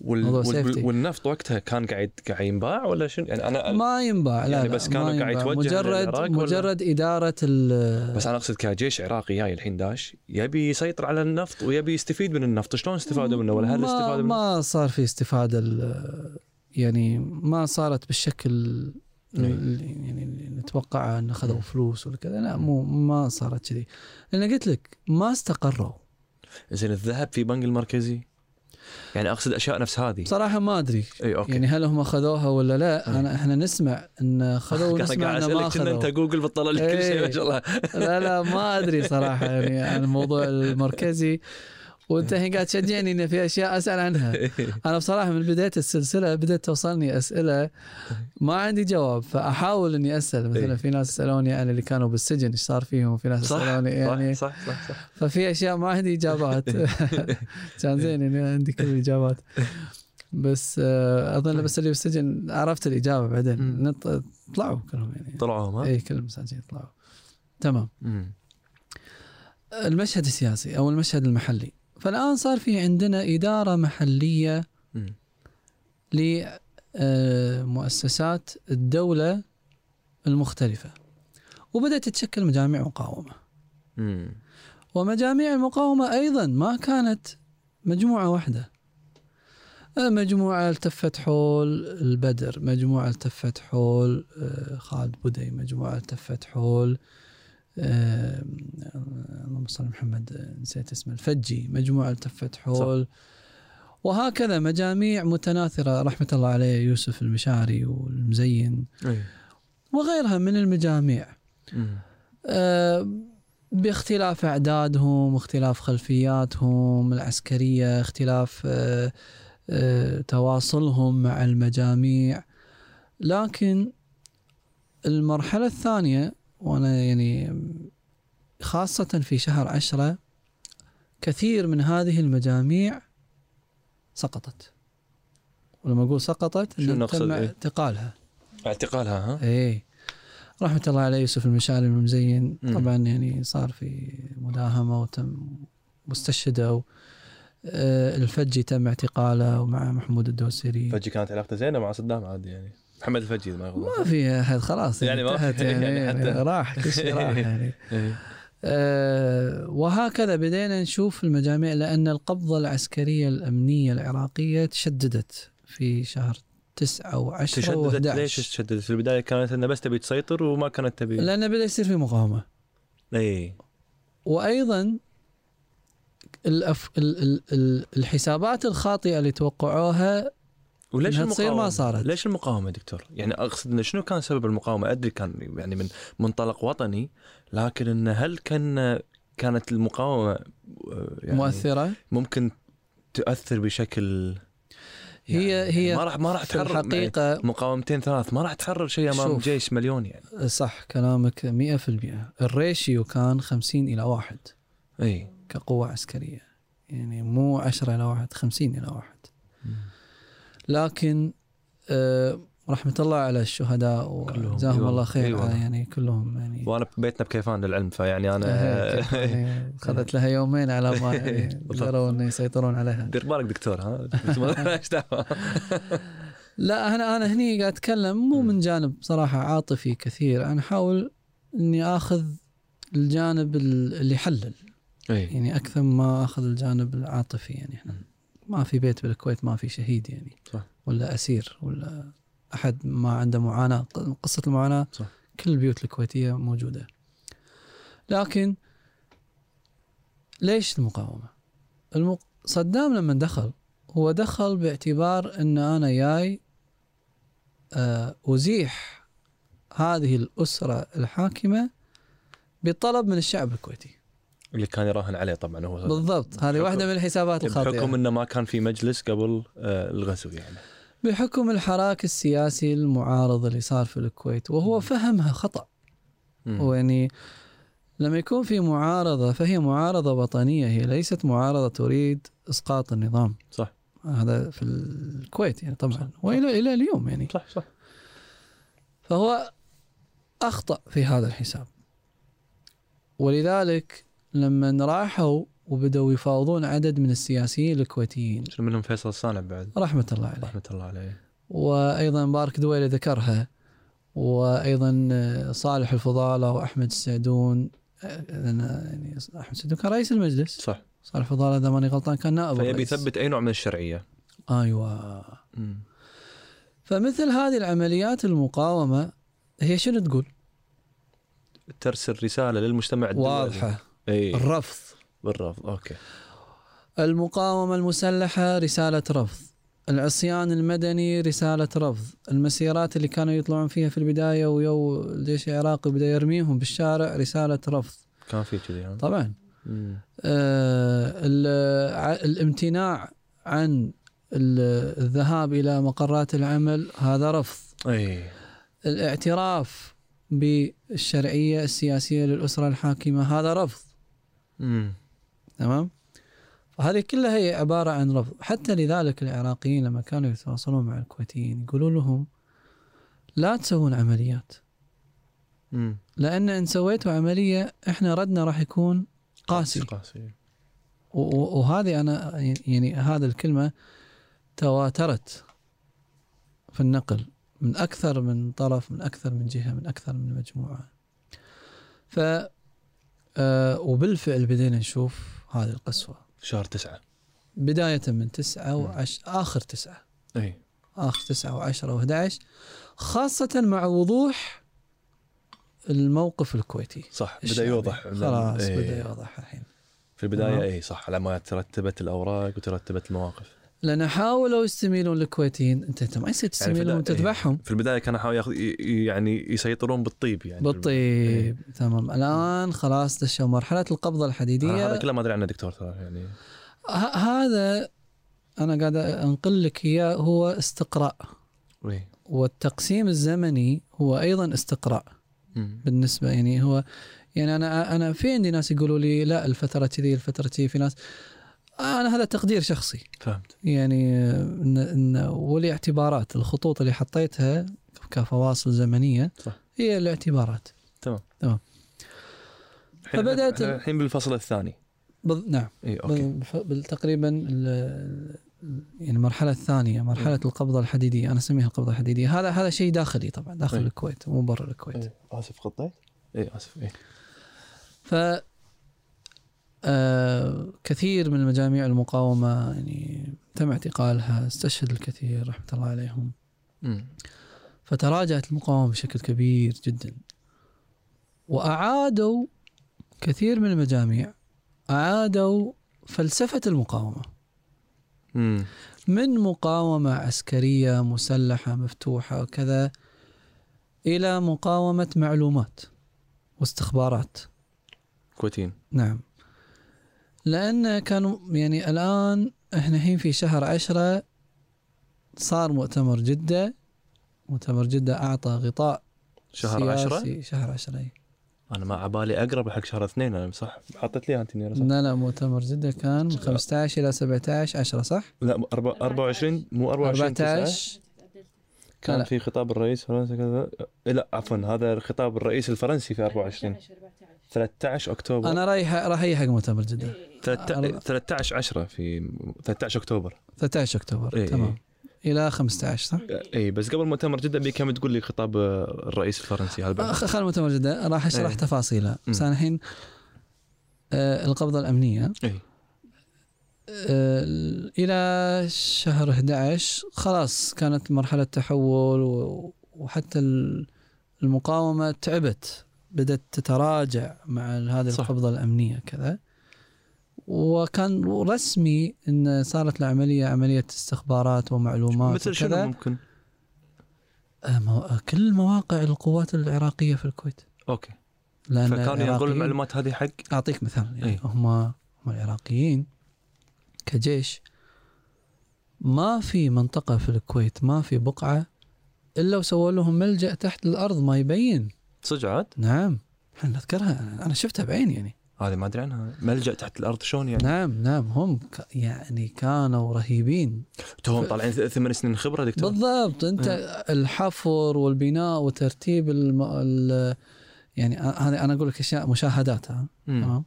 Speaker 3: وال...
Speaker 2: موضوع
Speaker 3: وال...
Speaker 2: safety.
Speaker 3: والنفط وقتها كان قاعد قاعد ينباع ولا شنو يعني انا
Speaker 2: ما ينباع لا
Speaker 3: يعني
Speaker 2: لا،
Speaker 3: بس
Speaker 2: ما
Speaker 3: كانوا قاعد
Speaker 2: ينباع.
Speaker 3: يتوجه للعراق
Speaker 2: مجرد
Speaker 3: ولا؟
Speaker 2: مجرد اداره ال
Speaker 3: بس انا اقصد كجيش عراقي جاي الحين داش يبي يسيطر على النفط ويبي يستفيد من النفط شلون استفادوا منه ولا هل
Speaker 2: ما-
Speaker 3: استفادوا منه؟
Speaker 2: ما صار في استفاده ال- يعني ما صارت بالشكل
Speaker 3: إيه.
Speaker 2: اللي يعني اللي نتوقعه ان اخذوا فلوس ولا كذا لا مو ما صارت كذي لان قلت لك ما استقروا
Speaker 3: زين الذهب في بنك المركزي يعني اقصد اشياء نفس هذه
Speaker 2: بصراحه ما ادري
Speaker 3: اي اوكي
Speaker 2: يعني هل هم اخذوها ولا لا
Speaker 3: إيه.
Speaker 2: انا احنا نسمع ان خذوا
Speaker 3: أنا
Speaker 2: ونسمع
Speaker 3: قاعد
Speaker 2: انه ما
Speaker 3: اسالك كنا انت
Speaker 2: اخذوا
Speaker 3: جوجل بتطلع لك كل شيء ما
Speaker 2: إيه.
Speaker 3: شاء الله
Speaker 2: لا لا ما ادري صراحه يعني عن الموضوع المركزي وانت الحين قاعد تشجعني ان في اشياء اسال عنها انا بصراحه من بدايه السلسله بدات توصلني اسئله ما عندي جواب فاحاول اني اسال
Speaker 3: إيه.
Speaker 2: مثلا في ناس سالوني انا اللي كانوا بالسجن ايش صار فيهم في ناس
Speaker 3: صح
Speaker 2: سالوني يعني
Speaker 3: صح صح صح, صح.
Speaker 2: ففي اشياء ما عندي اجابات كان زين اني عندي كل الاجابات بس آه، اظن بس اللي بالسجن عرفت الاجابه بعدين
Speaker 3: طيب. مم.
Speaker 2: نط- طلعوا كلهم يعني
Speaker 3: طلعوا هم ها؟
Speaker 2: اي كل المساجين طلعوا تمام
Speaker 3: مم.
Speaker 2: المشهد السياسي او المشهد المحلي فالان صار في عندنا اداره محليه
Speaker 3: مم.
Speaker 2: لمؤسسات الدولة المختلفة وبدأت تتشكل مجاميع مقاومة
Speaker 3: مم.
Speaker 2: ومجاميع المقاومة أيضا ما كانت مجموعة واحدة مجموعة التفت حول البدر مجموعة التفت حول آه، خالد بودي مجموعة التفت حول آه، اللهم صل على محمد آه، نسيت اسمه الفجي مجموعة التفت حول وهكذا مجاميع متناثرة رحمة الله عليه يوسف المشاعري والمزين
Speaker 3: إي.
Speaker 2: وغيرها من المجاميع
Speaker 3: إيه. مم.
Speaker 2: آه، باختلاف اعدادهم اختلاف خلفياتهم العسكريه اختلاف آه، آه، تواصلهم مع المجاميع لكن المرحله الثانيه وانا يعني خاصه في شهر عشرة كثير من هذه المجاميع سقطت ولما اقول سقطت
Speaker 3: شنو
Speaker 2: إن
Speaker 3: نقصد
Speaker 2: تم
Speaker 3: إيه؟
Speaker 2: اعتقالها
Speaker 3: اعتقالها ها؟
Speaker 2: ايه رحمة الله على يوسف المشاري المزين
Speaker 3: مم.
Speaker 2: طبعا يعني صار في مداهمة وتم مستشهدة و آه، الفجي تم اعتقاله ومع محمود الدوسري
Speaker 3: فجي كانت علاقته زينه مع صدام عادي يعني محمد الفجي إذا ما
Speaker 2: ما
Speaker 3: يغلط
Speaker 2: في احد خلاص
Speaker 3: يعني ما
Speaker 2: انتهت
Speaker 3: في-
Speaker 2: يعني,
Speaker 3: يعني حتى- إيه.
Speaker 2: راح كل شيء راح يعني
Speaker 3: إي.
Speaker 2: آه، وهكذا بدينا نشوف المجاميع لأن القبضة العسكرية الأمنية العراقية تشددت في شهر تسعة وعشرة
Speaker 3: تشددت ليش
Speaker 2: وحداش
Speaker 3: تشددت؟ في البدايه كانت انها بس تبي تسيطر وما كانت تبي إيه.
Speaker 2: لأن بدأ يصير في مقاومة
Speaker 3: اي
Speaker 2: وايضا الأف... ال... ال... ال- الحسابات الخاطئه اللي توقعوها
Speaker 3: وليش
Speaker 2: إنها تصير ما
Speaker 3: المقاومة؟
Speaker 2: صارت.
Speaker 3: ليش المقاومه دكتور؟ يعني اقصد انه شنو كان سبب المقاومه؟ ادري كان يعني من منطلق وطني لكن انه هل كان كانت المقاومه آه، يعني
Speaker 2: مؤثره
Speaker 3: ممكن تؤثر بشكل يعني
Speaker 2: هي- هي
Speaker 3: ما راح ما راح
Speaker 2: في
Speaker 3: تحرر يعني
Speaker 2: الحقيقه
Speaker 3: مقاومتين ثلاث ما راح تحرر شيء امام
Speaker 2: شوف.
Speaker 3: جيش مليون يعني
Speaker 2: صح كلامك 100% الريشيو كان 50 الى 1
Speaker 3: اي
Speaker 2: كقوة عسكرية يعني مو 10 إلى 1 50 إلى 1 لكن آه، رحمة الله على الشهداء
Speaker 3: كلهم، أيوة،
Speaker 2: وجزاهم
Speaker 3: إي
Speaker 2: الله
Speaker 3: والله، إي
Speaker 2: خير
Speaker 3: والله.
Speaker 2: يعني كلهم يعني
Speaker 3: وانا بيتنا بكيفان للعلم فيعني
Speaker 2: إيه،
Speaker 3: انا
Speaker 2: يعني أخذت لها يومين على ما يعني
Speaker 3: بالضبط.
Speaker 2: قدروا إنه يسيطرون عليها
Speaker 3: دير بالك دكتور ها إيش دعوة؟
Speaker 2: لا أنا أنا هني قاعد أتكلم مو
Speaker 3: مم.
Speaker 2: من جانب صراحة عاطفي كثير أنا أحاول إني آخذ الجانب ال- اللي يحلل
Speaker 3: اي
Speaker 2: يعني اكثر ما اخذ الجانب العاطفي يعني احنا ما في بيت بالكويت ما في شهيد يعني
Speaker 3: صح.
Speaker 2: ولا اسير ولا احد ما عنده معاناه ق- قصه المعاناه
Speaker 3: صح.
Speaker 2: كل البيوت الكويتيه موجوده لكن ليش المقاومه؟ المق... صدام لما دخل هو دخل باعتبار ان انا جاي آه، ازيح هذه الاسره الحاكمه بطلب من الشعب الكويتي
Speaker 3: اللي كان يراهن عليه طبعا هو
Speaker 2: بالضبط هذه
Speaker 3: بحكم-
Speaker 2: واحده من الحسابات
Speaker 3: بحكم
Speaker 2: الخاطئه
Speaker 3: انه ما كان في مجلس قبل آه، الغزو يعني
Speaker 2: بحكم الحراك السياسي المعارض اللي صار في الكويت وهو فهمها خطا
Speaker 3: مم.
Speaker 2: هو يعني لما يكون في معارضه فهي معارضه وطنيه هي ليست معارضه تريد اسقاط النظام
Speaker 3: صح.
Speaker 2: هذا في الكويت يعني
Speaker 3: صح.
Speaker 2: طبعا والى الى اليوم يعني
Speaker 3: صح صح
Speaker 2: فهو اخطا في هذا الحساب ولذلك لما راحوا وبدأوا يفاوضون عدد من السياسيين الكويتيين
Speaker 3: شنو منهم فيصل الصانع بعد
Speaker 2: رحمة الله عليه
Speaker 3: رحمه الله عليه
Speaker 2: وايضا مبارك دويله ذكرها وايضا آه، صالح الفضاله واحمد السعدون آه، لأن يعني احمد السعدون كان رئيس المجلس
Speaker 3: صح
Speaker 2: صالح الفضاله اذا ماني غلطان كان نائب
Speaker 3: فيبي
Speaker 2: الرئيس.
Speaker 3: يثبت اي نوع من الشرعيه
Speaker 2: ايوه
Speaker 3: مم.
Speaker 2: فمثل هذه العمليات المقاومه هي شنو تقول؟
Speaker 3: ترسل رساله للمجتمع الدولي
Speaker 2: واضحه
Speaker 3: اي
Speaker 2: الرفض
Speaker 3: بالرفض اوكي
Speaker 2: المقاومه المسلحه رساله رفض العصيان المدني رسالة رفض المسيرات اللي كانوا يطلعون فيها في البداية ويو الجيش العراقي بدأ يرميهم بالشارع رسالة رفض
Speaker 3: كان في كذي ها؟
Speaker 2: طبعا
Speaker 3: مم.
Speaker 2: آه، ال- ع- الامتناع عن ال- الذهاب الى مقرات العمل هذا رفض
Speaker 3: اي
Speaker 2: الاعتراف بالشرعيه السياسيه للاسره الحاكمه هذا رفض
Speaker 3: مم.
Speaker 2: تمام فهذه كلها هي عباره عن رفض حتى لذلك العراقيين لما كانوا يتواصلون مع الكويتيين يقولوا لهم لا تسوون عمليات
Speaker 3: مم.
Speaker 2: لان ان سويتوا عمليه احنا ردنا راح يكون قاسي
Speaker 3: قاسي
Speaker 2: و- و- وهذه انا يعني هذه الكلمه تواترت في النقل من اكثر من طرف من اكثر من جهه من اكثر من مجموعه ف آه، وبالفعل بدينا نشوف هذه القسوه
Speaker 3: شهر تسعة
Speaker 2: بدايه من تسعة وعش اخر تسعة
Speaker 3: اي
Speaker 2: اخر تسعة وعشرة و11 خاصه مع وضوح الموقف الكويتي
Speaker 3: صح بدا
Speaker 2: الشعبي.
Speaker 3: يوضح
Speaker 2: يعني؟
Speaker 3: إيه.
Speaker 2: خلاص
Speaker 3: إي.
Speaker 2: بدا يوضح الحين
Speaker 3: في البدايه
Speaker 2: تمام.
Speaker 3: اي صح على ما ترتبت الاوراق وترتبت المواقف
Speaker 2: لان حاولوا يستميلون للكويتيين انت انت ما يصير تستميلهم
Speaker 3: البداية- إيه.
Speaker 2: وتذبحهم
Speaker 3: في البدايه كانوا حاولوا ياخذ ي- ي- يعني يسيطرون بالطيب يعني
Speaker 2: بالطيب تمام الان خلاص دشوا مرحله القبضه
Speaker 3: أنا
Speaker 2: الحديديه
Speaker 3: هذا كله ما ادري عنه دكتور ترى يعني
Speaker 2: ه- هذا انا قاعد انقل لك اياه هو استقراء
Speaker 3: اي
Speaker 2: إيه. والتقسيم الزمني هو ايضا استقراء
Speaker 3: مم.
Speaker 2: بالنسبه يعني هو يعني انا انا في عندي ناس يقولوا لي لا الفتره كذي الفتره كذي في ناس انا هذا تقدير شخصي
Speaker 3: فهمت
Speaker 2: يعني آه، إن إن والاعتبارات الخطوط اللي حطيتها كفواصل زمنيه
Speaker 3: صح.
Speaker 2: هي الاعتبارات
Speaker 3: الحين
Speaker 2: فبدأت-
Speaker 3: إحنا- إحنا الحين بالفصل الثاني إيه،
Speaker 2: بض... نعم
Speaker 3: اي اوكي
Speaker 2: بال- بال- تقريبا ال- ال- يعني المرحله الثانيه مرحله القبضه الحديديه انا اسميها القبضه الحديديه هذا هذا شيء داخلي طبعا داخل
Speaker 3: إيه.
Speaker 2: الكويت مو برا الكويت
Speaker 3: إي، اسف خطيت اي اسف اي
Speaker 2: ف آه، كثير من مجاميع المقاومه يعني تم اعتقالها استشهد الكثير رحمه الله عليهم
Speaker 3: مم.
Speaker 2: فتراجعت المقاومه بشكل كبير جدا واعادوا كثير من المجاميع أعادوا فلسفة المقاومة
Speaker 3: مم.
Speaker 2: من مقاومة عسكرية مسلحة مفتوحة وكذا إلى مقاومة معلومات واستخبارات
Speaker 3: كويتين
Speaker 2: نعم لأن كانوا يعني الآن إحنا الحين في شهر عشرة صار مؤتمر جدة مؤتمر جدة أعطى غطاء
Speaker 3: شهر 10
Speaker 2: سياسي- شهر عشرة أي.
Speaker 3: انا ما عبالي اقرب حق شهر اثنين انا صح حطيت لي انت النيرة، صح
Speaker 2: لا لا مؤتمر جدة كان من 15 إلى 17 10 صح؟
Speaker 3: لا أربعة- 24 مو 24 تسعة.
Speaker 2: 14
Speaker 3: كان
Speaker 2: لا.
Speaker 3: في خطاب الرئيس فرنسا كذا إيه، لا عفوا هذا خطاب الرئيس الفرنسي في 24 13 اكتوبر
Speaker 2: أنا رايح راح أي حق مؤتمر جدة
Speaker 3: 13 10 في 13 اكتوبر
Speaker 2: 13 أكتوبر
Speaker 3: إيه.
Speaker 2: تمام إلى 15 صح؟
Speaker 3: اي إيه، بس قبل مؤتمر جدا بيكم تقول لي خطاب آه، الرئيس الفرنسي هذا
Speaker 2: خ- خل مؤتمر جدة راح أشرح
Speaker 3: إيه.
Speaker 2: تفاصيلها بس
Speaker 3: مم.
Speaker 2: أنا الحين آه، القبضة الأمنية
Speaker 3: اي
Speaker 2: آه، إلى شهر 11 خلاص كانت مرحلة تحول و- وحتى ال- المقاومة تعبت بدأت تتراجع مع ال- هذه
Speaker 3: صح.
Speaker 2: القبضة الأمنية كذا وكان رسمي أن صارت العملية عملية استخبارات ومعلومات
Speaker 3: مثل شنو
Speaker 2: وكذا.
Speaker 3: ممكن
Speaker 2: آه، مو- كل مواقع القوات العراقية في الكويت
Speaker 3: اوكي
Speaker 2: لأن
Speaker 3: فكانوا ينقلون
Speaker 2: العراقيين-
Speaker 3: المعلومات هذه حق
Speaker 2: اعطيك مثال يعني
Speaker 3: إيه.
Speaker 2: هم هم العراقيين كجيش ما في منطقه في الكويت ما في بقعه الا وسووا لهم ملجا تحت الارض ما يبين
Speaker 3: صدق عاد
Speaker 2: نعم احنا نذكرها أنا- انا شفتها بعيني يعني
Speaker 3: هذه ما ادري عنها ملجا تحت الارض شلون يعني
Speaker 2: نعم نعم هم ك يعني كانوا رهيبين
Speaker 3: توهم طالعين ث- ثمان سنين خبره دكتور
Speaker 2: بالضبط انت
Speaker 3: إيه.
Speaker 2: الحفر والبناء وترتيب الم... ال... يعني أ- هذه انا اقول لك اشياء مشاهدات ها
Speaker 3: مم.
Speaker 2: تمام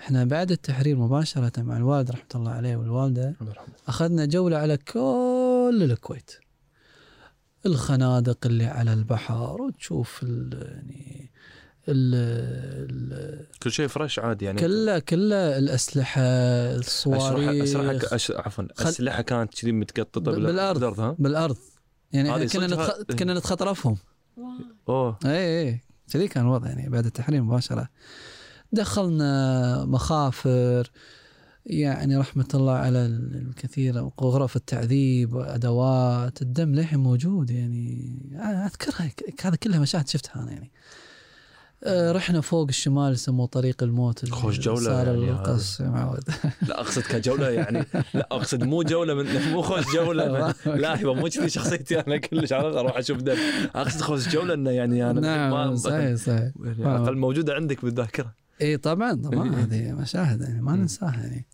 Speaker 2: احنا بعد التحرير مباشره مع الوالد رحمه الله عليه والوالده
Speaker 3: الله يرحمه.
Speaker 2: أخذنا جولة على كل الكويت الخنادق اللي على البحر وتشوف ال يعني ال ال
Speaker 3: كل شيء فريش عادي يعني
Speaker 2: كله كله الأسلحة
Speaker 3: أشرح-
Speaker 2: الصواريخ
Speaker 3: أشرح- أش- عفوا
Speaker 2: خل-
Speaker 3: السلحه كانت كذي متقططه
Speaker 2: بال- بالأرض.
Speaker 3: بالارض ها
Speaker 2: بالأرض يعني احنا
Speaker 3: هذه
Speaker 2: كنا
Speaker 3: صدق إيه.
Speaker 2: نتخ...
Speaker 3: ها-
Speaker 2: كنا نتخطرفهم
Speaker 3: اوه
Speaker 2: اي اي إيه، كذي كان الوضع يعني بعد التحرير مباشرة دخلنا مخافر يعني رحمة الله على ال- الكثير غرف التعذيب وأدوات الدم للحين موجود يعني أنا أذكرها ك- هذا كلها مشاهد شفتها أنا يعني آه، رحنا فوق الشمال يسموه طريق الموت اللي
Speaker 3: خوش جولة
Speaker 2: صار
Speaker 3: يعني هذا.
Speaker 2: القص يا معود
Speaker 3: لا اقصد كجوله يعني لا اقصد مو جوله من مو خوش جوله لا يبا مو كذي شخصيتي انا كلش عرفت اروح اشوف دم اقصد خوش جوله انه يعني انا
Speaker 2: نعم
Speaker 3: ما-
Speaker 2: صحيح صحيح
Speaker 3: يعني
Speaker 2: آه.
Speaker 3: على الاقل موجوده عندك بالذاكره
Speaker 2: اي طبعا طبعا
Speaker 3: إيه.
Speaker 2: هذه مشاهد يعني ما
Speaker 3: مم.
Speaker 2: ننساها يعني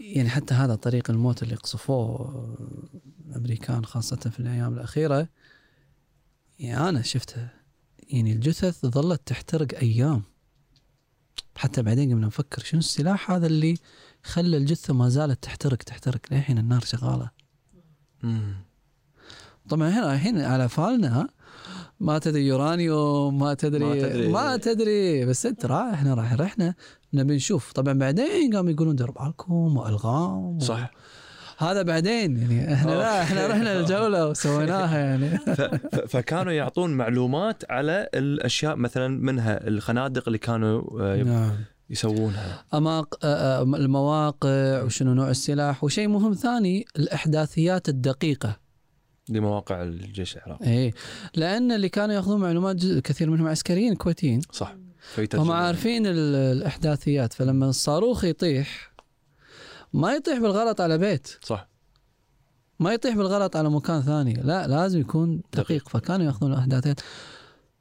Speaker 2: يعني حتى هذا طريق الموت اللي قصفوه الامريكان خاصه في الايام الاخيره يعني انا شفتها يعني الجثث ظلت تحترق ايام حتى بعدين قمنا نفكر شنو السلاح هذا اللي خلى الجثه ما زالت تحترق تحترق للحين النار شغاله طبعا هنا الحين على فالنا ما تدري يورانيوم ما تدري
Speaker 3: ما تدري.
Speaker 2: ما تدري بس انت رايح احنا رايح رحنا نبي نشوف طبعا بعدين قاموا يقولون دير بالكم والغام و-
Speaker 3: صح
Speaker 2: هذا بعدين يعني احنا لا
Speaker 3: أوكي.
Speaker 2: احنا رحنا الجوله وسويناها يعني
Speaker 3: ف- ف- فكانوا يعطون معلومات على الاشياء مثلا منها الخنادق اللي كانوا آه،
Speaker 2: نعم
Speaker 3: يسوونها
Speaker 2: اماق آه، آه، المواقع وشنو نوع السلاح وشيء مهم ثاني الاحداثيات الدقيقه
Speaker 3: لمواقع الجيش العراقي
Speaker 2: اي لان إيه. اللي كانوا ياخذون معلومات جزء- كثير منهم عسكريين كويتيين
Speaker 3: صح
Speaker 2: هم عارفين ال- الاحداثيات فلما الصاروخ يطيح ما يطيح بالغلط على بيت
Speaker 3: صح
Speaker 2: ما يطيح بالغلط على مكان ثاني لا لازم يكون دقيق فكانوا ياخذون الاحداثيات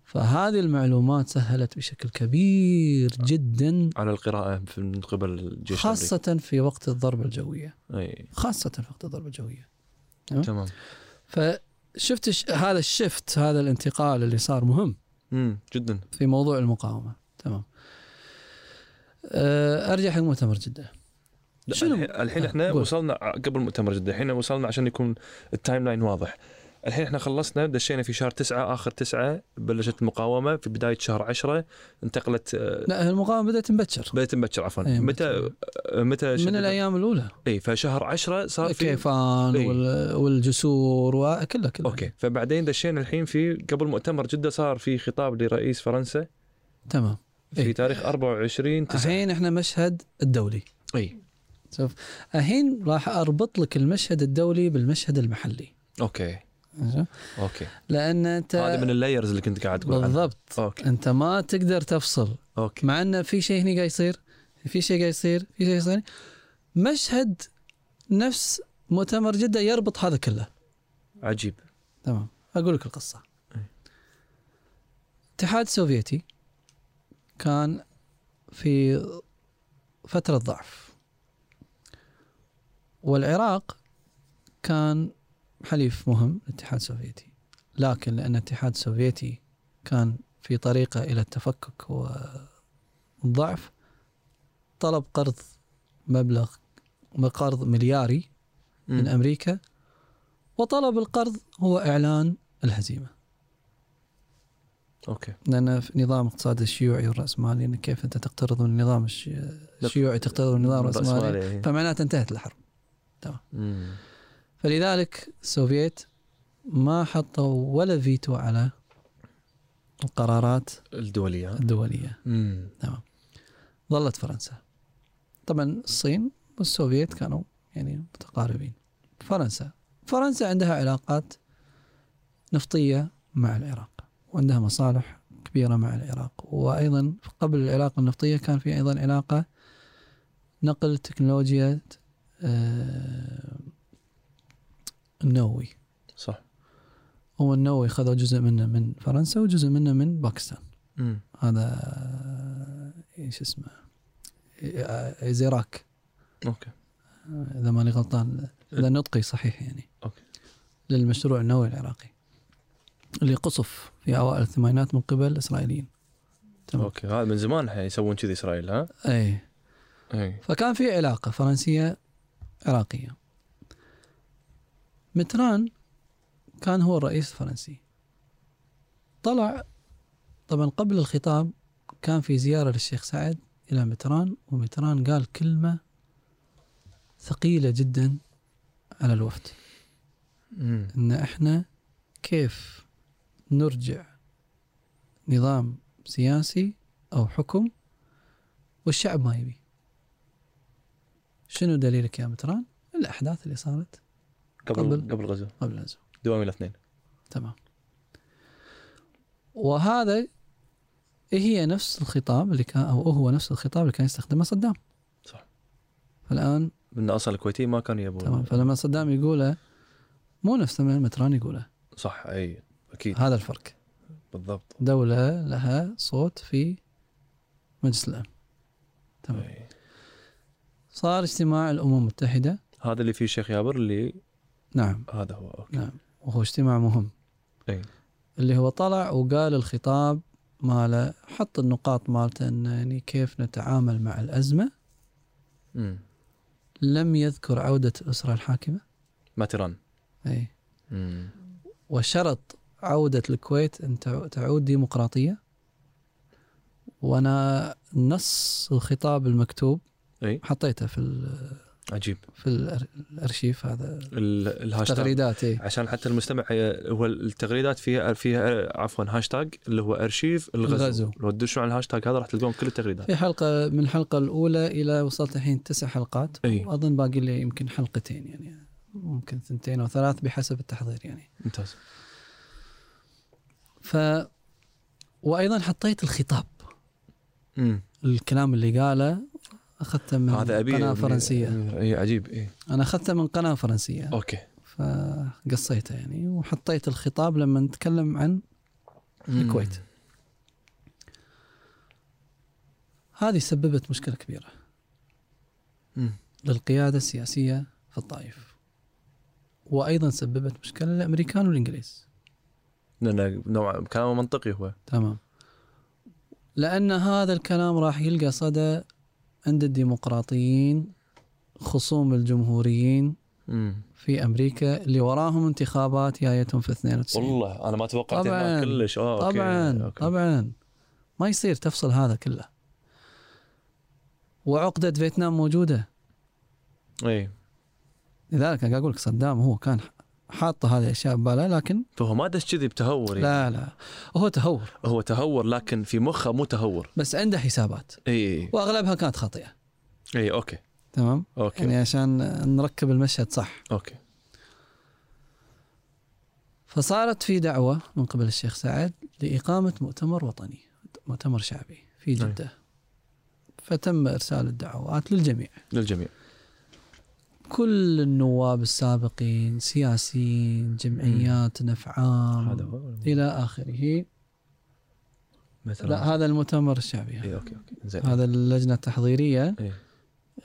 Speaker 2: فهذه المعلومات سهلت بشكل كبير جدا
Speaker 3: على القراءه في- من قبل الجيش
Speaker 2: خاصة في وقت الضربة الجوية
Speaker 3: الامريكي اي
Speaker 2: خاصة في وقت الضربة الجوية
Speaker 3: تمام
Speaker 2: فشفت الش- هذا الشفت هذا الانتقال اللي صار مهم
Speaker 3: امم جدا
Speaker 2: في موضوع المقاومة تمام أه، ارجع حق مؤتمر جدة
Speaker 3: لا،
Speaker 2: شنو؟
Speaker 3: الحين- الحين
Speaker 2: آه،
Speaker 3: احنا
Speaker 2: قول.
Speaker 3: وصلنا قبل مؤتمر جده الحين وصلنا عشان يكون التايم لاين واضح الحين احنا خلصنا دشينا في شهر تسعة اخر تسعة بلشت المقاومه في بدايه شهر عشرة انتقلت آه،
Speaker 2: لا المقاومة بدأت مبكر
Speaker 3: بدات مبكر عفوا
Speaker 2: إيه،
Speaker 3: متى آه، متى
Speaker 2: من الايام الاولى
Speaker 3: اي فشهر عشرة صار في
Speaker 2: الكيفان
Speaker 3: إيه.
Speaker 2: وال- والجسور وكله كله
Speaker 3: اوكي فبعدين دشينا الحين في قبل مؤتمر جده صار في خطاب لرئيس فرنسا
Speaker 2: تمام
Speaker 3: في
Speaker 2: إيه.
Speaker 3: تاريخ 24 9
Speaker 2: الحين احنا مشهد الدولي
Speaker 3: اي
Speaker 2: شوف الحين راح اربط لك المشهد الدولي بالمشهد المحلي
Speaker 3: اوكي
Speaker 2: عرفت؟
Speaker 3: اوكي
Speaker 2: لان انت
Speaker 3: هذا من اللايرز اللي كنت قاعد تقول عنها.
Speaker 2: بالضبط
Speaker 3: اوكي
Speaker 2: انت ما تقدر تفصل
Speaker 3: اوكي
Speaker 2: مع ان في شيء هنا قاعد يصير في شيء قاعد يصير في شيء يصير مشهد نفس مؤتمر جده يربط هذا كله
Speaker 3: عجيب
Speaker 2: تمام اقول لك القصه
Speaker 3: أي.
Speaker 2: الاتحاد السوفيتي كان في فتره ضعف والعراق كان حليف مهم للاتحاد السوفيتي لكن لان الاتحاد السوفيتي كان في طريقه الى التفكك والضعف طلب قرض مبلغ قرض ملياري من
Speaker 3: مم.
Speaker 2: امريكا وطلب القرض هو اعلان الهزيمه
Speaker 3: اوكي
Speaker 2: لان في نظام اقتصاد الشيوعي والراسمالي إن كيف انت تقترض من النظام الش- الشيوعي تقترض من النظام الراسمالي
Speaker 3: رأسمالي.
Speaker 2: فمعناته انتهت الحرب
Speaker 3: مم.
Speaker 2: فلذلك السوفيت ما حطوا ولا فيتو على القرارات
Speaker 3: الدولية
Speaker 2: الدوليه
Speaker 3: مم.
Speaker 2: ظلت فرنسا طبعا الصين والسوفيت كانوا يعني متقاربين فرنسا فرنسا عندها علاقات نفطية مع العراق وعندها مصالح كبيرة مع العراق وأيضا قبل العلاقة النفطية كان في أيضا علاقة نقل تكنولوجيا آه، النووي
Speaker 3: صح
Speaker 2: هو النووي خذوا جزء منه من فرنسا وجزء منه من باكستان
Speaker 3: مم.
Speaker 2: هذا آه، ايش اسمه آه، زيراك
Speaker 3: اوكي
Speaker 2: اذا ماني غلطان اذا نطقي صحيح يعني
Speaker 3: أوكي.
Speaker 2: للمشروع النووي العراقي اللي قصف في اوائل الثمانينات من قبل الاسرائيليين تمام.
Speaker 3: اوكي هذا من زمان ح- يسوون كذي اسرائيل ها؟ إيه.
Speaker 2: اي
Speaker 3: اي
Speaker 2: فكان في علاقه فرنسيه عراقيه متران كان هو الرئيس الفرنسي طلع طبعا قبل الخطاب كان في زياره للشيخ سعد الى متران ومتران قال كلمه ثقيله جدا على الوفد
Speaker 3: مم.
Speaker 2: ان احنا كيف نرجع نظام سياسي او حكم والشعب ما يبي شنو دليلك يا متران الاحداث اللي صارت
Speaker 3: قبل
Speaker 2: قبل.
Speaker 3: قبل غزو
Speaker 2: قبل الازمه
Speaker 3: دوام الاثنين
Speaker 2: تمام وهذا هي نفس الخطاب اللي كان او هو نفس الخطاب اللي كان يستخدمه صدام
Speaker 3: صح.
Speaker 2: فالان
Speaker 3: لان اصلا الكويتيين ما كانوا يبون
Speaker 2: تمام فلما صدام يقوله مو نفس ما متران يقوله
Speaker 3: صح اي اكيد
Speaker 2: هذا الفرق
Speaker 3: بالضبط
Speaker 2: دولة لها صوت في مجلس الأمن تمام
Speaker 3: أي.
Speaker 2: صار اجتماع الأمم المتحدة
Speaker 3: هذا اللي فيه الشيخ يابر اللي
Speaker 2: نعم
Speaker 3: هذا هو اوكي
Speaker 2: نعم وهو اجتماع مهم
Speaker 3: أي.
Speaker 2: اللي هو طلع وقال الخطاب ماله حط النقاط مالته إن يعني كيف نتعامل مع الأزمة
Speaker 3: مم.
Speaker 2: لم يذكر عودة الأسرة الحاكمة
Speaker 3: ما تيران
Speaker 2: أي
Speaker 3: مم.
Speaker 2: وشرط عودة الكويت أن تعو- تعود ديمقراطية وأنا نص الخطاب المكتوب
Speaker 3: أي.
Speaker 2: حطيته في ال-
Speaker 3: عجيب
Speaker 2: في الأر- الارشيف هذا
Speaker 3: ال- الهاشتاج
Speaker 2: تغريدات إيه. اي
Speaker 3: عشان حتى المستمع آه، هو التغريدات فيها فيها آه، عفوا هاشتاج اللي هو ارشيف الغزو,
Speaker 2: الغزو.
Speaker 3: لو تدشون على الهاشتاج هذا راح تلقون كل التغريدات
Speaker 2: في حلقه من الحلقه الاولى الى وصلت الحين تسع حلقات
Speaker 3: اي
Speaker 2: واظن باقي لي يمكن حلقتين يعني ممكن ثنتين او ثلاث بحسب التحضير يعني
Speaker 3: ممتاز
Speaker 2: ف وايضا حطيت الخطاب
Speaker 3: مم.
Speaker 2: الكلام اللي قاله اخذته من
Speaker 3: هذا ابي
Speaker 2: قناه فرنسيه
Speaker 3: اي إيه، عجيب اي
Speaker 2: انا اخذته من قناه فرنسيه
Speaker 3: اوكي
Speaker 2: فقصيته يعني وحطيت الخطاب لما نتكلم عن
Speaker 3: مم.
Speaker 2: الكويت. هذه سببت مشكله كبيره
Speaker 3: مم.
Speaker 2: للقيادة السياسية في الطائف وأيضا سببت مشكلة للأمريكان والإنجليز
Speaker 3: لانه نوع كلامه منطقي هو
Speaker 2: تمام لأن هذا الكلام راح يلقى صدى عند الديمقراطيين خصوم الجمهوريين
Speaker 3: مم.
Speaker 2: في أمريكا اللي وراهم انتخابات جايتهم في 92
Speaker 3: والله انا ما توقعت
Speaker 2: طبعاً.
Speaker 3: إنه كلش اه أوكي.
Speaker 2: طبعا
Speaker 3: أوكي.
Speaker 2: طبعا ما يصير تفصل هذا كله وعقدة فيتنام موجودة
Speaker 3: اي
Speaker 2: لذلك أنا قاعد أقول لك صدام هو كان حاطه هذه الاشياء ببالها لكن
Speaker 3: فهو ما دش كذي بتهور يعني.
Speaker 2: لا لا هو تهور
Speaker 3: هو تهور لكن في مخه مو تهور
Speaker 2: بس عنده حسابات
Speaker 3: اي
Speaker 2: واغلبها كانت خاطئه
Speaker 3: اي اوكي
Speaker 2: تمام
Speaker 3: اوكي
Speaker 2: يعني عشان نركب المشهد صح
Speaker 3: اوكي
Speaker 2: فصارت في دعوه من قبل الشيخ سعد لاقامه مؤتمر وطني مؤتمر شعبي في
Speaker 3: نعم.
Speaker 2: جده فتم ارسال الدعوات للجميع
Speaker 3: للجميع
Speaker 2: كل النواب السابقين سياسيين جمعيات نفعام
Speaker 3: هذا هو
Speaker 2: الى اخره
Speaker 3: مثلا
Speaker 2: لا هذا المؤتمر الشعبي
Speaker 3: اي اوكي اوكي زين
Speaker 2: هذا اللجنه التحضيريه
Speaker 3: إيه.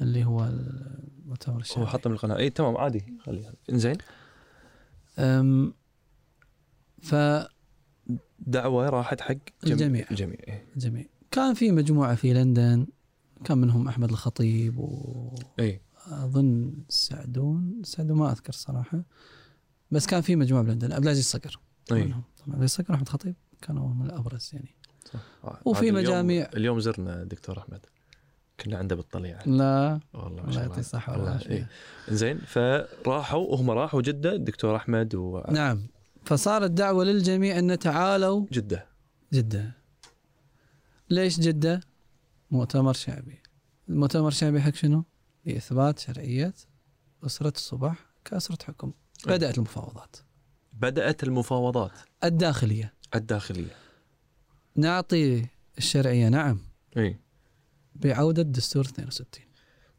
Speaker 2: اللي هو المؤتمر
Speaker 3: هو
Speaker 2: الشعبي
Speaker 3: حطه من القناه اي تمام عادي خليها زين
Speaker 2: أم، فالجميع
Speaker 3: دعوه راحت حق
Speaker 2: الجميع.
Speaker 3: الجميع إيه.
Speaker 2: كان في مجموعه في لندن كان منهم احمد الخطيب
Speaker 3: اي
Speaker 2: واظن السعدون السعدون ما اذكر صراحه بس كان في مجموعه بلندن عبد العزيز صقر
Speaker 3: اي
Speaker 2: منهم. طبعا عبد العزيز صقر واحمد الخطيب كانوا هم الابرز يعني
Speaker 3: صح. آه،
Speaker 2: وفي
Speaker 3: عاد اليوم-
Speaker 2: مجاميع.
Speaker 3: اليوم زرنا دكتور احمد كنا عنده بالطليعه
Speaker 2: لا
Speaker 3: والله ما
Speaker 2: الله
Speaker 3: شاء
Speaker 2: يعطيه
Speaker 3: الله
Speaker 2: الصحه
Speaker 3: الله-
Speaker 2: والعافيه
Speaker 3: إيه. زين فراحوا وهم راحوا جده الدكتور احمد وجده
Speaker 2: نعم فصارت دعوه للجميع ان تعالوا جده ليش جده؟ مؤتمر شعبي المؤتمر الشعبي حق شنو؟ لاثبات شرعيه اسره الصبح كاسره حكم بدات المفاوضات
Speaker 3: بدات المفاوضات
Speaker 2: الداخليه
Speaker 3: الداخليه
Speaker 2: نعطي الشرعيه نعم
Speaker 3: اي
Speaker 2: بعوده دستور 62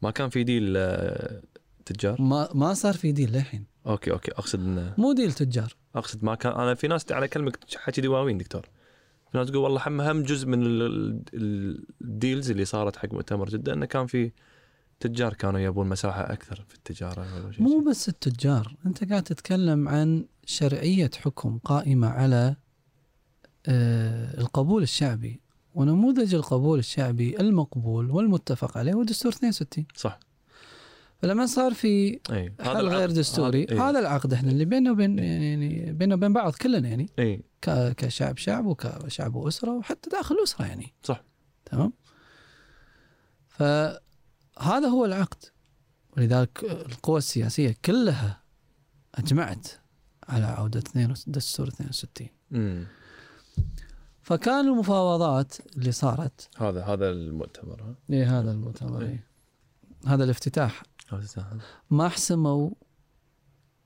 Speaker 3: ما كان في ديل آه، تجار
Speaker 2: ما ما صار في ديل للحين
Speaker 3: اوكي اوكي اقصد إنه-
Speaker 2: مو ديل تجار
Speaker 3: اقصد ما كان انا في ناس على كلمك حكي دواوين دكتور في ناس تقول والله هم هم جزء من ال- ال- الديلز اللي صارت حق مؤتمر جده انه كان في تجار كانوا يبون مساحه اكثر في التجاره ولا شيء
Speaker 2: مو بس التجار انت قاعد تتكلم عن شرعيه حكم قائمه على آه، القبول الشعبي ونموذج القبول الشعبي المقبول والمتفق عليه هو دستور 62
Speaker 3: صح
Speaker 2: فلما صار في
Speaker 3: اي
Speaker 2: حل غير
Speaker 3: العقد-
Speaker 2: دستوري
Speaker 3: هذا- إيه.
Speaker 2: هذا العقد احنا اللي بيننا وبين يعني بيننا وبين بعض كلنا يعني
Speaker 3: اي اي
Speaker 2: ك- كشعب شعب وكشعب واسره وحتى داخل الاسره يعني
Speaker 3: صح.
Speaker 2: تمام فهذا هو العقد ولذلك القوى السياسيه كلها اجمعت على عوده 2 دستور 62
Speaker 3: أمم.
Speaker 2: فكان المفاوضات اللي صارت
Speaker 3: هذا هذا المؤتمر ها
Speaker 2: لهذا المؤتمر
Speaker 3: إيه.
Speaker 2: هذا الافتتاح
Speaker 3: هذا سهل.
Speaker 2: ما حسموا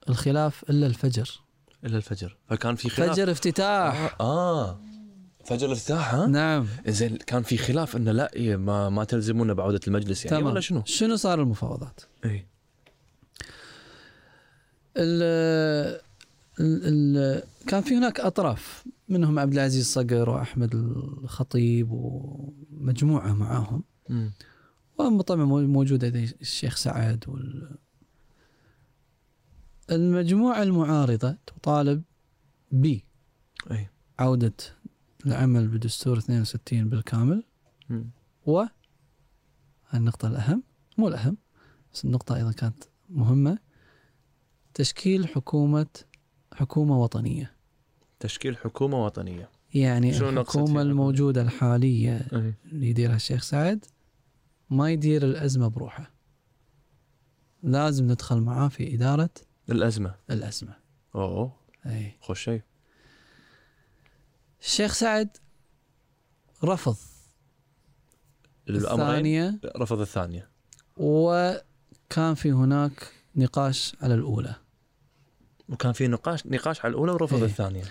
Speaker 2: الخلاف الا الفجر
Speaker 3: الا الفجر فكان في خلاف
Speaker 2: فجر افتتاح
Speaker 3: اه فجر الافتتاح ها
Speaker 2: نعم
Speaker 3: زين كان في خلاف انه لا إيه، ما ما تلزمونا بعوده المجلس يعني
Speaker 2: تمام
Speaker 3: ولا شنو؟
Speaker 2: شنو صار المفاوضات؟
Speaker 3: اي
Speaker 2: ال ال ال كان في هناك اطراف منهم عبد العزيز صقر واحمد الخطيب ومجموعه معاهم
Speaker 3: أمم.
Speaker 2: وطبعا مو- موجوده يدي الشيخ سعد وال المجموعه المعارضه تطالب
Speaker 3: اي
Speaker 2: بعوده العمل بدستور 62 بالكامل
Speaker 3: أمم.
Speaker 2: و النقطة الأهم مو الأهم بس النقطة أيضا كانت مهمة تشكيل حكومة حكومة وطنية
Speaker 3: تشكيل حكومه وطنيه
Speaker 2: يعني
Speaker 3: شو نقصد
Speaker 2: الحكومة
Speaker 3: فيها؟
Speaker 2: الموجودة الحالية
Speaker 3: اي
Speaker 2: اللي يديرها الشيخ سعد ما يدير الأزمة بروحه لازم ندخل معاه في إدارة
Speaker 3: الازمه
Speaker 2: الأزمة
Speaker 3: اوه
Speaker 2: أي.
Speaker 3: خوش شيء
Speaker 2: الشيخ سعد رفض
Speaker 3: الامرين
Speaker 2: الثانية
Speaker 3: رفض الثانيه
Speaker 2: وكان في هناك نقاش على الأولى
Speaker 3: وكان في نقاش نقاش على الاولى ورفض
Speaker 2: إيه.
Speaker 3: الثانيه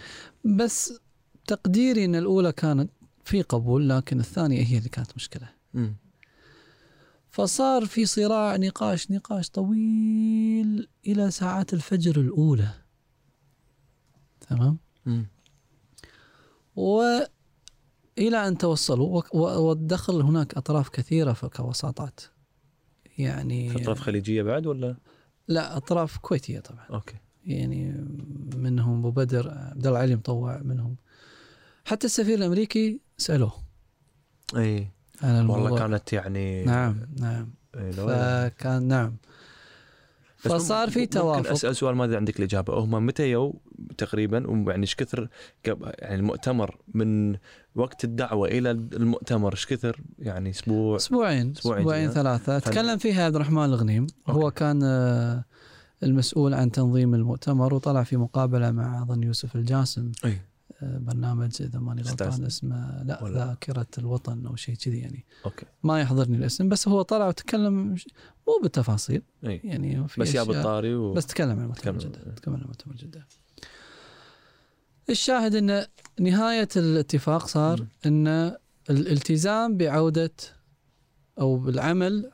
Speaker 2: بس تقديري ان الاولى كانت في قبول لكن الثانيه هي اللي كانت مشكله
Speaker 3: أمم.
Speaker 2: فصار في صراع نقاش نقاش طويل الى ساعات الفجر الاولى تمام
Speaker 3: أمم.
Speaker 2: والى ان توصلوا وك- و- والدخل هناك اطراف كثيره كوساطات يعني
Speaker 3: في اطراف خليجيه بعد ولا
Speaker 2: لا اطراف كويتيه طبعا
Speaker 3: اوكي
Speaker 2: يعني منهم ابو بدر عبد الله علي مطوع منهم حتى السفير الامريكي سالوه
Speaker 3: اي
Speaker 2: على الموضوع
Speaker 3: والله كانت يعني
Speaker 2: نعم نعم
Speaker 3: إيه، لو-
Speaker 2: فكان نعم
Speaker 3: بس مم-
Speaker 2: فصار في
Speaker 3: ممكن
Speaker 2: توافق.
Speaker 3: اسال سؤال ما ادري عندك الاجابه هم متى يو تقريبا ويعني ايش كثر قبل- يعني المؤتمر من وقت الدعوه الى المؤتمر ايش كثر يعني اسبوع
Speaker 2: اسبوعين
Speaker 3: أسبوعين
Speaker 2: اسبوعين
Speaker 3: جاية.
Speaker 2: ثلاثه
Speaker 3: فن-
Speaker 2: تكلم فيها عبد الرحمن الغنيم هو
Speaker 3: أوكي.
Speaker 2: كان آه، المسؤول عن تنظيم المؤتمر وطلع في مقابله مع اظن يوسف الجاسم
Speaker 3: اي
Speaker 2: آه، برنامج اذا ماني
Speaker 3: استاذ.
Speaker 2: غلطان اسمه لا
Speaker 3: ولا-
Speaker 2: ذاكره الوطن او شيء كذي يعني
Speaker 3: اوكي
Speaker 2: ما يحضرني الاسم بس هو طلع وتكلم ش- مو بالتفاصيل
Speaker 3: اي
Speaker 2: يعني في
Speaker 3: بس ياب
Speaker 2: أشياء-
Speaker 3: الطاري و...
Speaker 2: بس تكلم عن مؤتمر
Speaker 3: تكلم-
Speaker 2: جده تكلم عن مؤتمر جده الشاهد ان نهايه الاتفاق صار
Speaker 3: مم.
Speaker 2: ان الالتزام بعوده او بالعمل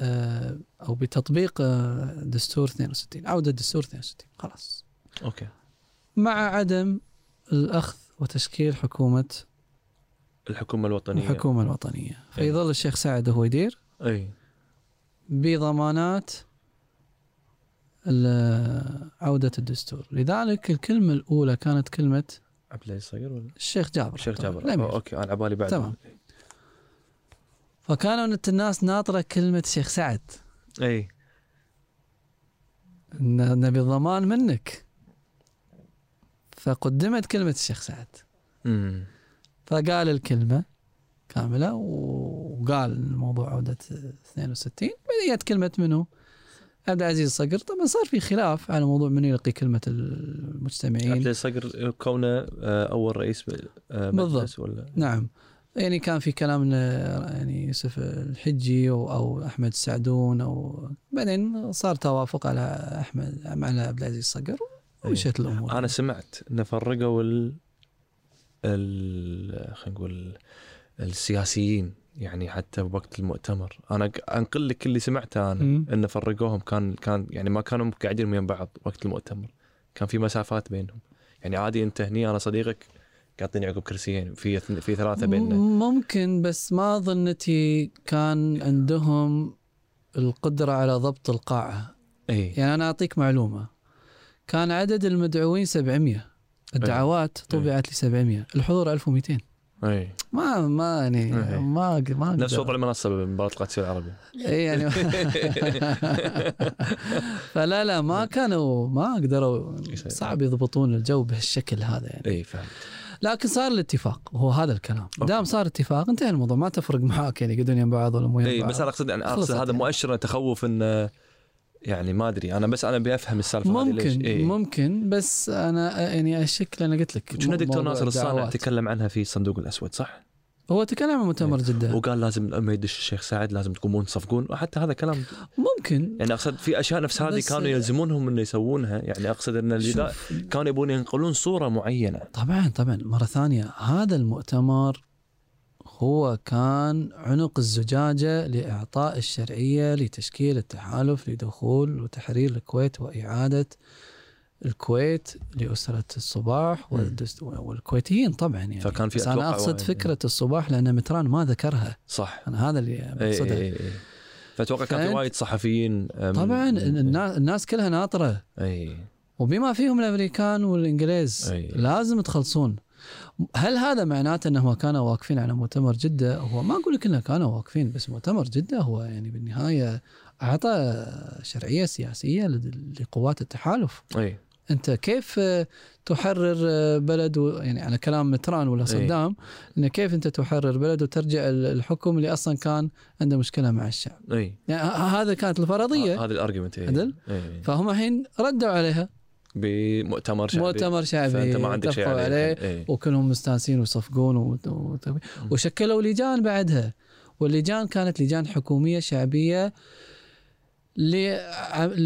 Speaker 2: آه، او بتطبيق آه، دستور 62 عوده دستور 62 خلاص
Speaker 3: اوكي
Speaker 2: مع عدم الاخذ وتشكيل حكومه
Speaker 3: الحكومه الوطنيه
Speaker 2: الحكومه الوطنيه
Speaker 3: إيه.
Speaker 2: فيظل الشيخ سعد هو يدير
Speaker 3: اي
Speaker 2: بضمانات ال- عودة الدستور لذلك الكلمة الأولى كانت كلمة
Speaker 3: عبد العزيز صقر ولا
Speaker 2: الشيخ جابر
Speaker 3: شيخ جابر
Speaker 2: الأمير.
Speaker 3: أو- اوكي انا عبالي بعد
Speaker 2: تمام. فكانت الناس ناطرة كلمة شيخ سعد
Speaker 3: اي
Speaker 2: ن- نبي الضمان منك فقدمت كلمة الشيخ سعد
Speaker 3: امم
Speaker 2: فقال الكلمة كاملة وقال الموضوع عودة 62 بعدين جت كلمة منه عبد العزيز صقر طبعا صار في خلاف على موضوع من يلقي كلمة المجتمعين
Speaker 3: عبد العزيز صقر كونه آه، اول رئيس ب- آه،
Speaker 2: بالضبط.
Speaker 3: مجلس ولا
Speaker 2: نعم يعني كان في كلام ل- يعني يوسف الحجي او, أو احمد السعدون او بعدين صار توافق على احمد على عبد العزيز صقر ومشيت الامور
Speaker 3: انا سمعت انه فرقوا ال ال خلينا نقول السياسيين يعني حتى وقت المؤتمر انا ق- انقل لك اللي سمعته انا
Speaker 2: مم.
Speaker 3: انه فرقوهم كان كان يعني ما كانوا قاعدين ويا بعض وقت المؤتمر كان في مسافات بينهم يعني عادي انت هني انا صديقك قاعدين عقب كرسيين في اثن- في ثلاثه بيننا
Speaker 2: م- ممكن بس ما ظنتي كان عندهم القدرة على ضبط القاعة
Speaker 3: اي
Speaker 2: يعني أنا أعطيك معلومة كان عدد المدعوين 700 الدعوات طبعت لي 700 الحضور 1200
Speaker 3: اي
Speaker 2: ما ما يعني
Speaker 3: إيه.
Speaker 2: ما ما
Speaker 3: نفس
Speaker 2: أقدر.
Speaker 3: وضع المنصه بمباراه القادسيه العربيه
Speaker 2: اي يعني فلا لا ما
Speaker 3: إيه.
Speaker 2: كانوا ما قدروا
Speaker 3: يسيطر.
Speaker 2: صعب يضبطون الجو بهالشكل هذا يعني
Speaker 3: اي فهمت
Speaker 2: لكن صار الاتفاق وهو هذا الكلام
Speaker 3: أوكي.
Speaker 2: دام صار اتفاق انتهى الموضوع ما تفرق معاك يعني يقعدون يم بعض ولا مو
Speaker 3: اي
Speaker 2: يم
Speaker 3: إيه، بس انا
Speaker 2: بعض
Speaker 3: اقصد انا
Speaker 2: خلصت
Speaker 3: اقصد هذا
Speaker 2: يعني.
Speaker 3: مؤشر إنه تخوف انه يعني ما ادري انا بس انا بفهم السالفه هذه ليش إيه.
Speaker 2: ممكن
Speaker 3: إي.
Speaker 2: ممكن بس انا يعني الشكل انا قلت لك
Speaker 3: كنا
Speaker 2: مو-
Speaker 3: دكتور
Speaker 2: موضوع
Speaker 3: ناصر الصانع
Speaker 2: الدعوات.
Speaker 3: تكلم عنها في الصندوق الاسود صح؟
Speaker 2: هو تكلم عن
Speaker 3: إيه.
Speaker 2: مؤتمر جده
Speaker 3: وقال لازم لما يدش الشيخ سعد لازم تقومون تصفقون وحتى هذا كلام
Speaker 2: ممكن
Speaker 3: يعني اقصد في اشياء نفس هذه
Speaker 2: بس-
Speaker 3: كانوا يلزمونهم انه يسوونها يعني اقصد ان الجدال
Speaker 2: شوف،
Speaker 3: كانوا يبون ينقلون صوره معينه
Speaker 2: طبعا طبعا مرة ثانية هذا المؤتمر هو كان عنق الزجاجة لإعطاء الشرعية لتشكيل التحالف لدخول وتحرير الكويت وإعادة الكويت لأسرة الصباح والدست- والكويتيين طبعا يعني
Speaker 3: فكان في
Speaker 2: بس أنا
Speaker 3: أتوقع
Speaker 2: أقصد
Speaker 3: واحد-
Speaker 2: فكرة الصباح لأن متران ما ذكرها
Speaker 3: صح
Speaker 2: أنا هذا اللي
Speaker 3: اي
Speaker 2: أقصده
Speaker 3: اي اي فاتوقع كان في
Speaker 2: فأنت-
Speaker 3: وايد صحفيين آه، من-
Speaker 2: طبعا
Speaker 3: من-
Speaker 2: الناس, الناس كلها ناطرة
Speaker 3: اي
Speaker 2: وبما فيهم الامريكان والانجليز
Speaker 3: أي.
Speaker 2: لازم تخلصون هل هذا معناته انهم كانوا واقفين على مؤتمر جده؟ هو ما اقول لك انهم كانوا واقفين بس مؤتمر جده هو يعني بالنهايه اعطى شرعيه سياسيه لد- لقوات التحالف،
Speaker 3: اي
Speaker 2: انت كيف آه، تحرر آه، بلد و- يعني على كلام متران ولا صدام انه كيف انت تحرر بلد وترجع ال- الحكم اللي اصلا كان عنده مشكله مع الشعب،
Speaker 3: اي
Speaker 2: يعني ه- هذا كانت الفرضيه
Speaker 3: آه، هذا الارجيومنت اي
Speaker 2: طيب. عدل؟
Speaker 3: إي.
Speaker 2: فهم الحين ردوا عليها
Speaker 3: إيه. بمؤتمر شعبي
Speaker 2: مؤتمر شعبي
Speaker 3: فانت ما عندك شيء إيه.
Speaker 2: اتفقوا
Speaker 3: عليه إي.
Speaker 2: وكلهم مستانسين ويصفقون و... و... وشكلوا لجان بعدها واللجان كانت لجان حكوميه شعبيه ل...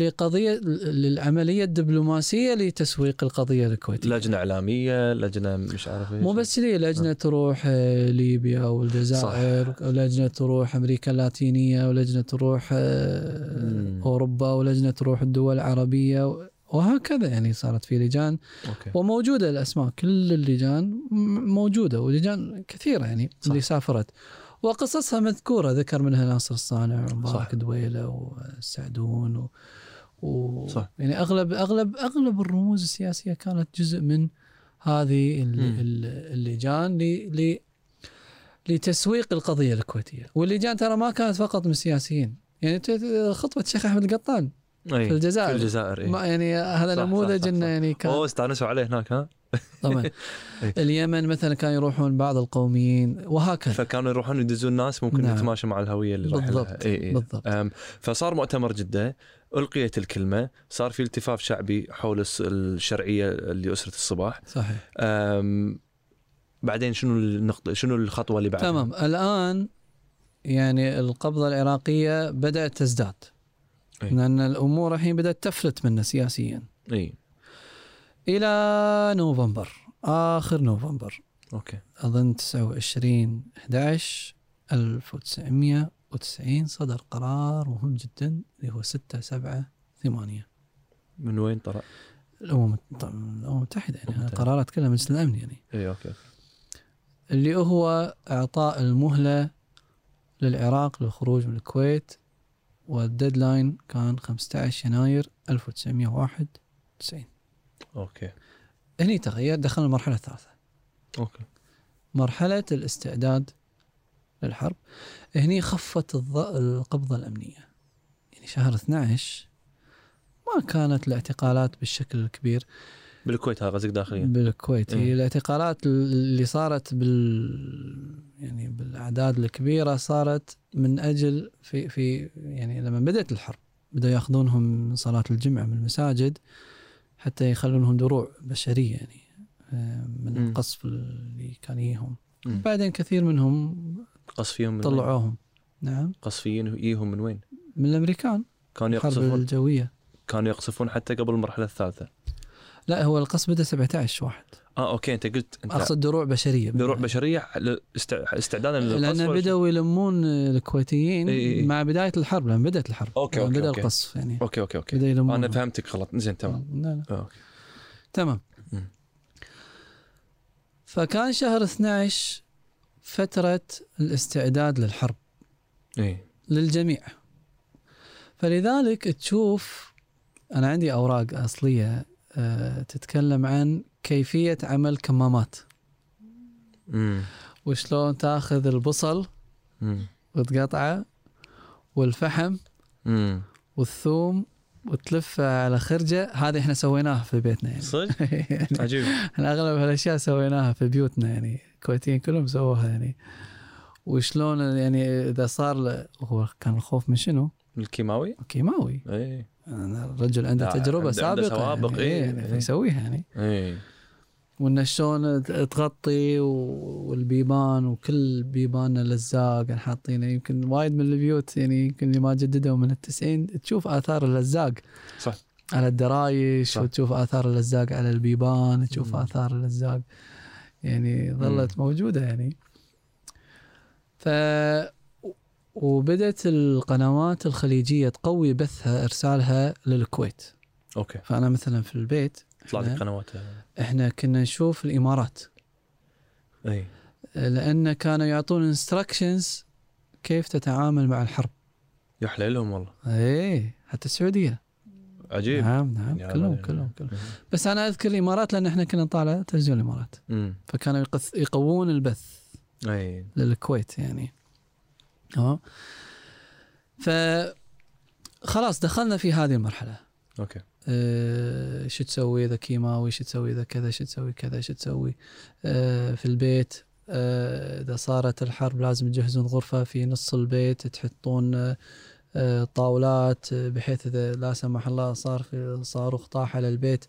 Speaker 2: لقضيه للعمليه الدبلوماسيه لتسويق القضيه الكويتيه
Speaker 3: لجنه اعلاميه لجنه مش عارف إيش.
Speaker 2: مو بس لي لجنه
Speaker 3: نعم.
Speaker 2: تروح آه، ليبيا والجزائر ولجنه تروح امريكا اللاتينيه ولجنه تروح آه،
Speaker 3: مم.
Speaker 2: اوروبا ولجنه تروح الدول العربيه و- وهكذا يعني صارت في لجان
Speaker 3: اوكي
Speaker 2: وموجوده الاسماء كل اللجان م- موجوده ولجان كثيره يعني
Speaker 3: صح.
Speaker 2: صح. اللي سافرت وقصصها مذكوره ذكر منها ناصر الصانع
Speaker 3: صح.
Speaker 2: ومبارك دويله والسعدون و... و...
Speaker 3: صح.
Speaker 2: يعني اغلب اغلب اغلب الرموز السياسيه كانت جزء من هذه ال-
Speaker 3: مم.
Speaker 2: ال- اللجان ل... ل... لتسويق القضيه الكويتيه واللجان ترى ما كانت فقط من السياسيين يعني ت- خطوه الشيخ احمد قطان
Speaker 3: إي.
Speaker 2: في الجزائر.
Speaker 3: إيه. في الجزائر إي.
Speaker 2: ما يعني هذا
Speaker 3: صح، صح،
Speaker 2: نموذج
Speaker 3: صح،
Speaker 2: انه
Speaker 3: صح.
Speaker 2: يعني كان
Speaker 3: اوه استانسوا عليه هناك ها
Speaker 2: طبعا
Speaker 3: إيه.
Speaker 2: اليمن مثلا كانوا يروحون بعض القوميين وهكذا
Speaker 3: فكانوا يروحون يدزون ناس ممكن
Speaker 2: نعم.
Speaker 3: يتماشوا مع الهويه اللي راح
Speaker 2: بالضبط،
Speaker 3: لها. إي إي.
Speaker 2: بالضبط.
Speaker 3: أم، فصار مؤتمر جده القيت الكلمه صار في التفاف شعبي حول الس- الشرعيه لاسره الصباح
Speaker 2: صحيح
Speaker 3: أم، بعدين شنو النقطه شنو الخطوه اللي بعدها
Speaker 2: تمام الان يعني القبضه العراقيه بدات تزداد
Speaker 3: إيه.
Speaker 2: لان الامور الحين بدات تفلت منا سياسيا
Speaker 3: اي
Speaker 2: الى نوفمبر اخر نوفمبر
Speaker 3: اوكي
Speaker 2: اظن 29 11 1990 صدر قرار مهم جدا اللي هو 6 7 8
Speaker 3: من وين طلع؟
Speaker 2: الامم طبعاً الامم المتحده يعني
Speaker 3: الأمم
Speaker 2: هذا
Speaker 3: المتحدة.
Speaker 2: قرار اتكلم مجلس الامن يعني
Speaker 3: اي اوكي
Speaker 2: اللي هو اعطاء المهله للعراق للخروج من الكويت والديدلاين كان 15 يناير 1991
Speaker 3: اوكي
Speaker 2: هني تغير دخلنا المرحله الثالثه
Speaker 3: اوكي
Speaker 2: مرحلة الاستعداد للحرب هني خفت الض- القبضة الأمنية يعني شهر 12 ما كانت الاعتقالات بالشكل الكبير
Speaker 3: بالكويت هذا قصدك داخليا
Speaker 2: بالكويت
Speaker 3: إيه.
Speaker 2: هي الاعتقالات اللي صارت بال يعني بالأعداد الكبيرة صارت من أجل في في يعني لما بدأت الحرب بدأوا ياخذونهم من صلاة الجمعة من المساجد حتى يخلونهم دروع بشرية يعني آه، من
Speaker 3: مم.
Speaker 2: القصف اللي كان يجيهم
Speaker 3: مم.
Speaker 2: بعدين كثير منهم
Speaker 3: قصفيهم من طلعوا
Speaker 2: طلعوهم نعم
Speaker 3: قصفيين يجيهم من وين؟
Speaker 2: من الامريكان
Speaker 3: كانوا
Speaker 2: الحرب
Speaker 3: يقصفون
Speaker 2: الجويه
Speaker 3: كانوا يقصفون حتى قبل المرحله الثالثه
Speaker 2: لا هو القصف بدا 17 واحد
Speaker 3: اه اوكي انت قلت انت
Speaker 2: اقصد دروع بشريه
Speaker 3: دروع بشريه ل- است- استعدادا للقصف
Speaker 2: لان
Speaker 3: ولا شو؟
Speaker 2: بداوا يلمون
Speaker 3: إي إي إي.
Speaker 2: الكويتيين مع بدايه الحرب لما بدات الحرب
Speaker 3: إيه. أوكي،
Speaker 2: لما
Speaker 3: أوكي،
Speaker 2: بدا
Speaker 3: أوكي.
Speaker 2: القصف يعني
Speaker 3: اوكي اوكي اوكي
Speaker 2: بدا يلمون
Speaker 3: انا فهمتك غلط زين تمام آه،
Speaker 2: لا لا
Speaker 3: اوكي
Speaker 2: تمام
Speaker 3: مم.
Speaker 2: فكان شهر 12 فتره الاستعداد للحرب
Speaker 3: اي
Speaker 2: للجميع فلذلك تشوف أنا عندي أوراق أصلية آه، تتكلم عن كيفية عمل كمامات
Speaker 3: امم
Speaker 2: وشلون تاخذ البصل
Speaker 3: أمم.
Speaker 2: وتقطعه والفحم
Speaker 3: امم
Speaker 2: والثوم وتلفه على خرجة هذه احنا سويناها في بيتنا يعني
Speaker 3: صدق
Speaker 2: يعني
Speaker 3: عجيب
Speaker 2: احنا اغلب هالاشياء سويناها في بيوتنا يعني الكويتيين كلهم سووها يعني وشلون يعني اذا صار له- هو كان الخوف من شنو؟
Speaker 3: الكيماوي إيه،
Speaker 2: كيماوي
Speaker 3: اي
Speaker 2: الرجل عنده
Speaker 3: آه،
Speaker 2: تجربه
Speaker 3: عنده-
Speaker 2: سابقه
Speaker 3: عنده سوابق،
Speaker 2: يعني,
Speaker 3: إيه،
Speaker 2: يعني
Speaker 3: إيه.
Speaker 2: فيسويها يعني
Speaker 3: اي
Speaker 2: وانه شلون ت- تغطي و- والبيبان وكل بيباننا لزاق يعني حاطينه يمكن وايد من البيوت يعني يمكن اللي ما جددوا من التسعين تشوف اثار اللزاق
Speaker 3: صح
Speaker 2: على الدرايش
Speaker 3: صح.
Speaker 2: وتشوف اثار اللزاق على البيبان تشوف
Speaker 3: مم.
Speaker 2: اثار اللزاق يعني ظلت موجوده يعني ف وبدت القنوات الخليجيه تقوي بثها ارسالها للكويت
Speaker 3: اوكي
Speaker 2: فانا مثلا في البيت
Speaker 3: طلعت
Speaker 2: إحنا-
Speaker 3: القنوات
Speaker 2: احنا كنا نشوف الامارات
Speaker 3: اي
Speaker 2: لان كانوا يعطون انستراكشنز كيف تتعامل مع الحرب
Speaker 3: يا حليلهم والله
Speaker 2: ايه حتى السعوديه
Speaker 3: عجيب
Speaker 2: نعم نعم
Speaker 3: يا
Speaker 2: كلهم
Speaker 3: رجل.
Speaker 2: كلهم كلهم بس انا اذكر الامارات لان احنا كنا نطالع تلفزيون الامارات
Speaker 3: امم
Speaker 2: فكانوا يقث- يقوون البث
Speaker 3: اي
Speaker 2: للكويت يعني تمام ف خلاص دخلنا في هذه المرحله
Speaker 3: اوكي
Speaker 2: آه، شو تسوي اذا كيماوي شو تسوي اذا كذا شو تسوي كذا شو تسوي آه، في البيت آه، اذا صارت الحرب لازم تجهزون غرفه في نص البيت تحطون آه، آه، طاولات آه، بحيث اذا لا سمح الله صار في صاروخ طاح على البيت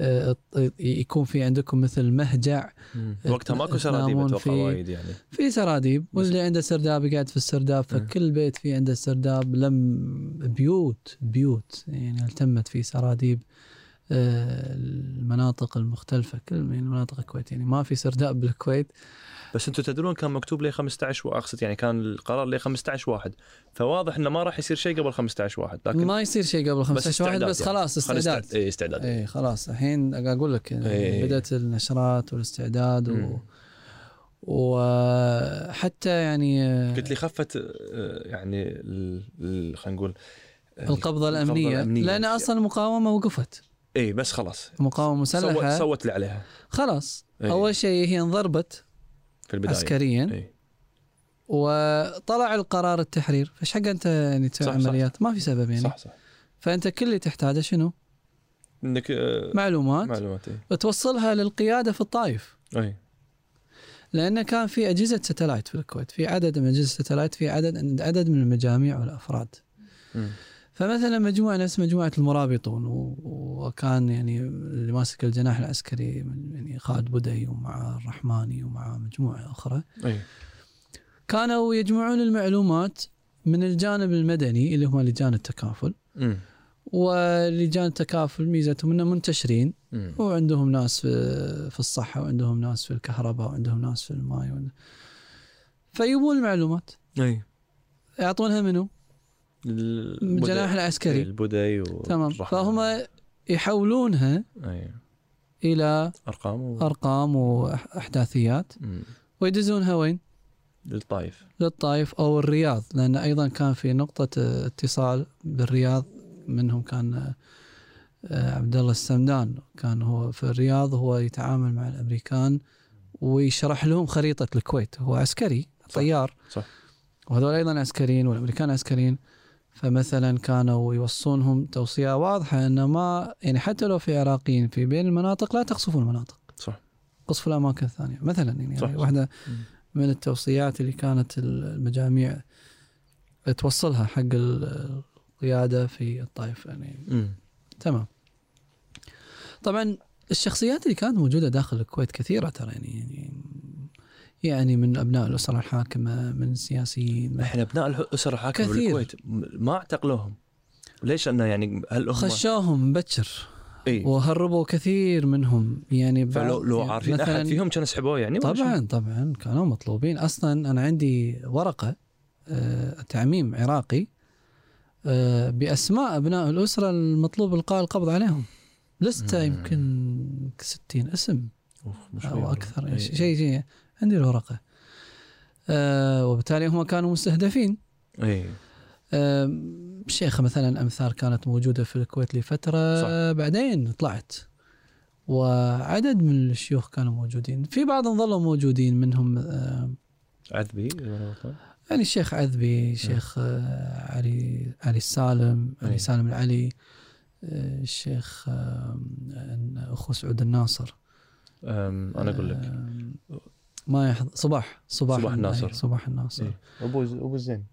Speaker 2: آه، ي- يكون في عندكم مثل مهجع
Speaker 3: أمم. وقتها ماكو سراديب
Speaker 2: تنامون
Speaker 3: اتوقع
Speaker 2: إيه. في-
Speaker 3: وايد يعني
Speaker 2: في سراديب
Speaker 3: بس-
Speaker 2: واللي عنده سرداب يقعد في السرداب
Speaker 3: أه.
Speaker 2: فكل بيت في عنده سرداب لم بيوت بيوت يعني التمت في سراديب آه، المناطق المختلفة كل من مناطق الكويت يعني ما في سرداب بالكويت
Speaker 3: بس انتم تدرون كان مكتوب لي 15 واقصد يعني كان القرار لي 15 واحد فواضح انه ما راح يصير شيء قبل 15 واحد لكن
Speaker 2: ما يصير شيء قبل 15 واحد
Speaker 3: استعداد
Speaker 2: بس
Speaker 3: يعني.
Speaker 2: خلاص
Speaker 3: خلينا
Speaker 2: استعداد إيه.
Speaker 3: اي استعداد
Speaker 2: اي خلاص الحين قاعد اقول لك
Speaker 3: إيه.
Speaker 2: يعني بدات النشرات والاستعداد و...
Speaker 3: مم.
Speaker 2: وحتى يعني آه،
Speaker 3: قلت لي خفت آه، يعني ال- ال- خلينا نقول يعني.
Speaker 2: القبضه الامنيه لان اصلا المقاومه وقفت
Speaker 3: اي يعني. إيه، بس خلاص
Speaker 2: المقاومه
Speaker 3: سوت
Speaker 2: مسلحه
Speaker 3: سوت اللي عليها
Speaker 2: خلاص
Speaker 3: إيه.
Speaker 2: اول شيء هي انضربت
Speaker 3: في البدايه
Speaker 2: عسكريا
Speaker 3: اي
Speaker 2: وطلع القرار التحرير فايش حق انت يعني تسوي
Speaker 3: صح، صح.
Speaker 2: عمليات ما في سبب يعني
Speaker 3: صح صح
Speaker 2: فانت كل اللي تحتاجه شنو
Speaker 3: انك آه،
Speaker 2: معلومات
Speaker 3: معلومات اي
Speaker 2: توصلها للقياده في الطائف
Speaker 3: اي
Speaker 2: لانه كان في اجهزه ستلايت في الكويت في عدد من اجهزه الستلايت في عدد عدد من المجاميع والافراد
Speaker 3: مم.
Speaker 2: فمثلا مجموعه نفس مجموعه المرابطون و- وكان يعني اللي ماسك الجناح العسكري من- يعني خالد بدي ومع الرحماني ومع مجموعه اخرى
Speaker 3: اي
Speaker 2: كانوا يجمعون المعلومات من الجانب المدني اللي هم لجان التكافل
Speaker 3: مم.
Speaker 2: ولجان التكافل ميزتهم انهم منتشرين
Speaker 3: مم.
Speaker 2: وعندهم ناس في في الصحه وعندهم ناس في الكهرباء وعندهم ناس في الماي وعند- فيبون المعلومات
Speaker 3: اي
Speaker 2: يعطونها منو؟ من الجناح
Speaker 3: العسكري
Speaker 2: العسكري
Speaker 3: البدي و
Speaker 2: تمام فهم يحولونها
Speaker 3: اي
Speaker 2: الى
Speaker 3: ارقام
Speaker 2: آه.
Speaker 3: و...
Speaker 2: ارقام واحداثيات
Speaker 3: مم.
Speaker 2: ويدزونها وين؟
Speaker 3: للطائف
Speaker 2: للطائف او الرياض لان ايضا كان في نقطه آه، اتصال بالرياض منهم كان آه، آه، عبد الله السمدان كان هو في الرياض هو يتعامل مع الامريكان ويشرح لهم خريطه الكويت هو عسكري طيار
Speaker 3: صح.
Speaker 2: وهذول ايضا عسكريين والامريكان عسكريين فمثلا كانوا يوصونهم توصيه واضحه ان ما يعني حتى لو في عراقيين في بين المناطق لا تقصفوا المناطق
Speaker 3: صح.
Speaker 2: قصفوا الاماكن الثانيه مثلا يعني
Speaker 3: صح.
Speaker 2: صح. واحده
Speaker 3: مم.
Speaker 2: من التوصيات اللي كانت المجاميع توصلها حق ال- القياده في الطائف يعني
Speaker 3: مم.
Speaker 2: تمام طبعا الشخصيات اللي كانت موجوده داخل الكويت كثيره ترى يعني يعني يعني من ابناء الاسره الحاكمه من سياسيين من-
Speaker 3: احنا ابناء الاسر الحاكمه
Speaker 2: كثير.
Speaker 3: بالكويت م- ما اعتقلوهم ليش انه يعني هل هم
Speaker 2: خشوهم مبكر
Speaker 3: اي
Speaker 2: وهربوا كثير منهم يعني بعض-
Speaker 3: فلو لو
Speaker 2: يعني
Speaker 3: عارفين
Speaker 2: مثلاً-
Speaker 3: احد فيهم كان سحبوه يعني ولا شو؟
Speaker 2: طبعا طبعا كانوا مطلوبين اصلا انا عندي ورقه آه، تعميم عراقي آه، باسماء ابناء الاسره المطلوب القاء القبض عليهم لسته
Speaker 3: مم.
Speaker 2: يمكن 60 اسم
Speaker 3: أوف، مش إيه،
Speaker 2: او
Speaker 3: وياهم.
Speaker 2: اكثر
Speaker 3: إي.
Speaker 2: يعني شيء شيء عندي الورقه آه، وبالتالي هم كانوا مستهدفين
Speaker 3: اي
Speaker 2: آم، شيخة مثلا أمثال كانت موجودة في الكويت لفترة
Speaker 3: صح.
Speaker 2: بعدين طلعت وعدد من الشيوخ كانوا موجودين في بعضهم ظلوا موجودين منهم آم،
Speaker 3: عذبي إذا أنا غلطان.
Speaker 2: يعني الشيخ عذبي الشيخ
Speaker 3: نعم.
Speaker 2: آه، علي علي السالم علي
Speaker 3: أي.
Speaker 2: سالم العلي آه، الشيخ آم، أخو سعود الناصر
Speaker 3: أم، انا اقول لك
Speaker 2: آم، ما يحض... صباح صباح,
Speaker 3: صباح الناصر. إيه.
Speaker 2: أي، صباح الناصر
Speaker 3: إي. ابو ابو زين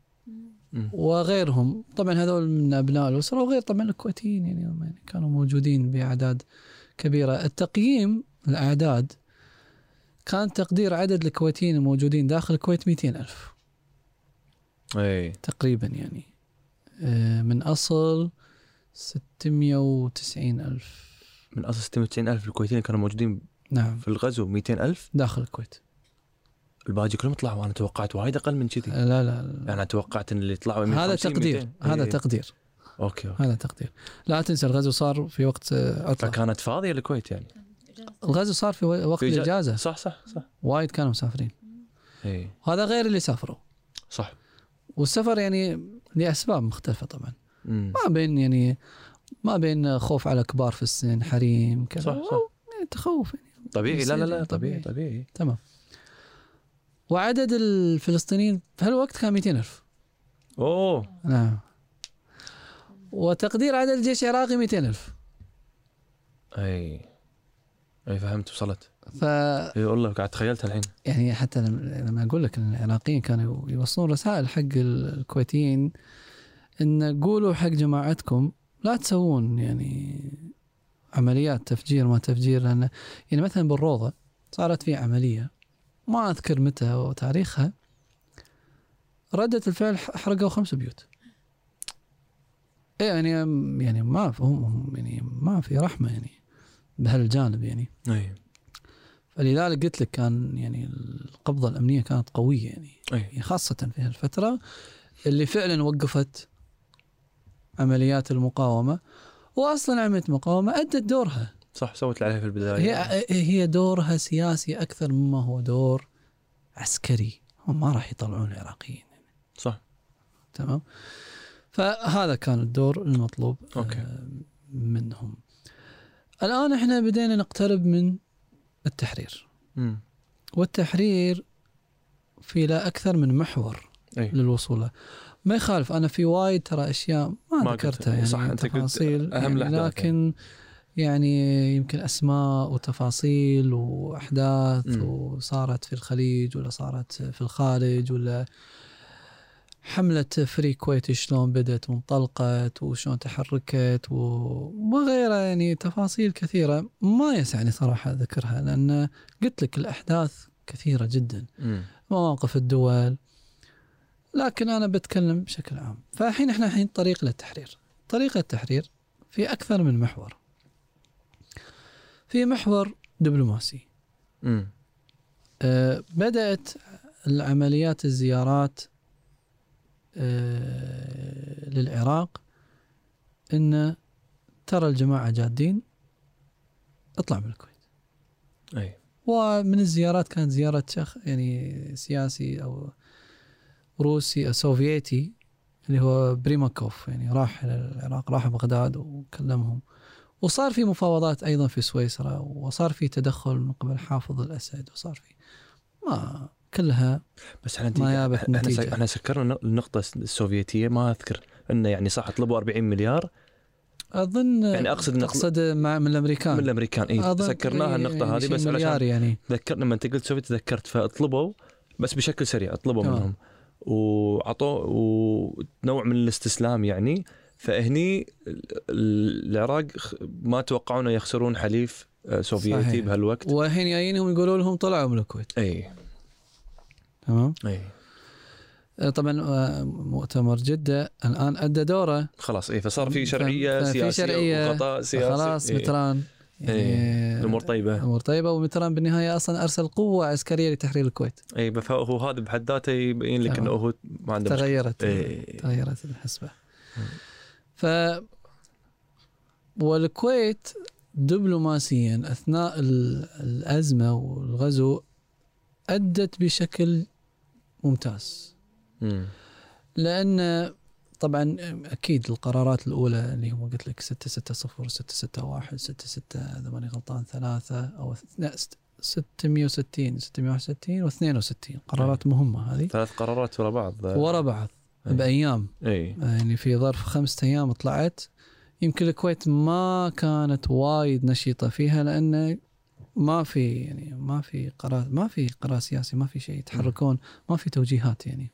Speaker 2: وغيرهم طبعا هذول من ابناء الاسره وغير طبعا الكويتيين يعني هم يعني كانوا موجودين باعداد كبيره التقييم الاعداد كان تقدير عدد الكويتيين الموجودين داخل الكويت 200 ألف
Speaker 3: اي
Speaker 2: تقريبا يعني آه، من أصل 690 ألف
Speaker 3: من اصل 690,000 الكويتيين كانوا موجودين
Speaker 2: نعم
Speaker 3: في الغزو 200,000
Speaker 2: داخل الكويت
Speaker 3: الباقي كلهم طلعوا انا توقعت وايد اقل من كذي
Speaker 2: آه، لا لا, لا.
Speaker 3: انا توقعت ان اللي طلعوا
Speaker 2: هذا
Speaker 3: 150
Speaker 2: تقدير
Speaker 3: 200.
Speaker 2: هذا
Speaker 3: إي.
Speaker 2: تقدير
Speaker 3: اوكي أوكي.
Speaker 2: هذا تقدير لا تنسى الغزو صار في وقت آه، عطلة
Speaker 3: فكانت فاضيه الكويت يعني
Speaker 2: الغزو صار في وقت
Speaker 3: في إجازة.
Speaker 2: الإجازة
Speaker 3: صح صح صح
Speaker 2: وايد كانوا مسافرين
Speaker 3: اي
Speaker 2: وهذا غير اللي سافروا
Speaker 3: صح
Speaker 2: والسفر يعني لاسباب مختلفه طبعا
Speaker 3: مم.
Speaker 2: ما بين يعني ما بين خوف على كبار في السن حريم كذا
Speaker 3: صح صح
Speaker 2: يعني تخوف يعني
Speaker 3: طبيعي لا لا لا
Speaker 2: يصير
Speaker 3: طبيعي
Speaker 2: طبيعي.
Speaker 3: طبيعي
Speaker 2: تمام وعدد الفلسطينيين في هالوقت كان 200 ألف
Speaker 3: اوه
Speaker 2: نعم وتقدير عدد الجيش العراقي 200 ألف
Speaker 3: اي اي فهمت وصلت
Speaker 2: ف
Speaker 3: اي والله قاعد تخيلت الحين
Speaker 2: يعني حتى لما لما اقول لك ان العراقيين كانوا يوصلون رسائل حق ال- الكويتيين ان قولوا حق جماعتكم لا تسوون يعني عمليات تفجير ما تفجير لان يعني مثلا بالروضه صارت في عمليه ما اذكر متى وتاريخها رده الفعل ح- حرقوا خمس بيوت إيه يعني يعني ما في- هم هم يعني ما في رحمه يعني بهالجانب يعني
Speaker 3: اي
Speaker 2: فلذلك قلت لك كان يعني القبضه الامنيه كانت قويه يعني
Speaker 3: اي
Speaker 2: يعني خاصه في هالفتره اللي فعلا وقفت عمليات المقاومه واصلا عمليه المقاومه ادت دورها
Speaker 3: صح سوت اللي عليها في البدايه
Speaker 2: هي هي دورها سياسي اكثر مما هو دور عسكري هم ما راح يطلعون العراقيين
Speaker 3: صح
Speaker 2: تمام فهذا كان الدور المطلوب
Speaker 3: أوكي.
Speaker 2: آه، منهم الان احنا بدينا نقترب من التحرير
Speaker 3: امم
Speaker 2: والتحرير في لا اكثر من محور
Speaker 3: اي
Speaker 2: للوصول له. ما يخالف انا في وايد ترى اشياء ما,
Speaker 3: ما
Speaker 2: ما
Speaker 3: قلت-
Speaker 2: ذكرتها يعني
Speaker 3: صح،
Speaker 2: صح
Speaker 3: أنت قلت
Speaker 2: تفاصيل
Speaker 3: أهم
Speaker 2: يعني
Speaker 3: الأحداث
Speaker 2: لكن يعني يمكن اسماء وتفاصيل واحداث
Speaker 3: مم.
Speaker 2: وصارت في الخليج ولا صارت في الخارج ولا حملة فري كويت شلون بدت وانطلقت وشلون تحركت و- وغيرها يعني تفاصيل كثيرة ما يسعني صراحة ذكرها لأن قلت لك الأحداث كثيرة جدا
Speaker 3: مم.
Speaker 2: مواقف الدول لكن انا بتكلم بشكل عام فالحين احنا الحين طريق للتحرير طريق التحرير في اكثر من محور في محور دبلوماسي
Speaker 3: مم.
Speaker 2: آه، بدات العمليات الزيارات آه، للعراق ان ترى الجماعه جادين اطلع من الكويت
Speaker 3: اي
Speaker 2: ومن الزيارات كانت زيارة شخ يعني سياسي أو روسي أو سوفيتي اللي هو بريماكوف يعني راح إلى العراق راح بغداد وكلمهم وصار في مفاوضات أيضا في سويسرا وصار في تدخل من قبل حافظ الأسد وصار في ما كلها
Speaker 3: بس احنا
Speaker 2: ما جابت
Speaker 3: احنا
Speaker 2: نتيجة.
Speaker 3: احنا سكرنا النقطه السوفيتيه ما اذكر انه يعني صح طلبوا 40 مليار
Speaker 2: أظن
Speaker 3: يعني أقصد إن-
Speaker 2: أقصد مع من الأمريكان
Speaker 3: من الامريكان اي
Speaker 2: أظن إيه،
Speaker 3: سكرناها النقطه هذه
Speaker 2: شيء
Speaker 3: بس علشان
Speaker 2: مليار يعني
Speaker 3: تذكرنا لما انت قلت سوفيت تذكرت فاطلبوا بس بشكل سريع اطلبوا
Speaker 2: تمام.
Speaker 3: منهم وعطوا ونوع من الاستسلام يعني فهني ال- ال- العراق خ- ما توقعوا انه يخسرون حليف آه، سوفيتي
Speaker 2: صحيح.
Speaker 3: بهالوقت
Speaker 2: والحين جايينهم يقولوا لهم طلعوا من الكويت
Speaker 3: اي
Speaker 2: تمام
Speaker 3: اي
Speaker 2: آه، طبعا آه، مؤتمر جده الان ادى دوره
Speaker 3: خلاص اي فصار في
Speaker 2: فاهم-
Speaker 3: شرعيه
Speaker 2: ففي
Speaker 3: سياسيه
Speaker 2: شرعية،
Speaker 3: وغطاء سياسي
Speaker 2: خلاص
Speaker 3: إيه.
Speaker 2: متران يعني
Speaker 3: الامور طيبه
Speaker 2: امور طيبه ومتران بالنهايه اصلا ارسل قوه عسكريه لتحرير الكويت
Speaker 3: اي فهو هذا بحد ذاته يبين لك
Speaker 2: تمام.
Speaker 3: انه هو ما عنده مشكلة.
Speaker 2: تغيرت
Speaker 3: إيه.
Speaker 2: تغيرت الحسبه ف والكويت دبلوماسيا اثناء ال- الازمه والغزو ادت بشكل ممتاز
Speaker 3: مم.
Speaker 2: لان طبعا اكيد القرارات الاولى اللي هو قلت لك 660 661 66 اذا ماني غلطان ثلاثه او لا، ست- 660 661 و 62 قرارات مهمه هذه
Speaker 3: ثلاث قرارات ورا بعض
Speaker 2: ورا بعض
Speaker 3: أي.
Speaker 2: بايام
Speaker 3: اي
Speaker 2: يعني في ظرف خمسة ايام طلعت يمكن الكويت ما كانت وايد نشيطه فيها لان ما في يعني ما في قرار ما في قرار سياسي ما في شيء يتحركون ما في توجيهات يعني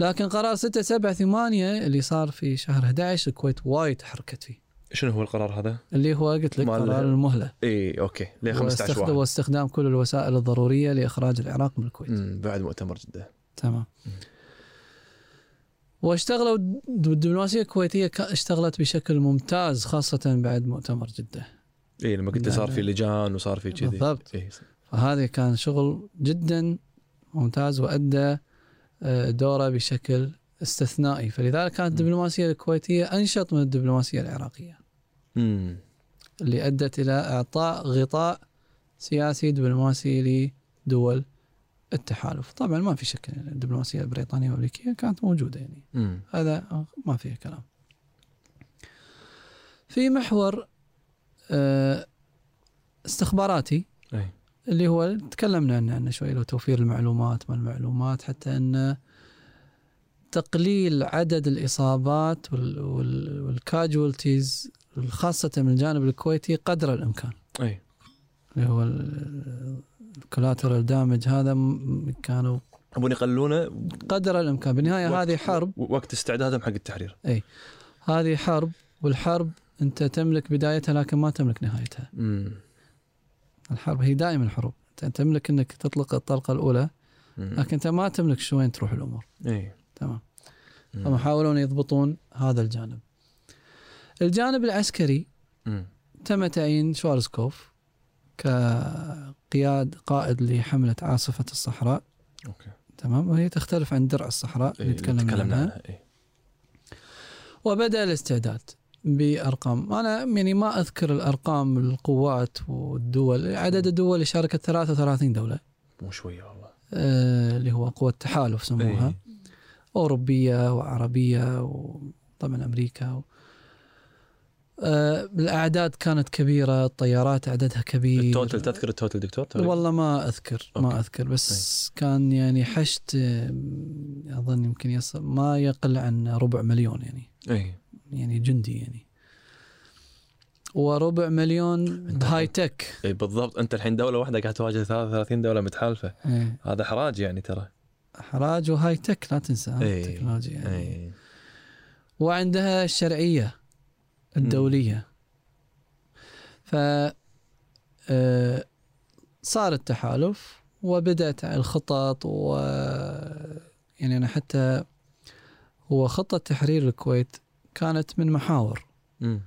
Speaker 2: لكن قرار 6 7 8 اللي صار في شهر 11 الكويت وايد تحركت فيه
Speaker 3: شنو هو القرار هذا؟
Speaker 2: اللي هو قلت لك
Speaker 3: مال-
Speaker 2: قرار المهله
Speaker 3: اي اوكي ل 15
Speaker 2: واستخد-
Speaker 3: واحد
Speaker 2: واستخدام كل الوسائل الضروريه لاخراج العراق من الكويت
Speaker 3: مم، بعد مؤتمر جده
Speaker 2: تمام واشتغلوا الدبلوماسيه الكويتيه ك- اشتغلت بشكل ممتاز خاصه بعد مؤتمر جده
Speaker 3: اي إيه، لما قلت
Speaker 2: لا،
Speaker 3: صار
Speaker 2: لا.
Speaker 3: في لجان وصار في كذي إيه.
Speaker 2: بالضبط.
Speaker 3: اي
Speaker 2: فهذا كان شغل جدا ممتاز وادى آه، دوره بشكل استثنائي فلذلك كانت الدبلوماسيه الكويتيه انشط من الدبلوماسيه العراقيه
Speaker 3: امم
Speaker 2: اللي ادت الى اعطاء غطاء سياسي دبلوماسي لدول التحالف طبعا ما في شك يعني الدبلوماسيه البريطانيه والامريكيه كانت موجوده يعني
Speaker 3: امم
Speaker 2: هذا ما فيه كلام في محور آه، استخباراتي
Speaker 3: اي
Speaker 2: اللي هو تكلمنا عنه عنه شوي لو توفير المعلومات ما المعلومات حتى ان تقليل عدد الاصابات وال- وال- والكاجوالتيز خاصه من الجانب الكويتي قدر الامكان
Speaker 3: اي
Speaker 2: اللي هو ال- الكولاترال دامج هذا م- كانوا
Speaker 3: يبون يقللونه
Speaker 2: قدر الامكان بالنهايه
Speaker 3: وقت-
Speaker 2: هذه حرب
Speaker 3: و- وقت استعدادهم حق التحرير
Speaker 2: هذه حرب والحرب انت تملك بدايتها لكن ما تملك نهايتها
Speaker 3: امم
Speaker 2: الحرب هي دائما حروب انت تملك انك تطلق الطلقه الاولى لكن انت ما تملك شوين تروح الامور
Speaker 3: اي
Speaker 2: تمام
Speaker 3: مم.
Speaker 2: فهم يحاولون يضبطون هذا الجانب الجانب العسكري
Speaker 3: امم
Speaker 2: تم تعيين شوارزكوف كقياد قائد لحمله عاصفه الصحراء
Speaker 3: اوكي
Speaker 2: تمام وهي تختلف عن درع الصحراء
Speaker 3: إي،
Speaker 2: إيه، اللي تكلمنا عنها
Speaker 3: اي
Speaker 2: وبدا الاستعداد بارقام انا يعني ما اذكر الارقام القوات والدول عدد الدول اللي شاركت 33 دوله
Speaker 3: مو شويه والله إيه.
Speaker 2: آه، اللي هو قوة تحالف سموها
Speaker 3: إي.
Speaker 2: أوروبية وعربية وطبعا أمريكا و... آه، الأعداد كانت كبيرة الطيارات عددها كبير
Speaker 3: التوتل تذكر التوتل دكتور تقريباً؟
Speaker 2: إيه. والله ما أذكر
Speaker 3: أوكي.
Speaker 2: ما أذكر بس كان يعني حشد آم، أظن يمكن يصل
Speaker 3: إيه.
Speaker 2: ما يقل عن ربع مليون يعني
Speaker 3: اي
Speaker 2: يعني جندي يعني وربع مليون بهاي تك
Speaker 3: اي إيه، بالضبط انت الحين دوله واحده قاعد تواجه 33 دوله متحالفه
Speaker 2: إيه.
Speaker 3: هذا حراج يعني ترى
Speaker 2: احراج وهاي تك لا تنسى ها،
Speaker 3: إيه.
Speaker 2: التكنولوجيا يعني.
Speaker 3: اي
Speaker 2: وعندها الشرعية الدولية ف آه، صار التحالف وبدأت الخطط و يعني أنا حتى هو خطة تحرير الكويت كانت من محاور
Speaker 3: أمم.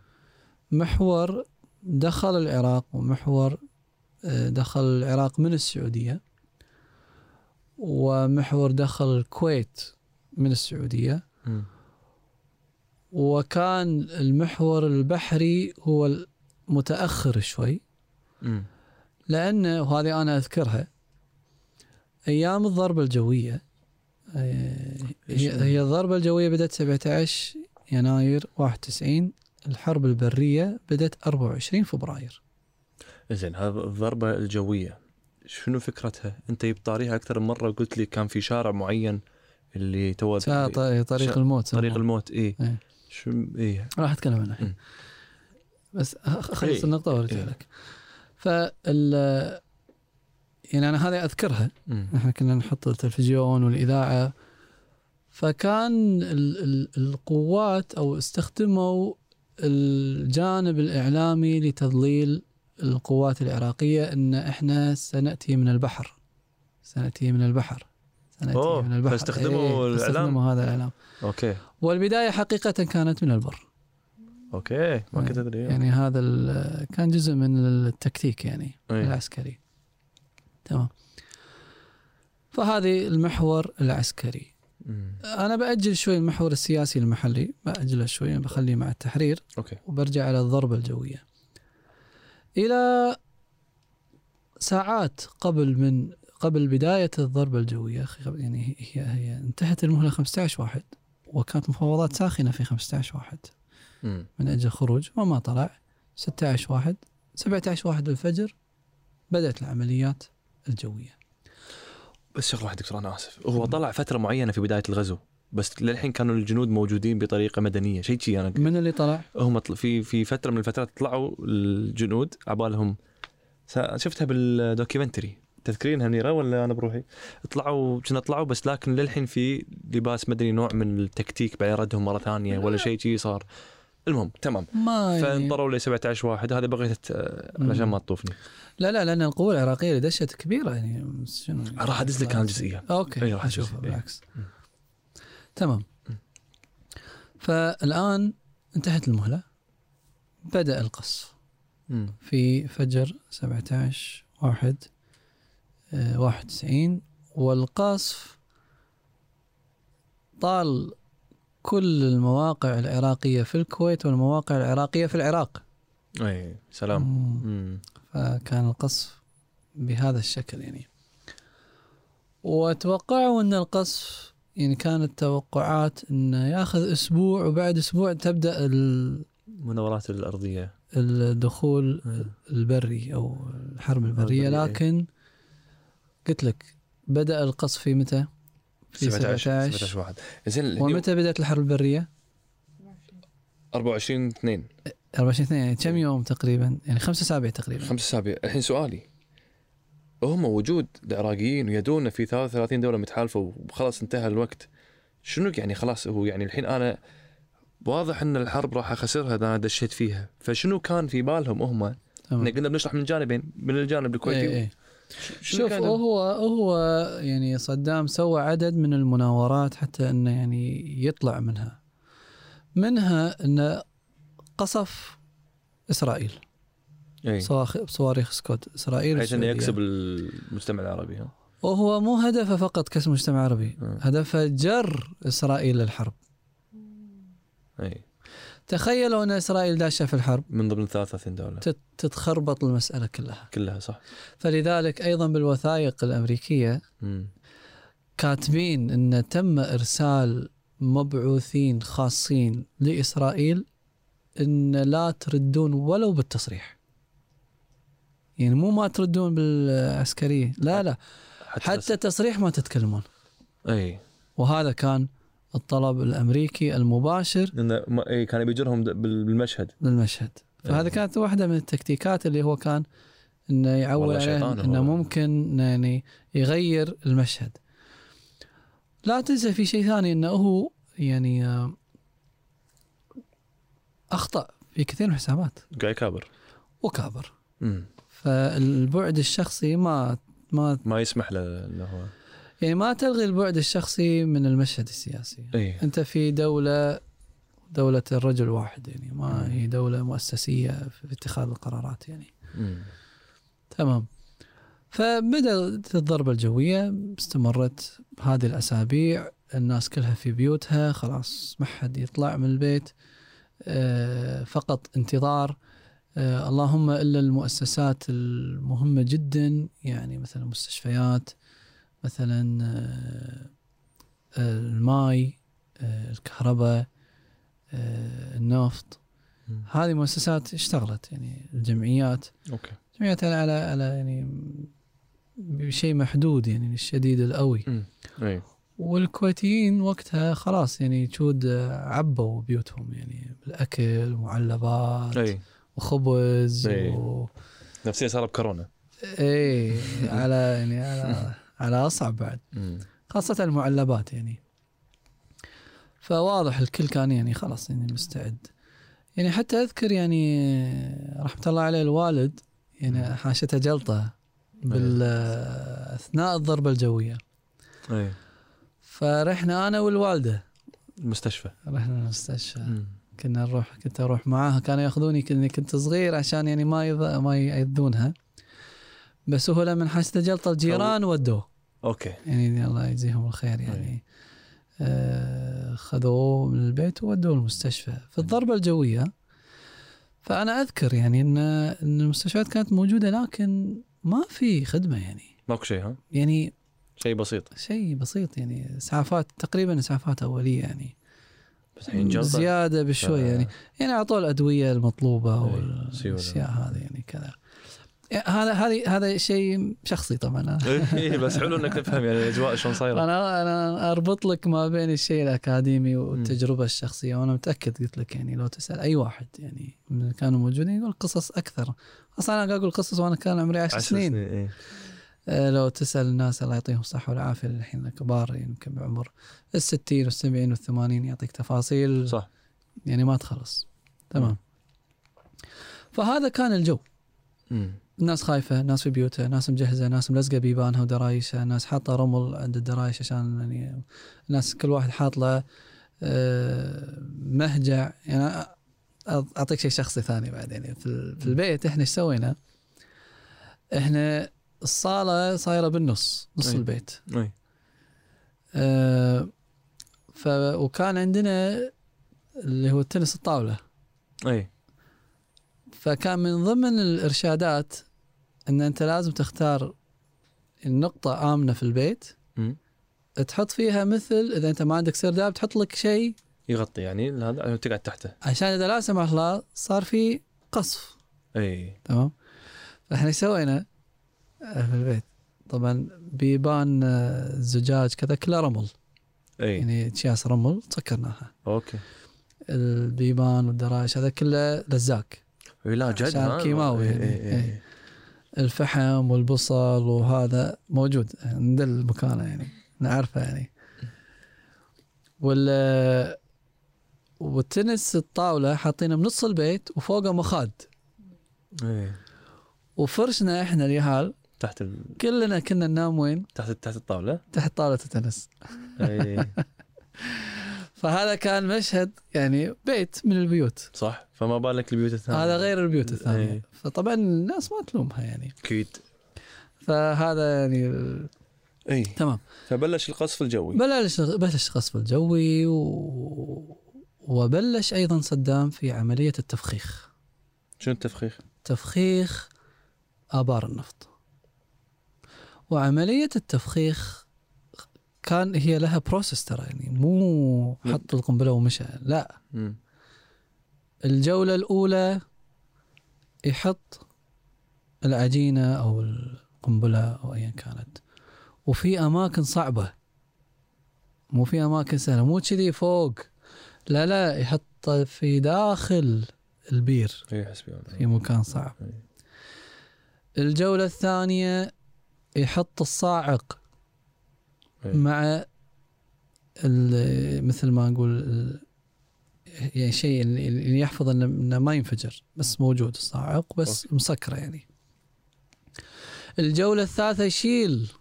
Speaker 2: محور دخل العراق ومحور آه، دخل العراق من السعودية ومحور دخل الكويت من السعودية
Speaker 3: أمم.
Speaker 2: وكان المحور البحري هو متأخر شوي
Speaker 3: أمم.
Speaker 2: لأنه وهذه أنا أذكرها أيام الضربة الجوية آه،
Speaker 3: إيش
Speaker 2: هي, هي الضربة الجوية بدأت 17 يناير 91 الحرب البرية بدأت 24 فبراير
Speaker 3: زين هذا الضربه الجويه شنو فكرتها؟ انت جبت طاريها اكثر من مره وقلت لي كان في شارع معين اللي تو
Speaker 2: تا- ط- طريق
Speaker 3: شا-
Speaker 2: الموت
Speaker 3: طريق الموت اي
Speaker 2: إيه.
Speaker 3: شو إيه. اي
Speaker 2: راح اتكلم عنها الحين
Speaker 3: مم.
Speaker 2: بس اخلص
Speaker 3: إيه.
Speaker 2: النقطة وارجع
Speaker 3: إيه.
Speaker 2: لك فال يعني انا هذه اذكرها احنا كنا نحط التلفزيون والاذاعه فكان ال ال القوات او استخدموا الجانب الاعلامي لتضليل القوات العراقيه ان احنا سناتي من البحر سناتي من البحر سناتي
Speaker 3: أوه،
Speaker 2: من البحر إيه.
Speaker 3: فاستخدموا الإعلام.
Speaker 2: فاستخدموا هذا الاعلام
Speaker 3: اوكي
Speaker 2: والبدايه حقيقه كانت من البر
Speaker 3: اوكي ما كنت ادري
Speaker 2: يعني هذا ال- كان جزء من التكتيك يعني
Speaker 3: إيه.
Speaker 2: العسكري تمام فهذه المحور العسكري
Speaker 3: أمم.
Speaker 2: انا باجل شوي المحور السياسي المحلي باجله شوي بخليه مع التحرير
Speaker 3: اوكي
Speaker 2: وبرجع على الضربه الجويه الى ساعات قبل من قبل بدايه الضربه الجويه خ- يعني هي هي انتهت المهله 15 واحد وكانت مفاوضات ساخنه في 15 واحد
Speaker 3: أمم.
Speaker 2: من اجل الخروج وما طلع 16 واحد 17 واحد بالفجر بدات العمليات الجويه
Speaker 3: بس شغله واحده دكتور انا اسف هو طلع فتره معينه في بدايه الغزو بس للحين كانوا الجنود موجودين بطريقه مدنيه شيء شي انا
Speaker 2: من اللي طلع
Speaker 3: هم طل- في في فتره من الفترات طلعوا الجنود عبالهم سا- شفتها بالدوكيومنتري تذكرينها منيره ولا انا بروحي؟ طلعوا كنا طلعوا بس لكن للحين في لباس مدني نوع من التكتيك بعدين ردهم مره ثانيه ولا شيء شي صار المهم تمام
Speaker 2: ما يعني
Speaker 3: فانطروا لي 17 واحد هذا بغيت أت- علشان ما تطوفني
Speaker 2: لا لا لان القوه العراقيه اللي دشت كبيره يعني شنو يعني؟
Speaker 3: راح ادز لك عن الجزئيه
Speaker 2: اوكي
Speaker 3: إي، راح أيوة.
Speaker 2: اشوفها
Speaker 3: أشوف، إي.
Speaker 2: بالعكس
Speaker 3: م.
Speaker 2: تمام
Speaker 3: م.
Speaker 2: فالان انتهت المهله بدا القصف
Speaker 3: أمم.
Speaker 2: في فجر 17 واحد آه، 91 والقصف طال كل المواقع العراقية في الكويت والمواقع العراقية في العراق
Speaker 3: اي سلام
Speaker 2: مم.
Speaker 3: أمم.
Speaker 2: فكان القصف بهذا الشكل يعني وتوقعوا ان القصف يعني كانت توقعات انه ياخذ اسبوع وبعد اسبوع تبدا ال-
Speaker 3: المناورات الارضيه
Speaker 2: الدخول
Speaker 3: أمم.
Speaker 2: البري او الحرب البريه
Speaker 3: البرية، إيه.
Speaker 2: لكن قلت لك بدا القصف في متى؟ في
Speaker 3: 17
Speaker 2: 17
Speaker 3: 17 واحد زين اليوم
Speaker 2: ومتى بدات الحرب البريه؟
Speaker 3: 24 2
Speaker 2: 24 2 يعني
Speaker 3: إيه.
Speaker 2: كم يوم تقريبا؟ يعني خمسة اسابيع تقريبا
Speaker 3: خمس اسابيع الحين سؤالي هم وجود العراقيين ويدونا في 33 دوله متحالفه وخلاص انتهى الوقت شنو يعني خلاص هو يعني الحين انا واضح ان الحرب راح اخسرها اذا انا دشيت فيها فشنو كان في بالهم هم
Speaker 2: تمام.
Speaker 3: احنا كنا بنشرح من جانبين من الجانب
Speaker 2: إيه،
Speaker 3: الكويتي
Speaker 2: إيه.
Speaker 3: شنو
Speaker 2: شوف
Speaker 3: كان
Speaker 2: هو هو يعني صدام سوى عدد من المناورات حتى انه يعني يطلع منها منها انه قصف اسرائيل
Speaker 3: إيه.
Speaker 2: صواخ- بصواريخ سكوت اسرائيل
Speaker 3: بحيث انه
Speaker 2: والسعودية.
Speaker 3: يكسب المجتمع العربي ها
Speaker 2: وهو مو هدفه فقط كسب مجتمع عربي
Speaker 3: مم.
Speaker 2: هدفه جر إسرائيل للحرب
Speaker 3: اي
Speaker 2: تخيلوا أن إسرائيل داشة في الحرب
Speaker 3: إيه. من ضمن 33 دوله
Speaker 2: تت- تتخربط المسألة كلها
Speaker 3: كلها صح
Speaker 2: فلذلك أيضا بالوثائق الأمريكية
Speaker 3: امم
Speaker 2: كاتبين أن تم إرسال مبعوثين خاصين لإسرائيل أن لا تردون ولو بالتصريح يعني مو ما تردون بالعسكرية لا لا حتى تصريح ما تتكلمون
Speaker 3: اي
Speaker 2: وهذا كان الطلب الأمريكي المباشر
Speaker 3: إيه، لانه ما- اي كان بيجرهم د- بال- بالمشهد
Speaker 2: للمشهد فهذا
Speaker 3: إيه.
Speaker 2: كانت واحده من التكتيكات اللي هو كان انه يعول
Speaker 3: والله
Speaker 2: عليه
Speaker 3: شيطان هو.
Speaker 2: انه ممكن يعني يغير المشهد لا تنسى في شيء ثاني انه هو يعني آه، اخطا في كثير من الحسابات
Speaker 3: قاعد يكابر
Speaker 2: وكابر
Speaker 3: مم.
Speaker 2: فالبعد الشخصي ما ما
Speaker 3: ما يسمح له انه هو
Speaker 2: يعني ما تلغي البعد الشخصي من المشهد السياسي
Speaker 3: اي
Speaker 2: انت في دوله دولة الرجل واحد يعني ما هي دولة مؤسسية في اتخاذ القرارات يعني
Speaker 3: مم.
Speaker 2: تمام فبدأت الضربة الجوية استمرت هذه الأسابيع الناس كلها في بيوتها خلاص ما حد يطلع من البيت آه، فقط انتظار آه، اللهم إلا المؤسسات المهمة جدا يعني مثلا مستشفيات مثلا آه، آه، الماي آه، الكهرباء آه، النفط
Speaker 3: مم.
Speaker 2: هذه مؤسسات اشتغلت يعني الجمعيات
Speaker 3: اوكي
Speaker 2: سمعت على على على يعني بشيء محدود يعني الشديد القوي
Speaker 3: اي
Speaker 2: والكويتيين وقتها خلاص يعني تشود عبوا بيوتهم يعني بالاكل ومعلبات
Speaker 3: اي
Speaker 2: وخبز
Speaker 3: إيه.
Speaker 2: و...
Speaker 3: نفسيا صار بكورونا
Speaker 2: اي على يعني على على اصعب بعد
Speaker 3: مم.
Speaker 2: خاصة المعلبات يعني فواضح الكل كان يعني خلاص يعني مستعد يعني حتى اذكر يعني رحمة الله عليه الوالد يعني حاشته جلطة بال اثناء الضربة الجوية
Speaker 3: اي
Speaker 2: فرحنا انا والوالدة
Speaker 3: المستشفى
Speaker 2: رحنا المستشفى
Speaker 3: مم.
Speaker 2: كنا نروح كنت اروح معاها كانوا ياخذوني كني كنت صغير عشان يعني ما يض... ما يأذونها بسهولة من حاشته جلطة الجيران ودوه
Speaker 3: اوكي
Speaker 2: يعني الله يجزيهم
Speaker 3: إيه.
Speaker 2: الخير يعني آه خذوه من البيت وودوه المستشفى في
Speaker 3: إيه.
Speaker 2: الضربة الجوية فأنا أذكر يعني إن إن المستشفيات كانت موجودة لكن ما في خدمة يعني
Speaker 3: ماكو شيء ها
Speaker 2: يعني
Speaker 3: شيء بسيط
Speaker 2: شيء بسيط يعني اسعافات تقريبا اسعافات اوليه يعني
Speaker 3: بس الحين جلطة.
Speaker 2: زياده بالشوي يعني يعني اعطوه الادويه المطلوبه
Speaker 3: إيه،
Speaker 2: والاشياء
Speaker 3: سيولة.
Speaker 2: هذه يعني كذا يعني هذا هذه هذا شيء شخصي طبعا أنا-
Speaker 3: اي إيه، بس حلو انك تفهم يعني الاجواء شلون صايره
Speaker 2: انا انا اربط لك ما بين الشيء الاكاديمي والتجربه الشخصيه وانا متاكد قلت لك يعني لو تسال اي واحد يعني من اللي كانوا موجودين يقول قصص اكثر اصلا انا قاعد اقول قصص وانا كان عمري 10
Speaker 3: عشر إيه.
Speaker 2: سنين, سنين.
Speaker 3: إي.
Speaker 2: لو تسال الناس الله يعطيهم الصحه والعافيه الحين الكبار يمكن بعمر ال 60 وال 70 وال 80 يعطيك تفاصيل
Speaker 3: صح
Speaker 2: يعني ما تخلص تمام فهذا كان الجو
Speaker 3: مم.
Speaker 2: ناس خايفة ناس في بيوتها ناس مجهزة ناس ملزقة بيبانها ودرايشها ناس حاطة رمل عند الدرايش عشان يعني ناس كل واحد حاط له آه، مهجع يعني أ- أعطيك شيء شخصي ثاني بعد يعني في ال- في البيت إحنا إيش سوينا إحنا الصالة صايرة بالنص نص
Speaker 3: أي.
Speaker 2: البيت
Speaker 3: اي
Speaker 2: آه، ف وكان عندنا اللي هو التنس الطاولة
Speaker 3: اي
Speaker 2: فكان من ضمن الارشادات ان انت لازم تختار النقطة آمنة في البيت
Speaker 3: مم.
Speaker 2: تحط فيها مثل اذا انت ما عندك سرداب تحط لك شيء
Speaker 3: يغطي يعني هذا عشان تقعد تحته
Speaker 2: عشان اذا لا سمح الله صار في قصف
Speaker 3: اي
Speaker 2: تمام فاحنا ايش سوينا آه، في البيت طبعا بيبان آه، زجاج كذا كله رمل
Speaker 3: اي
Speaker 2: يعني اكياس رمل سكرناها
Speaker 3: اوكي
Speaker 2: البيبان والدرايش هذا كله لزاق
Speaker 3: إي إيه، لا جد
Speaker 2: عشان
Speaker 3: ها؟ إيه،
Speaker 2: كيماوي
Speaker 3: إي، إي،
Speaker 2: يعني.
Speaker 3: إي، إي.
Speaker 2: الفحم والبصل وهذا موجود عند المكانه يعني نعرفه يعني وال والتنس الطاوله حاطينه بنص البيت وفوقه مخاد إيه.
Speaker 3: إي.
Speaker 2: وفرشنا احنا اليهال
Speaker 3: إيه. تحت ال...
Speaker 2: كلنا كنا ننام وين؟
Speaker 3: تحت تحت إيه. الطاوله
Speaker 2: تحت طاوله التنس
Speaker 3: اي
Speaker 2: فهذا كان مشهد يعني بيت من البيوت
Speaker 3: صح فما بالك البيوت الثانيه
Speaker 2: هذا غير البيوت الثانيه
Speaker 3: نعم. إيه.
Speaker 2: فطبعا الناس ما تلومها يعني
Speaker 3: اكيد
Speaker 2: فهذا يعني
Speaker 3: اي
Speaker 2: تمام
Speaker 3: إيه. فبلش القصف الجوي
Speaker 2: بلش بلش القصف الجوي و... وبلش ايضا صدام في عمليه التفخيخ
Speaker 3: شنو التفخيخ؟
Speaker 2: تفخيخ ابار النفط وعمليه التفخيخ كان هي لها بروسس ترى يعني مو حط القنبله ومشى لا
Speaker 3: مم.
Speaker 2: الجوله الاولى يحط العجينه او القنبله او ايا كانت وفي اماكن صعبه مو في اماكن سهله مو كذي فوق لا لا يحط في داخل البير
Speaker 3: اي إيه، حسبي الله.
Speaker 2: في مكان صعب
Speaker 3: إيه.
Speaker 2: الجولة الثانية يحط الصاعق
Speaker 3: إيه.
Speaker 2: مع ال- مثل ما نقول ال- يعني شيء اللي اللي يحفظ انه إنه ما ينفجر بس موجود الصاعق بس مسكره يعني الجوله الثالثه يشيل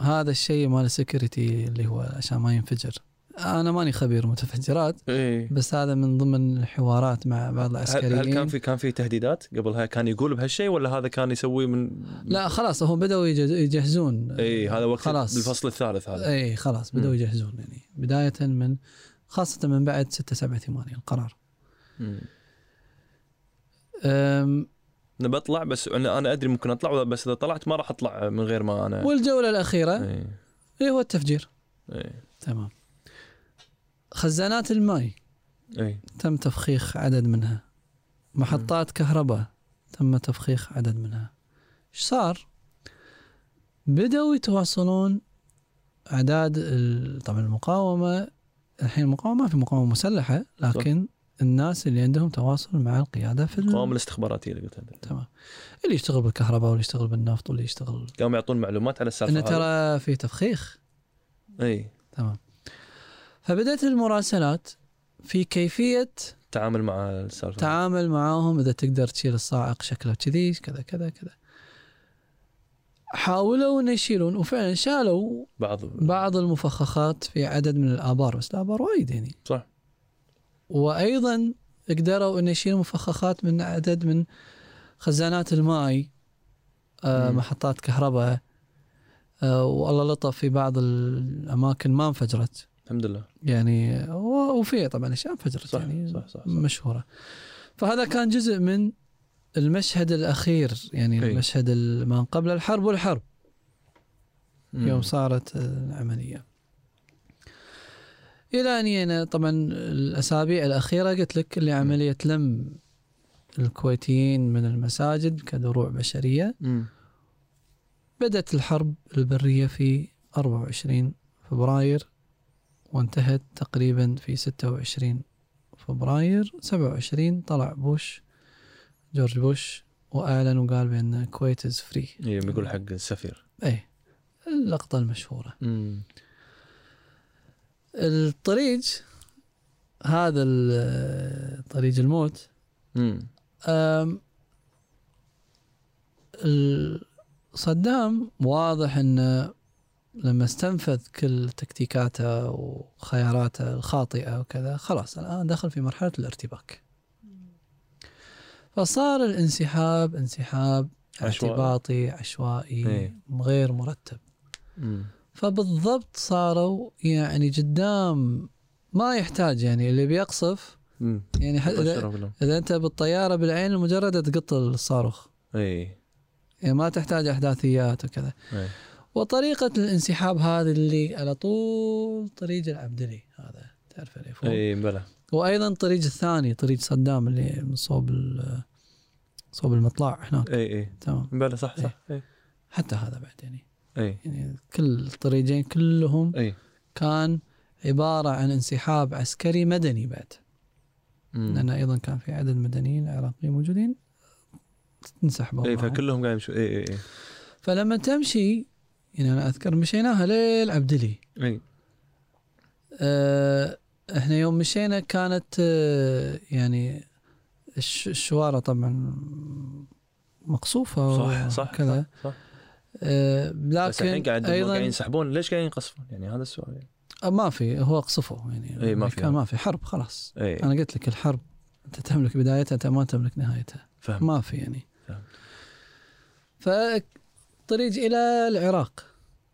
Speaker 2: هذا الشيء مال السكيورتي اللي هو عشان ما ينفجر انا ماني خبير متفجرات
Speaker 3: إيه.
Speaker 2: بس هذا من ضمن الحوارات مع بعض
Speaker 3: هل,
Speaker 2: العسكريين
Speaker 3: هل كان في كان في تهديدات قبلها كان يقول بهالشيء ولا هذا كان يسويه من
Speaker 2: لا خلاص هم بدأوا يجز- يجهزون
Speaker 3: اي هذا وقت
Speaker 2: خلاص. إيه.
Speaker 3: خلاص. الفصل الثالث هذا
Speaker 2: اي خلاص بدأوا يجهزون يعني بداية من خاصة من بعد 6 7 8 القرار
Speaker 3: مم.
Speaker 2: أم
Speaker 3: انا بطلع بس انا أنا ادري ممكن اطلع بس اذا طلعت ما راح اطلع من غير ما إيه. انا
Speaker 2: والجولة الأخيرة
Speaker 3: اي
Speaker 2: اللي هو التفجير
Speaker 3: اي
Speaker 2: تمام خزانات الماء
Speaker 3: اي
Speaker 2: تم تفخيخ عدد منها محطات كهرباء تم تفخيخ عدد منها ايش صار بدأوا يتواصلون أعداد ال- طبعا المقاومة الحين المقاومة ما في مقاومة مسلحة لكن الناس اللي عندهم تواصل مع القيادة في ال-
Speaker 3: القوام الاستخباراتيه اللي قلت هذا.
Speaker 2: تمام اللي يشتغل بالكهرباء واللي يشتغل بالنفط واللي يشتغل
Speaker 3: قاموا يعطون معلومات على إيه. السالفه
Speaker 2: انه ترى في تفخيخ
Speaker 3: اي
Speaker 2: تمام فبدات المراسلات في كيفيه
Speaker 3: تعامل مع السالفه
Speaker 2: تعامل معاهم اذا تقدر تشيل الصاعق شكله كذي كذا كذا كذا حاولوا ان يشيلون وفعلا شالوا
Speaker 3: بعض
Speaker 2: بعض المفخخات في عدد من الابار بس الابار وايد يعني
Speaker 3: صح
Speaker 2: وايضا قدروا ان يشيلوا مفخخات من عدد من خزانات الماي آه،
Speaker 3: مم.
Speaker 2: محطات كهرباء آه، والله لطف في بعض الاماكن ما انفجرت
Speaker 3: الحمد لله
Speaker 2: يعني و- وفي طبعا اشياء انفجرت
Speaker 3: صح
Speaker 2: يعني
Speaker 3: صح صح, صح.
Speaker 2: مشهوره فهذا كان جزء من المشهد الاخير يعني
Speaker 3: إي.
Speaker 2: المشهد ال- ما قبل الحرب والحرب
Speaker 3: مم.
Speaker 2: يوم صارت العمليه الى ان يعني طبعا الاسابيع الاخيره قلت لك اللي عمليه لم الكويتيين من المساجد كدروع بشريه
Speaker 3: مم.
Speaker 2: بدات الحرب البريه في 24 فبراير وانتهت تقريبا في 26 فبراير 27 طلع بوش جورج بوش واعلن وقال بان الكويت از فري
Speaker 3: إيه، بيقول حق السفير
Speaker 2: ايه اللقطه المشهوره
Speaker 3: مم.
Speaker 2: الطريق هذا ال- طريق الموت
Speaker 3: مم.
Speaker 2: أم، ال- صدام واضح انه لما استنفذ كل تكتيكاته وخياراته الخاطئه وكذا خلاص الان دخل في مرحله الارتباك. فصار الانسحاب انسحاب
Speaker 3: عشوائي.
Speaker 2: ارتباطي عشوائي
Speaker 3: إيه.
Speaker 2: غير مرتب.
Speaker 3: مم.
Speaker 2: فبالضبط صاروا يعني قدام ما يحتاج يعني اللي بيقصف
Speaker 3: مم.
Speaker 2: يعني ح- إذا-
Speaker 3: بشروا لهم.
Speaker 2: اذا انت بالطياره بالعين المجرده تقط الصاروخ
Speaker 3: اي
Speaker 2: يعني ما تحتاج احداثيات وكذا
Speaker 3: إي.
Speaker 2: وطريقه الانسحاب هذه اللي على طول طريق العبدلي هذا تعرف اللي فوق
Speaker 3: اي بلى
Speaker 2: وايضا طريق الثاني طريق صدام اللي من صوب ال- صوب المطلع هناك
Speaker 3: اي اي
Speaker 2: تمام
Speaker 3: بلى إيه، صح صح إيه. اي
Speaker 2: إيه. حتى هذا بعد يعني
Speaker 3: اي
Speaker 2: يعني كل الطريقين كلهم
Speaker 3: اي
Speaker 2: كان عباره عن انسحاب عسكري مدني بعد
Speaker 3: مم.
Speaker 2: لان ايضا كان في عدد مدنيين عراقيين موجودين انسحبوا
Speaker 3: اي
Speaker 2: معهم.
Speaker 3: إيه، فكلهم قاعد إيه، يمشوا اي اي اي
Speaker 2: فلما تمشي يعني انا اذكر مشيناها للعبدلي
Speaker 3: اي
Speaker 2: أه احنا يوم مشينا كانت أه يعني الش- الشوارع طبعا مقصوفه
Speaker 3: صح صح
Speaker 2: كذا
Speaker 3: صح, صح.
Speaker 2: أه
Speaker 3: بس الحين
Speaker 2: لكن
Speaker 3: قاعد
Speaker 2: ايضا
Speaker 3: قاعدين ينسحبون ليش قاعدين ينقصفون يعني هذا السؤال يعني.
Speaker 2: أه، ما في هو قصفه يعني
Speaker 3: إي، إيه، ما في إيه.
Speaker 2: كان
Speaker 3: هذا.
Speaker 2: ما في حرب خلاص
Speaker 3: اي
Speaker 2: انا قلت لك الحرب انت تملك بدايتها انت ما تملك نهايتها
Speaker 3: فهم
Speaker 2: ما في يعني
Speaker 3: فهمت.
Speaker 2: فطريق الى العراق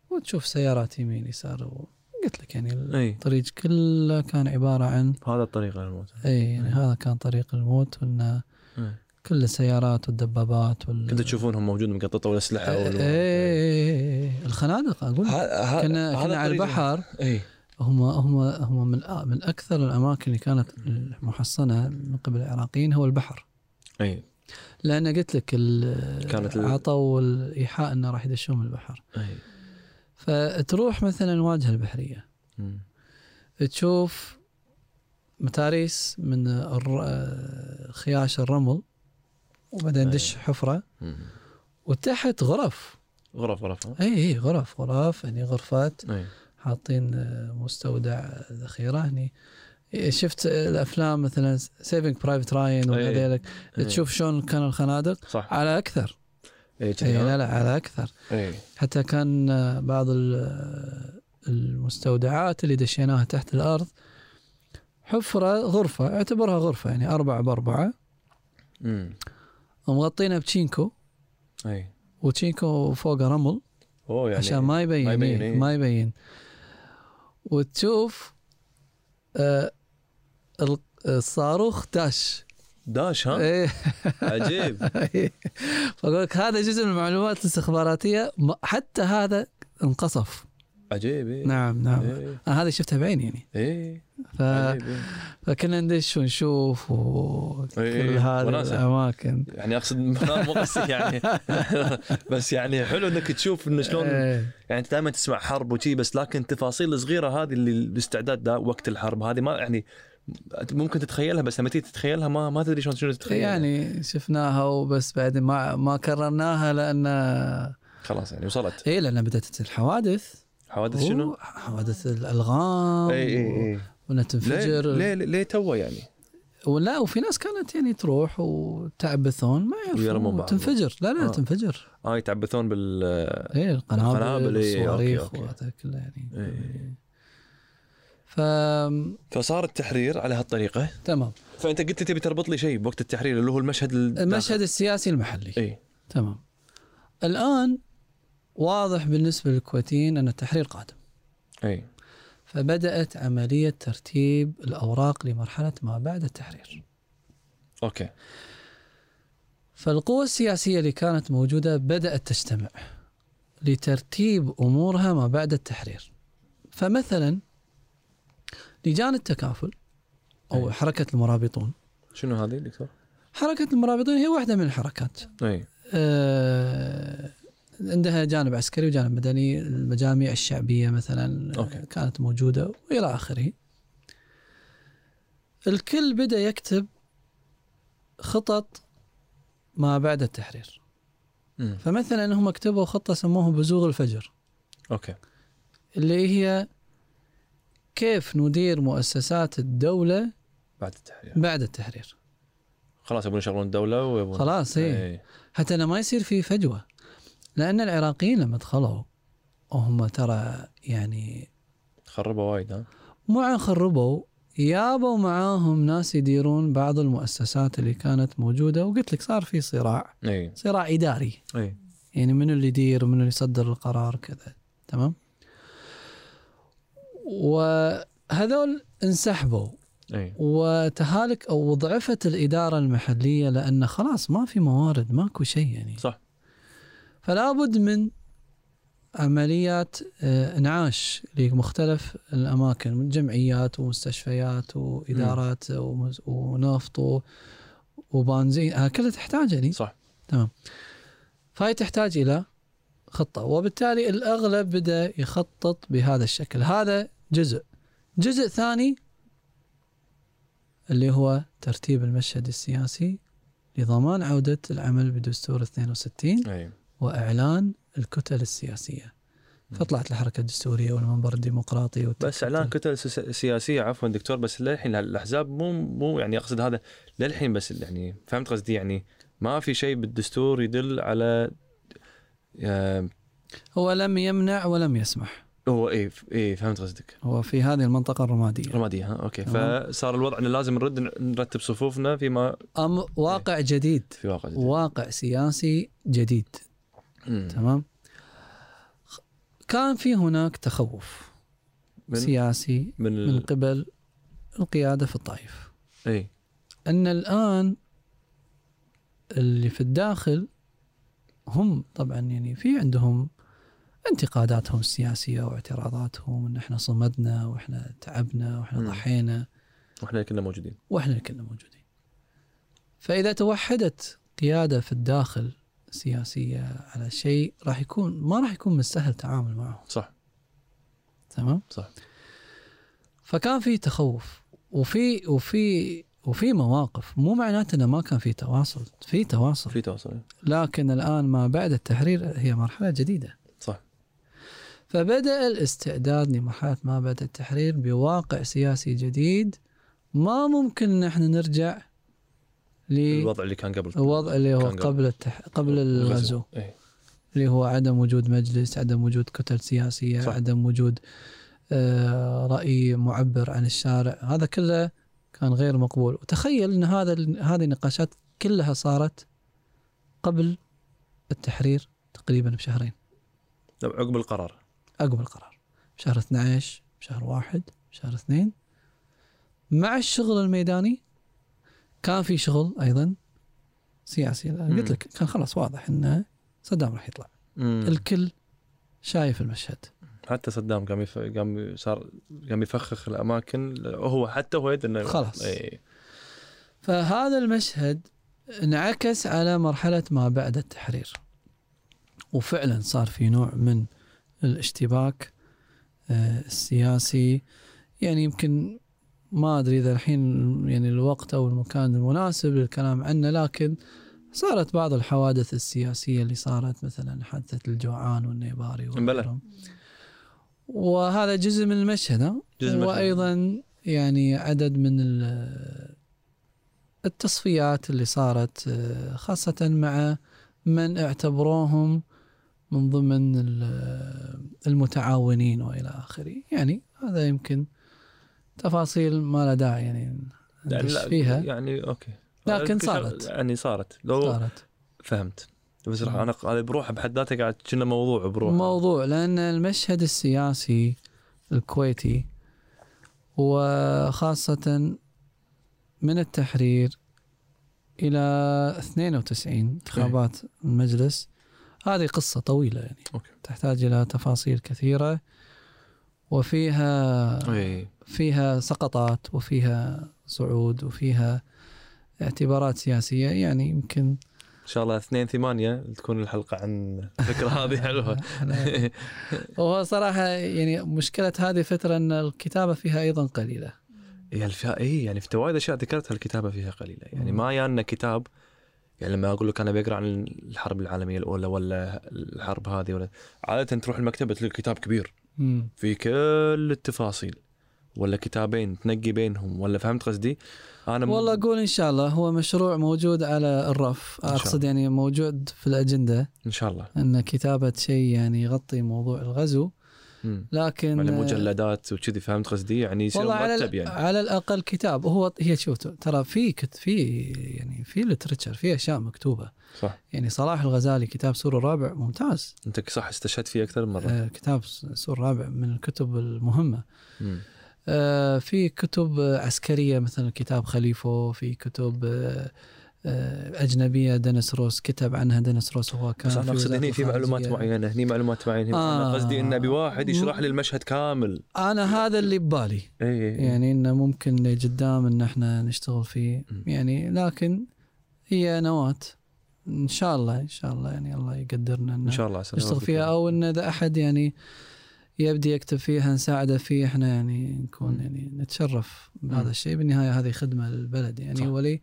Speaker 2: وتشوف سيارات يمين يسار و- قلت لك يعني
Speaker 3: اي
Speaker 2: الطريق كله كان عباره عن
Speaker 3: هذا الطريق للموت
Speaker 2: اي
Speaker 3: نعم.
Speaker 2: يعني هذا كان طريق الموت وانه
Speaker 3: إي.
Speaker 2: كل السيارات والدبابات وال إيه،
Speaker 3: كنت تشوفونهم موجود مقططه والاسلحه
Speaker 2: إي-
Speaker 3: وال-
Speaker 2: إي- إي- إيه، الخنادق اقول لك.
Speaker 3: ه- ه-
Speaker 2: كنا
Speaker 3: هذا
Speaker 2: كنا على
Speaker 3: الطريق-
Speaker 2: البحر
Speaker 3: اي
Speaker 2: هم هم هم من أ- من اكثر الاماكن اللي كانت محصنه من قبل العراقيين هو البحر
Speaker 3: اي
Speaker 2: إيه. لان قلت لك ال-
Speaker 3: كانت ال-
Speaker 2: عطوا الايحاء انه راح يدشون من البحر
Speaker 3: اي
Speaker 2: إيه. فتروح مثلا الواجهه البحريه
Speaker 3: مم.
Speaker 2: تشوف متاريس من الر- خياش الرمل وبعدين
Speaker 3: أي.
Speaker 2: دش حفره
Speaker 3: مم.
Speaker 2: وتحت غرف
Speaker 3: غرف غرف ها؟ إيه.
Speaker 2: اي اي غرف غرف يعني غرفات
Speaker 3: أي.
Speaker 2: حاطين آه، مستودع ذخيره هني شفت الافلام مثلا سيفنج برايفت راين
Speaker 3: أي.
Speaker 2: وهذيلك
Speaker 3: أي.
Speaker 2: تشوف شلون كان الخنادق
Speaker 3: صح
Speaker 2: على اكثر
Speaker 3: اي
Speaker 2: اي
Speaker 3: كذي، ها؟ إيه.
Speaker 2: لا إيه، لا على اكثر
Speaker 3: اي
Speaker 2: حتى كان آه، بعض ال- المستودعات اللي دشيناها تحت الارض حفره غرفه اعتبرها غرفه يعني أربعة بأربعة
Speaker 3: مم.
Speaker 2: ومغطينها بتشينكو
Speaker 3: اي
Speaker 2: وتشينكو فوقه رمل
Speaker 3: اوه يعني
Speaker 2: عشان ما يبين
Speaker 3: ما
Speaker 2: ما
Speaker 3: يبين،
Speaker 2: يبين,
Speaker 3: إيه.
Speaker 2: ما يبين. وتشوف آه ال- الصاروخ داش
Speaker 3: داش ها
Speaker 2: إيه.
Speaker 3: عجيب
Speaker 2: فاقول لك هذا جزء من المعلومات الاستخباراتيه ما- حتى هذا انقصف
Speaker 3: عجيب إيه. اي
Speaker 2: نعم نعم انا
Speaker 3: اي
Speaker 2: هذا شفته بعيني يعني
Speaker 3: اي
Speaker 2: ف...
Speaker 3: عجيب، إيه. إي.
Speaker 2: فكنا ندش ونشوف وكل
Speaker 3: إيه، إيه،
Speaker 2: هذه
Speaker 3: وناسة.
Speaker 2: الاماكن
Speaker 3: يعني اقصد ما مو قصدي يعني بس يعني حلو انك تشوف انه شلون
Speaker 2: إيه.
Speaker 3: يعني انت دائما تسمع حرب وشي بس لكن التفاصيل الصغيره هذه اللي الاستعداد ده وقت الحرب هذه ما يعني ممكن تتخيلها بس لما تيجي تتخيلها ما ما تدري شلون شنو تتخيلها
Speaker 2: يعني شفناها وبس بعدين ما ما كررناها لان
Speaker 3: خلاص يعني وصلت
Speaker 2: اي لان بدات الحوادث
Speaker 3: حوادث
Speaker 2: أوه،
Speaker 3: شنو؟
Speaker 2: حوادث الالغام
Speaker 3: اي اي اي ليه
Speaker 2: وانها تنفجر
Speaker 3: ليه ليه توه يعني؟
Speaker 2: ولا وفي ناس كانت يعني تروح وتعبثون ما
Speaker 3: ويرمون
Speaker 2: يعرفون
Speaker 3: بعض.
Speaker 2: تنفجر لا لا
Speaker 3: آه.
Speaker 2: آه. تنفجر
Speaker 3: اه يتعبثون بال
Speaker 2: اي
Speaker 3: القنابل،
Speaker 2: القنابل
Speaker 3: إيه، أوكي،
Speaker 2: والصواريخ
Speaker 3: أوكي.
Speaker 2: وهذا كله يعني
Speaker 3: إيه.
Speaker 2: ف
Speaker 3: فصار التحرير على هالطريقه
Speaker 2: تمام
Speaker 3: فانت قلت لي تبي تربط لي شيء بوقت التحرير اللي هو المشهد إيه، الداخل.
Speaker 2: المشهد السياسي المحلي
Speaker 3: اي
Speaker 2: تمام الان واضح بالنسبه للكويتيين ان التحرير قادم
Speaker 3: اي
Speaker 2: فبدات عمليه ترتيب الاوراق لمرحله ما بعد التحرير
Speaker 3: اوكي
Speaker 2: فالقوى السياسية اللي كانت موجودة بدأت تجتمع لترتيب أمورها ما بعد التحرير فمثلا لجان التكافل أو
Speaker 3: أي.
Speaker 2: حركة المرابطون
Speaker 3: شنو هذه دكتور؟ إيه.
Speaker 2: حركة المرابطون هي واحدة من الحركات
Speaker 3: اي
Speaker 2: آه، عندها جانب عسكري وجانب مدني المجاميع الشعبية مثلا آه،
Speaker 3: أوكي.
Speaker 2: كانت موجودة وإلى آخره الكل بدأ يكتب خطط ما بعد التحرير
Speaker 3: مم.
Speaker 2: فمثلا هم كتبوا خطة سموها بزوغ الفجر
Speaker 3: اوكي
Speaker 2: اللي هي كيف ندير مؤسسات الدولة
Speaker 3: بعد التحرير
Speaker 2: بعد التحرير
Speaker 3: خلاص يبون يشغلون الدوله ويبون إيه.
Speaker 2: خلاص إيه. هي
Speaker 3: اي
Speaker 2: حتى انه ما يصير في فجوه لان العراقيين لما دخلوا وهم ترى يعني
Speaker 3: خربوا وايد ها
Speaker 2: مو عن خربوا يابوا معاهم ناس يديرون بعض المؤسسات اللي كانت موجوده وقلت لك صار في صراع
Speaker 3: اي
Speaker 2: صراع اداري
Speaker 3: اي
Speaker 2: يعني من اللي يدير ومن اللي يصدر القرار كذا تمام وهذول انسحبوا
Speaker 3: اي
Speaker 2: وتهالك او ضعفت الاداره المحليه لان خلاص ما في موارد ماكو شيء يعني
Speaker 3: صح
Speaker 2: فلا بد من عمليات آه، انعاش لمختلف الاماكن من جمعيات ومستشفيات وادارات ومز- ونفط و- وبنزين ها كلها تحتاج يعني
Speaker 3: صح
Speaker 2: فهي تحتاج الى خطه وبالتالي الاغلب بدا يخطط بهذا الشكل هذا جزء جزء ثاني اللي هو ترتيب المشهد السياسي لضمان عوده العمل بدستور 62
Speaker 3: اي
Speaker 2: واعلان الكتل السياسيه فطلعت الحركه الدستوريه والمنبر الديمقراطي والتكتل.
Speaker 3: بس اعلان كتل سس- سياسيه عفوا دكتور بس للحين الاحزاب مو مو يعني اقصد هذا للحين بس يعني فهمت قصدي يعني ما في شيء بالدستور يدل على آه،
Speaker 2: هو لم يمنع ولم يسمح
Speaker 3: هو اي اي فهمت قصدك
Speaker 2: هو في هذه المنطقه الرماديه
Speaker 3: رمادية ها اوكي
Speaker 2: تمام.
Speaker 3: فصار الوضع انه لازم نرد نرتب صفوفنا فيما
Speaker 2: أم واقع جديد
Speaker 3: في واقع إيه. جديد.
Speaker 2: واقع سياسي جديد
Speaker 3: مم.
Speaker 2: تمام خ- كان في هناك تخوف
Speaker 3: من
Speaker 2: سياسي
Speaker 3: من ال... إيه،
Speaker 2: من قبل القياده في الطائف
Speaker 3: اي
Speaker 2: ان الان اللي في الداخل هم طبعا يعني في عندهم انتقاداتهم السياسيه واعتراضاتهم ان احنا صمدنا واحنا تعبنا واحنا
Speaker 3: مم.
Speaker 2: ضحينا
Speaker 3: واحنا كنا موجودين
Speaker 2: واحنا اللي كنا موجودين. فاذا توحدت قياده في الداخل سياسيه على شيء راح يكون ما راح يكون من السهل التعامل معه
Speaker 3: صح
Speaker 2: تمام؟
Speaker 3: صح
Speaker 2: فكان في تخوف وفي وفي وفي مواقف مو معناته انه ما كان في تواصل في تواصل
Speaker 3: في تواصل إيه.
Speaker 2: لكن الان ما بعد التحرير هي مرحله جديده
Speaker 3: صح.
Speaker 2: فبدا الاستعداد لمرحله ما بعد التحرير بواقع سياسي جديد ما ممكن ان احنا نرجع للوضع
Speaker 3: الوضع اللي كان قبل
Speaker 2: اللي هو
Speaker 3: كان قبل-
Speaker 2: قبل التح... قبل الغزو
Speaker 3: إيه.
Speaker 2: اللي هو عدم وجود مجلس عدم وجود كتل سياسية
Speaker 3: صح.
Speaker 2: صح. عدم وجود آه، رأي معبر عن الشارع هذا كله كان غير مقبول وتخيل أن هذا هذه النقاشات كلها صارت قبل التحرير تقريبا بشهرين
Speaker 3: لو عقب القرار
Speaker 2: عقب القرار بشهر 12 بشهر واحد بشهر اثنين مع الشغل الميداني كان في شغل أيضا سياسي
Speaker 3: مم.
Speaker 2: قلت لك كان خلاص واضح أن صدام راح يطلع
Speaker 3: ال...
Speaker 2: الكل شايف المشهد
Speaker 3: حتى صدام قام يف... قام ي- صار قام يفخخ الاماكن هو حتى هو يد انه
Speaker 2: خلاص.
Speaker 3: إيه.
Speaker 2: فهذا المشهد انعكس على مرحلة ما بعد التحرير وفعلا صار في نوع من الاشتباك آه، السياسي يعني يمكن ما أدري إذا الحين يعني الوقت أو المكان المناسب للكلام عنه لكن صارت بعض الحوادث السياسية اللي صارت مثلا حادثة الجوعان والنيباري
Speaker 3: بلى.
Speaker 2: وغيرهم وهذا جزء من المشهد ها؟
Speaker 3: جزء من
Speaker 2: وايضا يعني عدد من ال- التصفيات اللي صارت آه، خاصة مع من اعتبروهم من ضمن ال- آه، المتعاونين والى اخره، يعني هذا يمكن تفاصيل ما لا داعي يعني ندش
Speaker 3: لا-
Speaker 2: فيها
Speaker 3: يعني اوكي
Speaker 2: لكن
Speaker 3: كل شيء-
Speaker 2: صارت
Speaker 3: يعني صارت لو صارت.
Speaker 2: صارت
Speaker 3: فهمت بس راح
Speaker 2: مم.
Speaker 3: انا هذا بروحه بحد ذاته قاعد كنا موضوع بروحه
Speaker 2: موضوع لان المشهد السياسي الكويتي وخاصة من التحرير إلى 92 انتخابات المجلس هذه قصة طويلة يعني
Speaker 3: أوكي.
Speaker 2: تحتاج إلى تفاصيل كثيرة وفيها
Speaker 3: اي
Speaker 2: فيها سقطات وفيها صعود وفيها اعتبارات سياسية يعني يمكن
Speaker 3: ان شاء الله 2 8 تكون الحلقه عن الفكره هذه حلوه
Speaker 2: آه. هو صراحة يعني مشكلة هذه الفترة أن الكتابة فيها أيضا قليلة
Speaker 3: هي الفا... اي يعني في وايد اشياء ذكرتها الكتابه فيها قليله يعني
Speaker 2: مم.
Speaker 3: ما يانا كتاب يعني لما اقول لك انا بقرا عن الحرب العالميه الاولى ولا الحرب هذه ولا عاده تروح المكتبه تلقى كتاب كبير
Speaker 2: مم.
Speaker 3: في كل التفاصيل ولا كتابين تنقي بينهم ولا فهمت قصدي؟ انا م-
Speaker 2: والله أقول إن شاء الله هو مشروع موجود على الرف
Speaker 3: إن شاء
Speaker 2: أقصد يعني موجود في الأجندة
Speaker 3: ان شاء الله
Speaker 2: أن كتابة شيء يعني يغطي موضوع الغزو
Speaker 3: مم. يعني
Speaker 2: لكن
Speaker 3: مجلدات وكذي فهمت قصدي؟ يعني يصير
Speaker 2: والله على
Speaker 3: مرتب
Speaker 2: ال-
Speaker 3: يعني
Speaker 2: على الاقل كتاب هو هي شوف ترى في كت في يعني في لترتشر في اشياء مكتوبه
Speaker 3: صح
Speaker 2: يعني صلاح الغزالي كتاب سور الرابع ممتاز
Speaker 3: انت صح استشهدت فيه اكثر من مره
Speaker 2: آه، كتاب سور الرابع من الكتب المهمه
Speaker 3: مم.
Speaker 2: آه، في كتب آه، عسكريه مثلا كتاب خليفه في كتب آه، آه، اجنبيه دينيس روس كتب عنها دينيس روس هو كان
Speaker 3: بس انا
Speaker 2: في
Speaker 3: اقصد
Speaker 2: وزارة
Speaker 3: هني في معلومات
Speaker 2: الخارجية.
Speaker 3: معينه هني معلومات معينه آه. انا
Speaker 2: آه.
Speaker 3: قصدي ان ابي واحد يشرح لي المشهد كامل إيه،
Speaker 2: انا هذا اللي ببالي
Speaker 3: اي
Speaker 2: يعني انه ممكن قدام ان احنا نشتغل فيه
Speaker 3: مم.
Speaker 2: يعني لكن هي نواه ان شاء الله ان شاء الله يعني الله يقدرنا
Speaker 3: ان
Speaker 2: ان
Speaker 3: شاء الله عسى
Speaker 2: نشتغل
Speaker 3: ربك
Speaker 2: فيها
Speaker 3: يعني.
Speaker 2: او ان اذا احد يعني يبدي يكتب فيها نساعده فيه احنا يعني نكون يعني نتشرف
Speaker 3: مم.
Speaker 2: بهذا الشيء بالنهايه هذه خدمه للبلد يعني
Speaker 3: صح.
Speaker 2: صح. ولي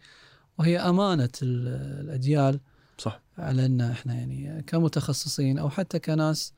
Speaker 2: وهي امانه ال- الاجيال
Speaker 3: صح
Speaker 2: على ان احنا يعني كمتخصصين او حتى كناس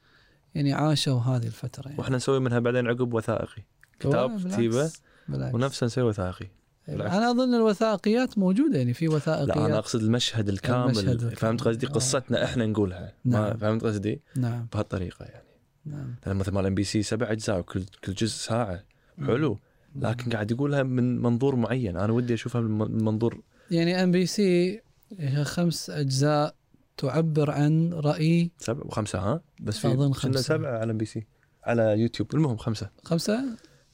Speaker 2: يعني عاشوا هذه الفتره يعني
Speaker 3: واحنا نسوي منها بعدين عقب وثائقي كتاب،
Speaker 2: بالعكس-
Speaker 3: كتيبة،
Speaker 2: بالعكس.
Speaker 3: ونفسه نسوي وثائقي بالعكس.
Speaker 2: انا اظن الوثائقيات موجوده يعني في
Speaker 3: لا انا
Speaker 2: وثائقيات
Speaker 3: اقصد المشهد الكامل
Speaker 2: المشهد الكامل.
Speaker 3: فهمت قصدي
Speaker 2: آه.
Speaker 3: قصتنا احنا نقولها ما
Speaker 2: نعم.
Speaker 3: فهمت قصدي
Speaker 2: نعم
Speaker 3: بهالطريقه يعني
Speaker 2: نعم
Speaker 3: لأن مثل ما الام بي سي سبع اجزاء وكل كل جزء ساعه حلو لكن قاعد يقولها من منظور معين انا ودي اشوفها من من منظور
Speaker 2: يعني ام بي سي هي خمس اجزاء تعبر عن راي
Speaker 3: سبع وخمسه ها بس في
Speaker 2: أظن
Speaker 3: كنا
Speaker 2: خمسة.
Speaker 3: سبعه على ام بي سي على يوتيوب المهم خمسه
Speaker 2: خمسه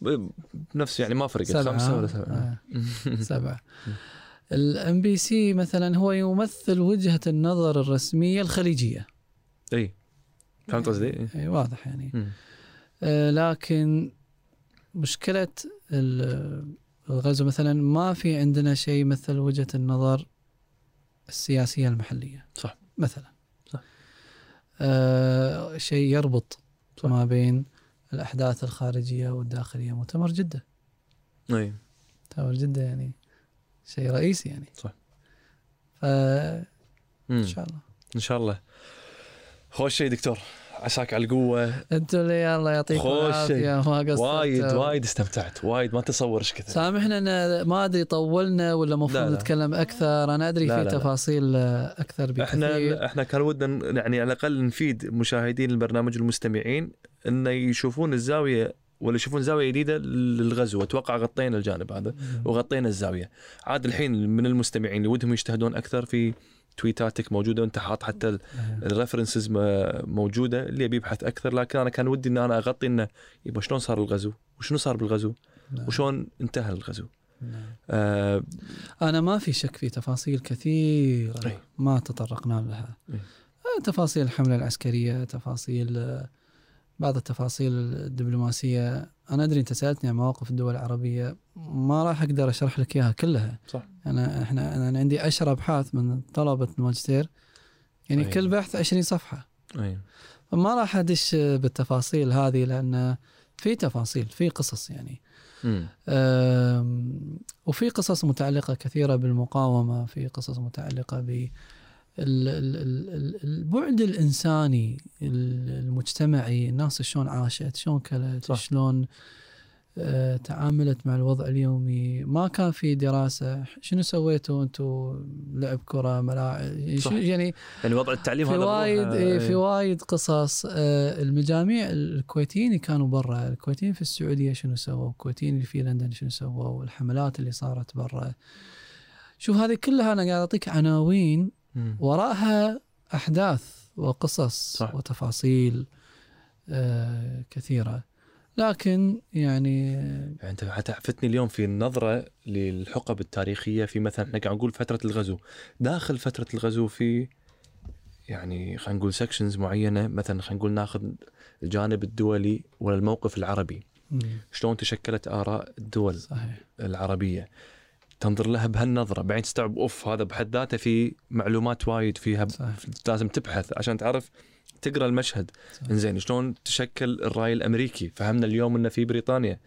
Speaker 3: ب- نفس يعني ما فرقت
Speaker 2: سبعة.
Speaker 3: خمسة ولا سبعة
Speaker 2: آه، سبعة الام بي سي مثلا هو يمثل وجهة النظر الرسمية الخليجية
Speaker 3: اي فهمت قصدي؟ إي.
Speaker 2: أي واضح يعني
Speaker 3: مم.
Speaker 2: آه، لكن مشكلة ال- الغزو مثلا ما في عندنا شيء يمثل وجهة النظر السياسية المحلية
Speaker 3: صح.
Speaker 2: مثلا
Speaker 3: صح.
Speaker 2: آه، شيء يربط
Speaker 3: صح.
Speaker 2: ما بين الأحداث الخارجية والداخلية مؤتمر جدة
Speaker 3: اي
Speaker 2: تاور جده يعني شيء رئيسي يعني
Speaker 3: صح.
Speaker 2: ف ان
Speaker 3: مم.
Speaker 2: شاء الله
Speaker 3: ان شاء الله خوش شيء دكتور عساك على القوه
Speaker 2: انتوا اللي الله يعطيكم
Speaker 3: خوش
Speaker 2: العافيه ما قصرتوا
Speaker 3: وايد وايد استمتعت وايد ما تصور ايش كثر
Speaker 2: سامحنا ان ما ادري طولنا ولا
Speaker 3: لا،
Speaker 2: المفروض
Speaker 3: لا.
Speaker 2: نتكلم اكثر انا ادري
Speaker 3: لا،
Speaker 2: في
Speaker 3: لا، لا.
Speaker 2: تفاصيل آه، اكثر بكثير
Speaker 3: احنا احنا كان ودنا ن- يعني على الاقل نفيد مشاهدين البرنامج والمستمعين انه يشوفون الزاويه ولا يشوفون زاويه جديده للغزو اتوقع غطينا الجانب هذا وغطينا الزاويه عاد الحين من المستمعين اللي ودهم يجتهدون اكثر في تويتاتك موجوده وانت حاط حتى الريفرنسز موجوده اللي يبي يبحث اكثر لكن انا كان ودي ان انا اغطي انه يبا شلون صار الغزو وشنو صار بالغزو
Speaker 2: نعم.
Speaker 3: وشلون انتهى الغزو
Speaker 2: نعم.
Speaker 3: آه
Speaker 2: انا ما في شك في تفاصيل كثيره
Speaker 3: أي.
Speaker 2: ما تطرقنا لها
Speaker 3: أي.
Speaker 2: آه، تفاصيل الحمله العسكريه تفاصيل آه، بعض التفاصيل الدبلوماسيه انا ادري انت سالتني عن مواقف الدول العربيه ما راح اقدر اشرح لك اياها كلها
Speaker 3: صح.
Speaker 2: انا احنا انا عندي 10 ابحاث من طلبه الماجستير يعني
Speaker 3: أي.
Speaker 2: كل بحث 20 صفحه
Speaker 3: أي.
Speaker 2: ما راح ادش بالتفاصيل هذه لان في تفاصيل في قصص يعني
Speaker 3: مم.
Speaker 2: أم، وفي قصص متعلقه كثيره بالمقاومه في قصص متعلقه بال ال- ال- ال- ال- البعد الانساني ال- المجتمعي الناس شلون عاشت شلون كلت
Speaker 3: صح.
Speaker 2: شلون أه، تعاملت مع الوضع اليومي ما كان في دراسه شنو سويتوا انتم لعب كره ملاعب
Speaker 3: صح.
Speaker 2: شو- يعني
Speaker 3: يعني وضع التعليم
Speaker 2: في
Speaker 3: هذا بروحه-
Speaker 2: وايد إيه في
Speaker 3: أي.
Speaker 2: وايد قصص آه، المجاميع الكويتيين اللي كانوا برا الكويتيين في السعوديه شنو سووا الكويتيين اللي في لندن شنو سووا الحملات اللي صارت برا شوف هذه كلها انا قاعد اعطيك عناوين
Speaker 3: مم.
Speaker 2: وراءها احداث وقصص
Speaker 3: صح.
Speaker 2: وتفاصيل آه، كثيره لكن يعني
Speaker 3: يعني انت حتى عفتني اليوم في النظره للحقب التاريخيه في مثلا احنا قاعد نقول فتره الغزو داخل فتره الغزو في يعني خلينا نقول سكشنز معينه مثلا خلينا نقول ناخذ الجانب الدولي ولا الموقف العربي
Speaker 2: مم،
Speaker 3: شلون تشكلت اراء الدول
Speaker 2: صحيح
Speaker 3: العربيه تنظر لها بهالنظره بعدين تستوعب اوف هذا بحد ذاته في معلومات وايد فيها
Speaker 2: صح.
Speaker 3: لازم تبحث عشان تعرف تقرا المشهد
Speaker 2: صح.
Speaker 3: انزين شلون تشكل الراي الامريكي فهمنا اليوم انه في بريطانيا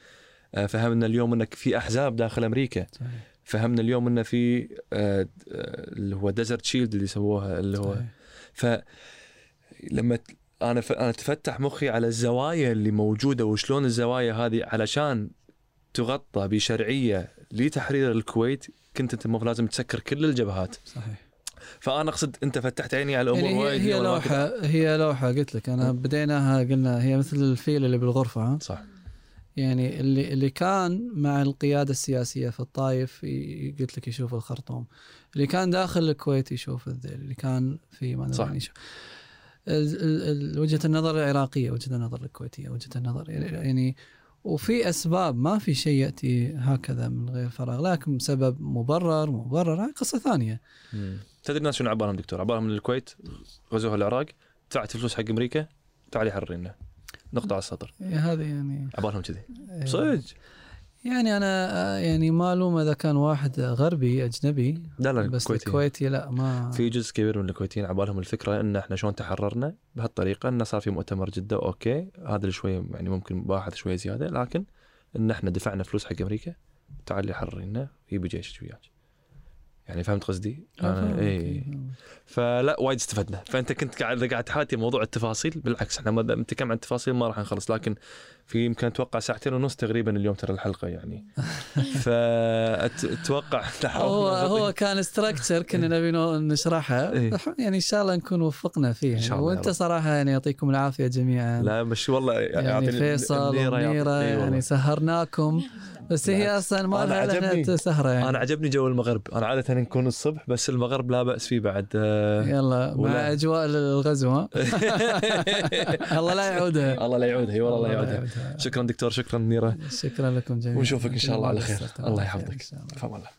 Speaker 3: آه، فهمنا اليوم انك في احزاب داخل امريكا
Speaker 2: صحيح
Speaker 3: فهمنا اليوم انه في آه، آه، اللي هو ديزرت شيلد اللي سووها اللي هو
Speaker 2: صحيح.
Speaker 3: ف لما ت- انا ف... انا تفتح مخي على الزوايا اللي موجوده وشلون الزوايا هذه علشان تغطى بشرعيه لتحرير الكويت كنت انت المفروض لازم تسكر كل الجبهات
Speaker 2: صحيح
Speaker 3: فانا اقصد انت فتحت عيني على امور
Speaker 2: يعني هي,
Speaker 3: وايد
Speaker 2: هي
Speaker 3: وأنا ما كنت-
Speaker 2: لوحه هي لوحه قلت لك انا بديناها قلنا هي مثل الفيل اللي بالغرفه ها
Speaker 3: صح
Speaker 2: يعني اللي اللي كان مع القياده السياسيه في الطائف ي- قلت لك يشوف الخرطوم اللي كان داخل الكويت يشوف الذيل اللي كان في ما
Speaker 3: صح.
Speaker 2: أدري يشوف ال- ال- ال- وجهه النظر العراقيه وجهه النظر الكويتيه وجهه النظر يعني وفي اسباب ما في شيء ياتي هكذا من غير فراغ لكن سبب مبرر مبرر هاي قصه ثانيه
Speaker 3: تدري الناس شنو عبارهم دكتور عبارهم من الكويت غزوها العراق دفعت فلوس حق امريكا تعالي حررينا نقطة على السطر
Speaker 2: هذه يعني
Speaker 3: عبارهم كذي
Speaker 2: إيه.
Speaker 3: صدق
Speaker 2: يعني انا آه، يعني ما الوم اذا كان واحد غربي اجنبي
Speaker 3: لا لا
Speaker 2: بس
Speaker 3: الكويتي.
Speaker 2: الكويتي لا ما
Speaker 3: آه، في جزء كبير من الكويتيين عبالهم الفكره ان احنا شلون تحررنا بهالطريقه انه صار في مؤتمر جده اوكي هذا اللي شويه يعني ممكن باحث شويه زياده لكن ان احنا دفعنا فلوس حق امريكا تعالي حررينا يبي جيش وياك يعني فهمت قصدي؟ انا اي فلا وايد استفدنا فانت كنت قاعد إذا قاعد تحاتي موضوع التفاصيل بالعكس احنا ما نتكلم عن التفاصيل ما راح نخلص لكن في يمكن اتوقع ساعتين ونص تقريبا اليوم ترى الحلقه يعني فاتوقع
Speaker 2: هو هو كان استراكشر كنا نبي نو- نشرحه
Speaker 3: إيه.
Speaker 2: يعني ان شاء الله نكون وفقنا فيه
Speaker 3: إن شاء
Speaker 2: يعني
Speaker 3: الله يا
Speaker 2: وانت
Speaker 3: رب.
Speaker 2: صراحه يعني يعطيكم العافيه جميعا
Speaker 3: لا مش والله
Speaker 2: يعني فيصل ومنيره يعني
Speaker 3: يعني
Speaker 2: سهرناكم بس هي
Speaker 3: بالعكس.
Speaker 2: اصلا ما
Speaker 3: أنا
Speaker 2: لها لها
Speaker 3: عجبني.
Speaker 2: سهره
Speaker 3: انا
Speaker 2: يعني
Speaker 3: عجبني جو المغرب انا عاده نكون الصبح بس المغرب لا باس فيه بعد آه،
Speaker 2: يلا مع
Speaker 3: ولا-
Speaker 2: اجواء الغزو ها الله لا يعودها
Speaker 3: الله لا يعودها اي والله لا يعودها شكرا دكتور شكرا منيره
Speaker 2: شكرا لكم جميعا
Speaker 3: ونشوفك ان شاء الله على خير
Speaker 2: قصرتم.
Speaker 3: الله
Speaker 2: إن
Speaker 3: يحفظك
Speaker 2: شاء الله.
Speaker 3: فما الله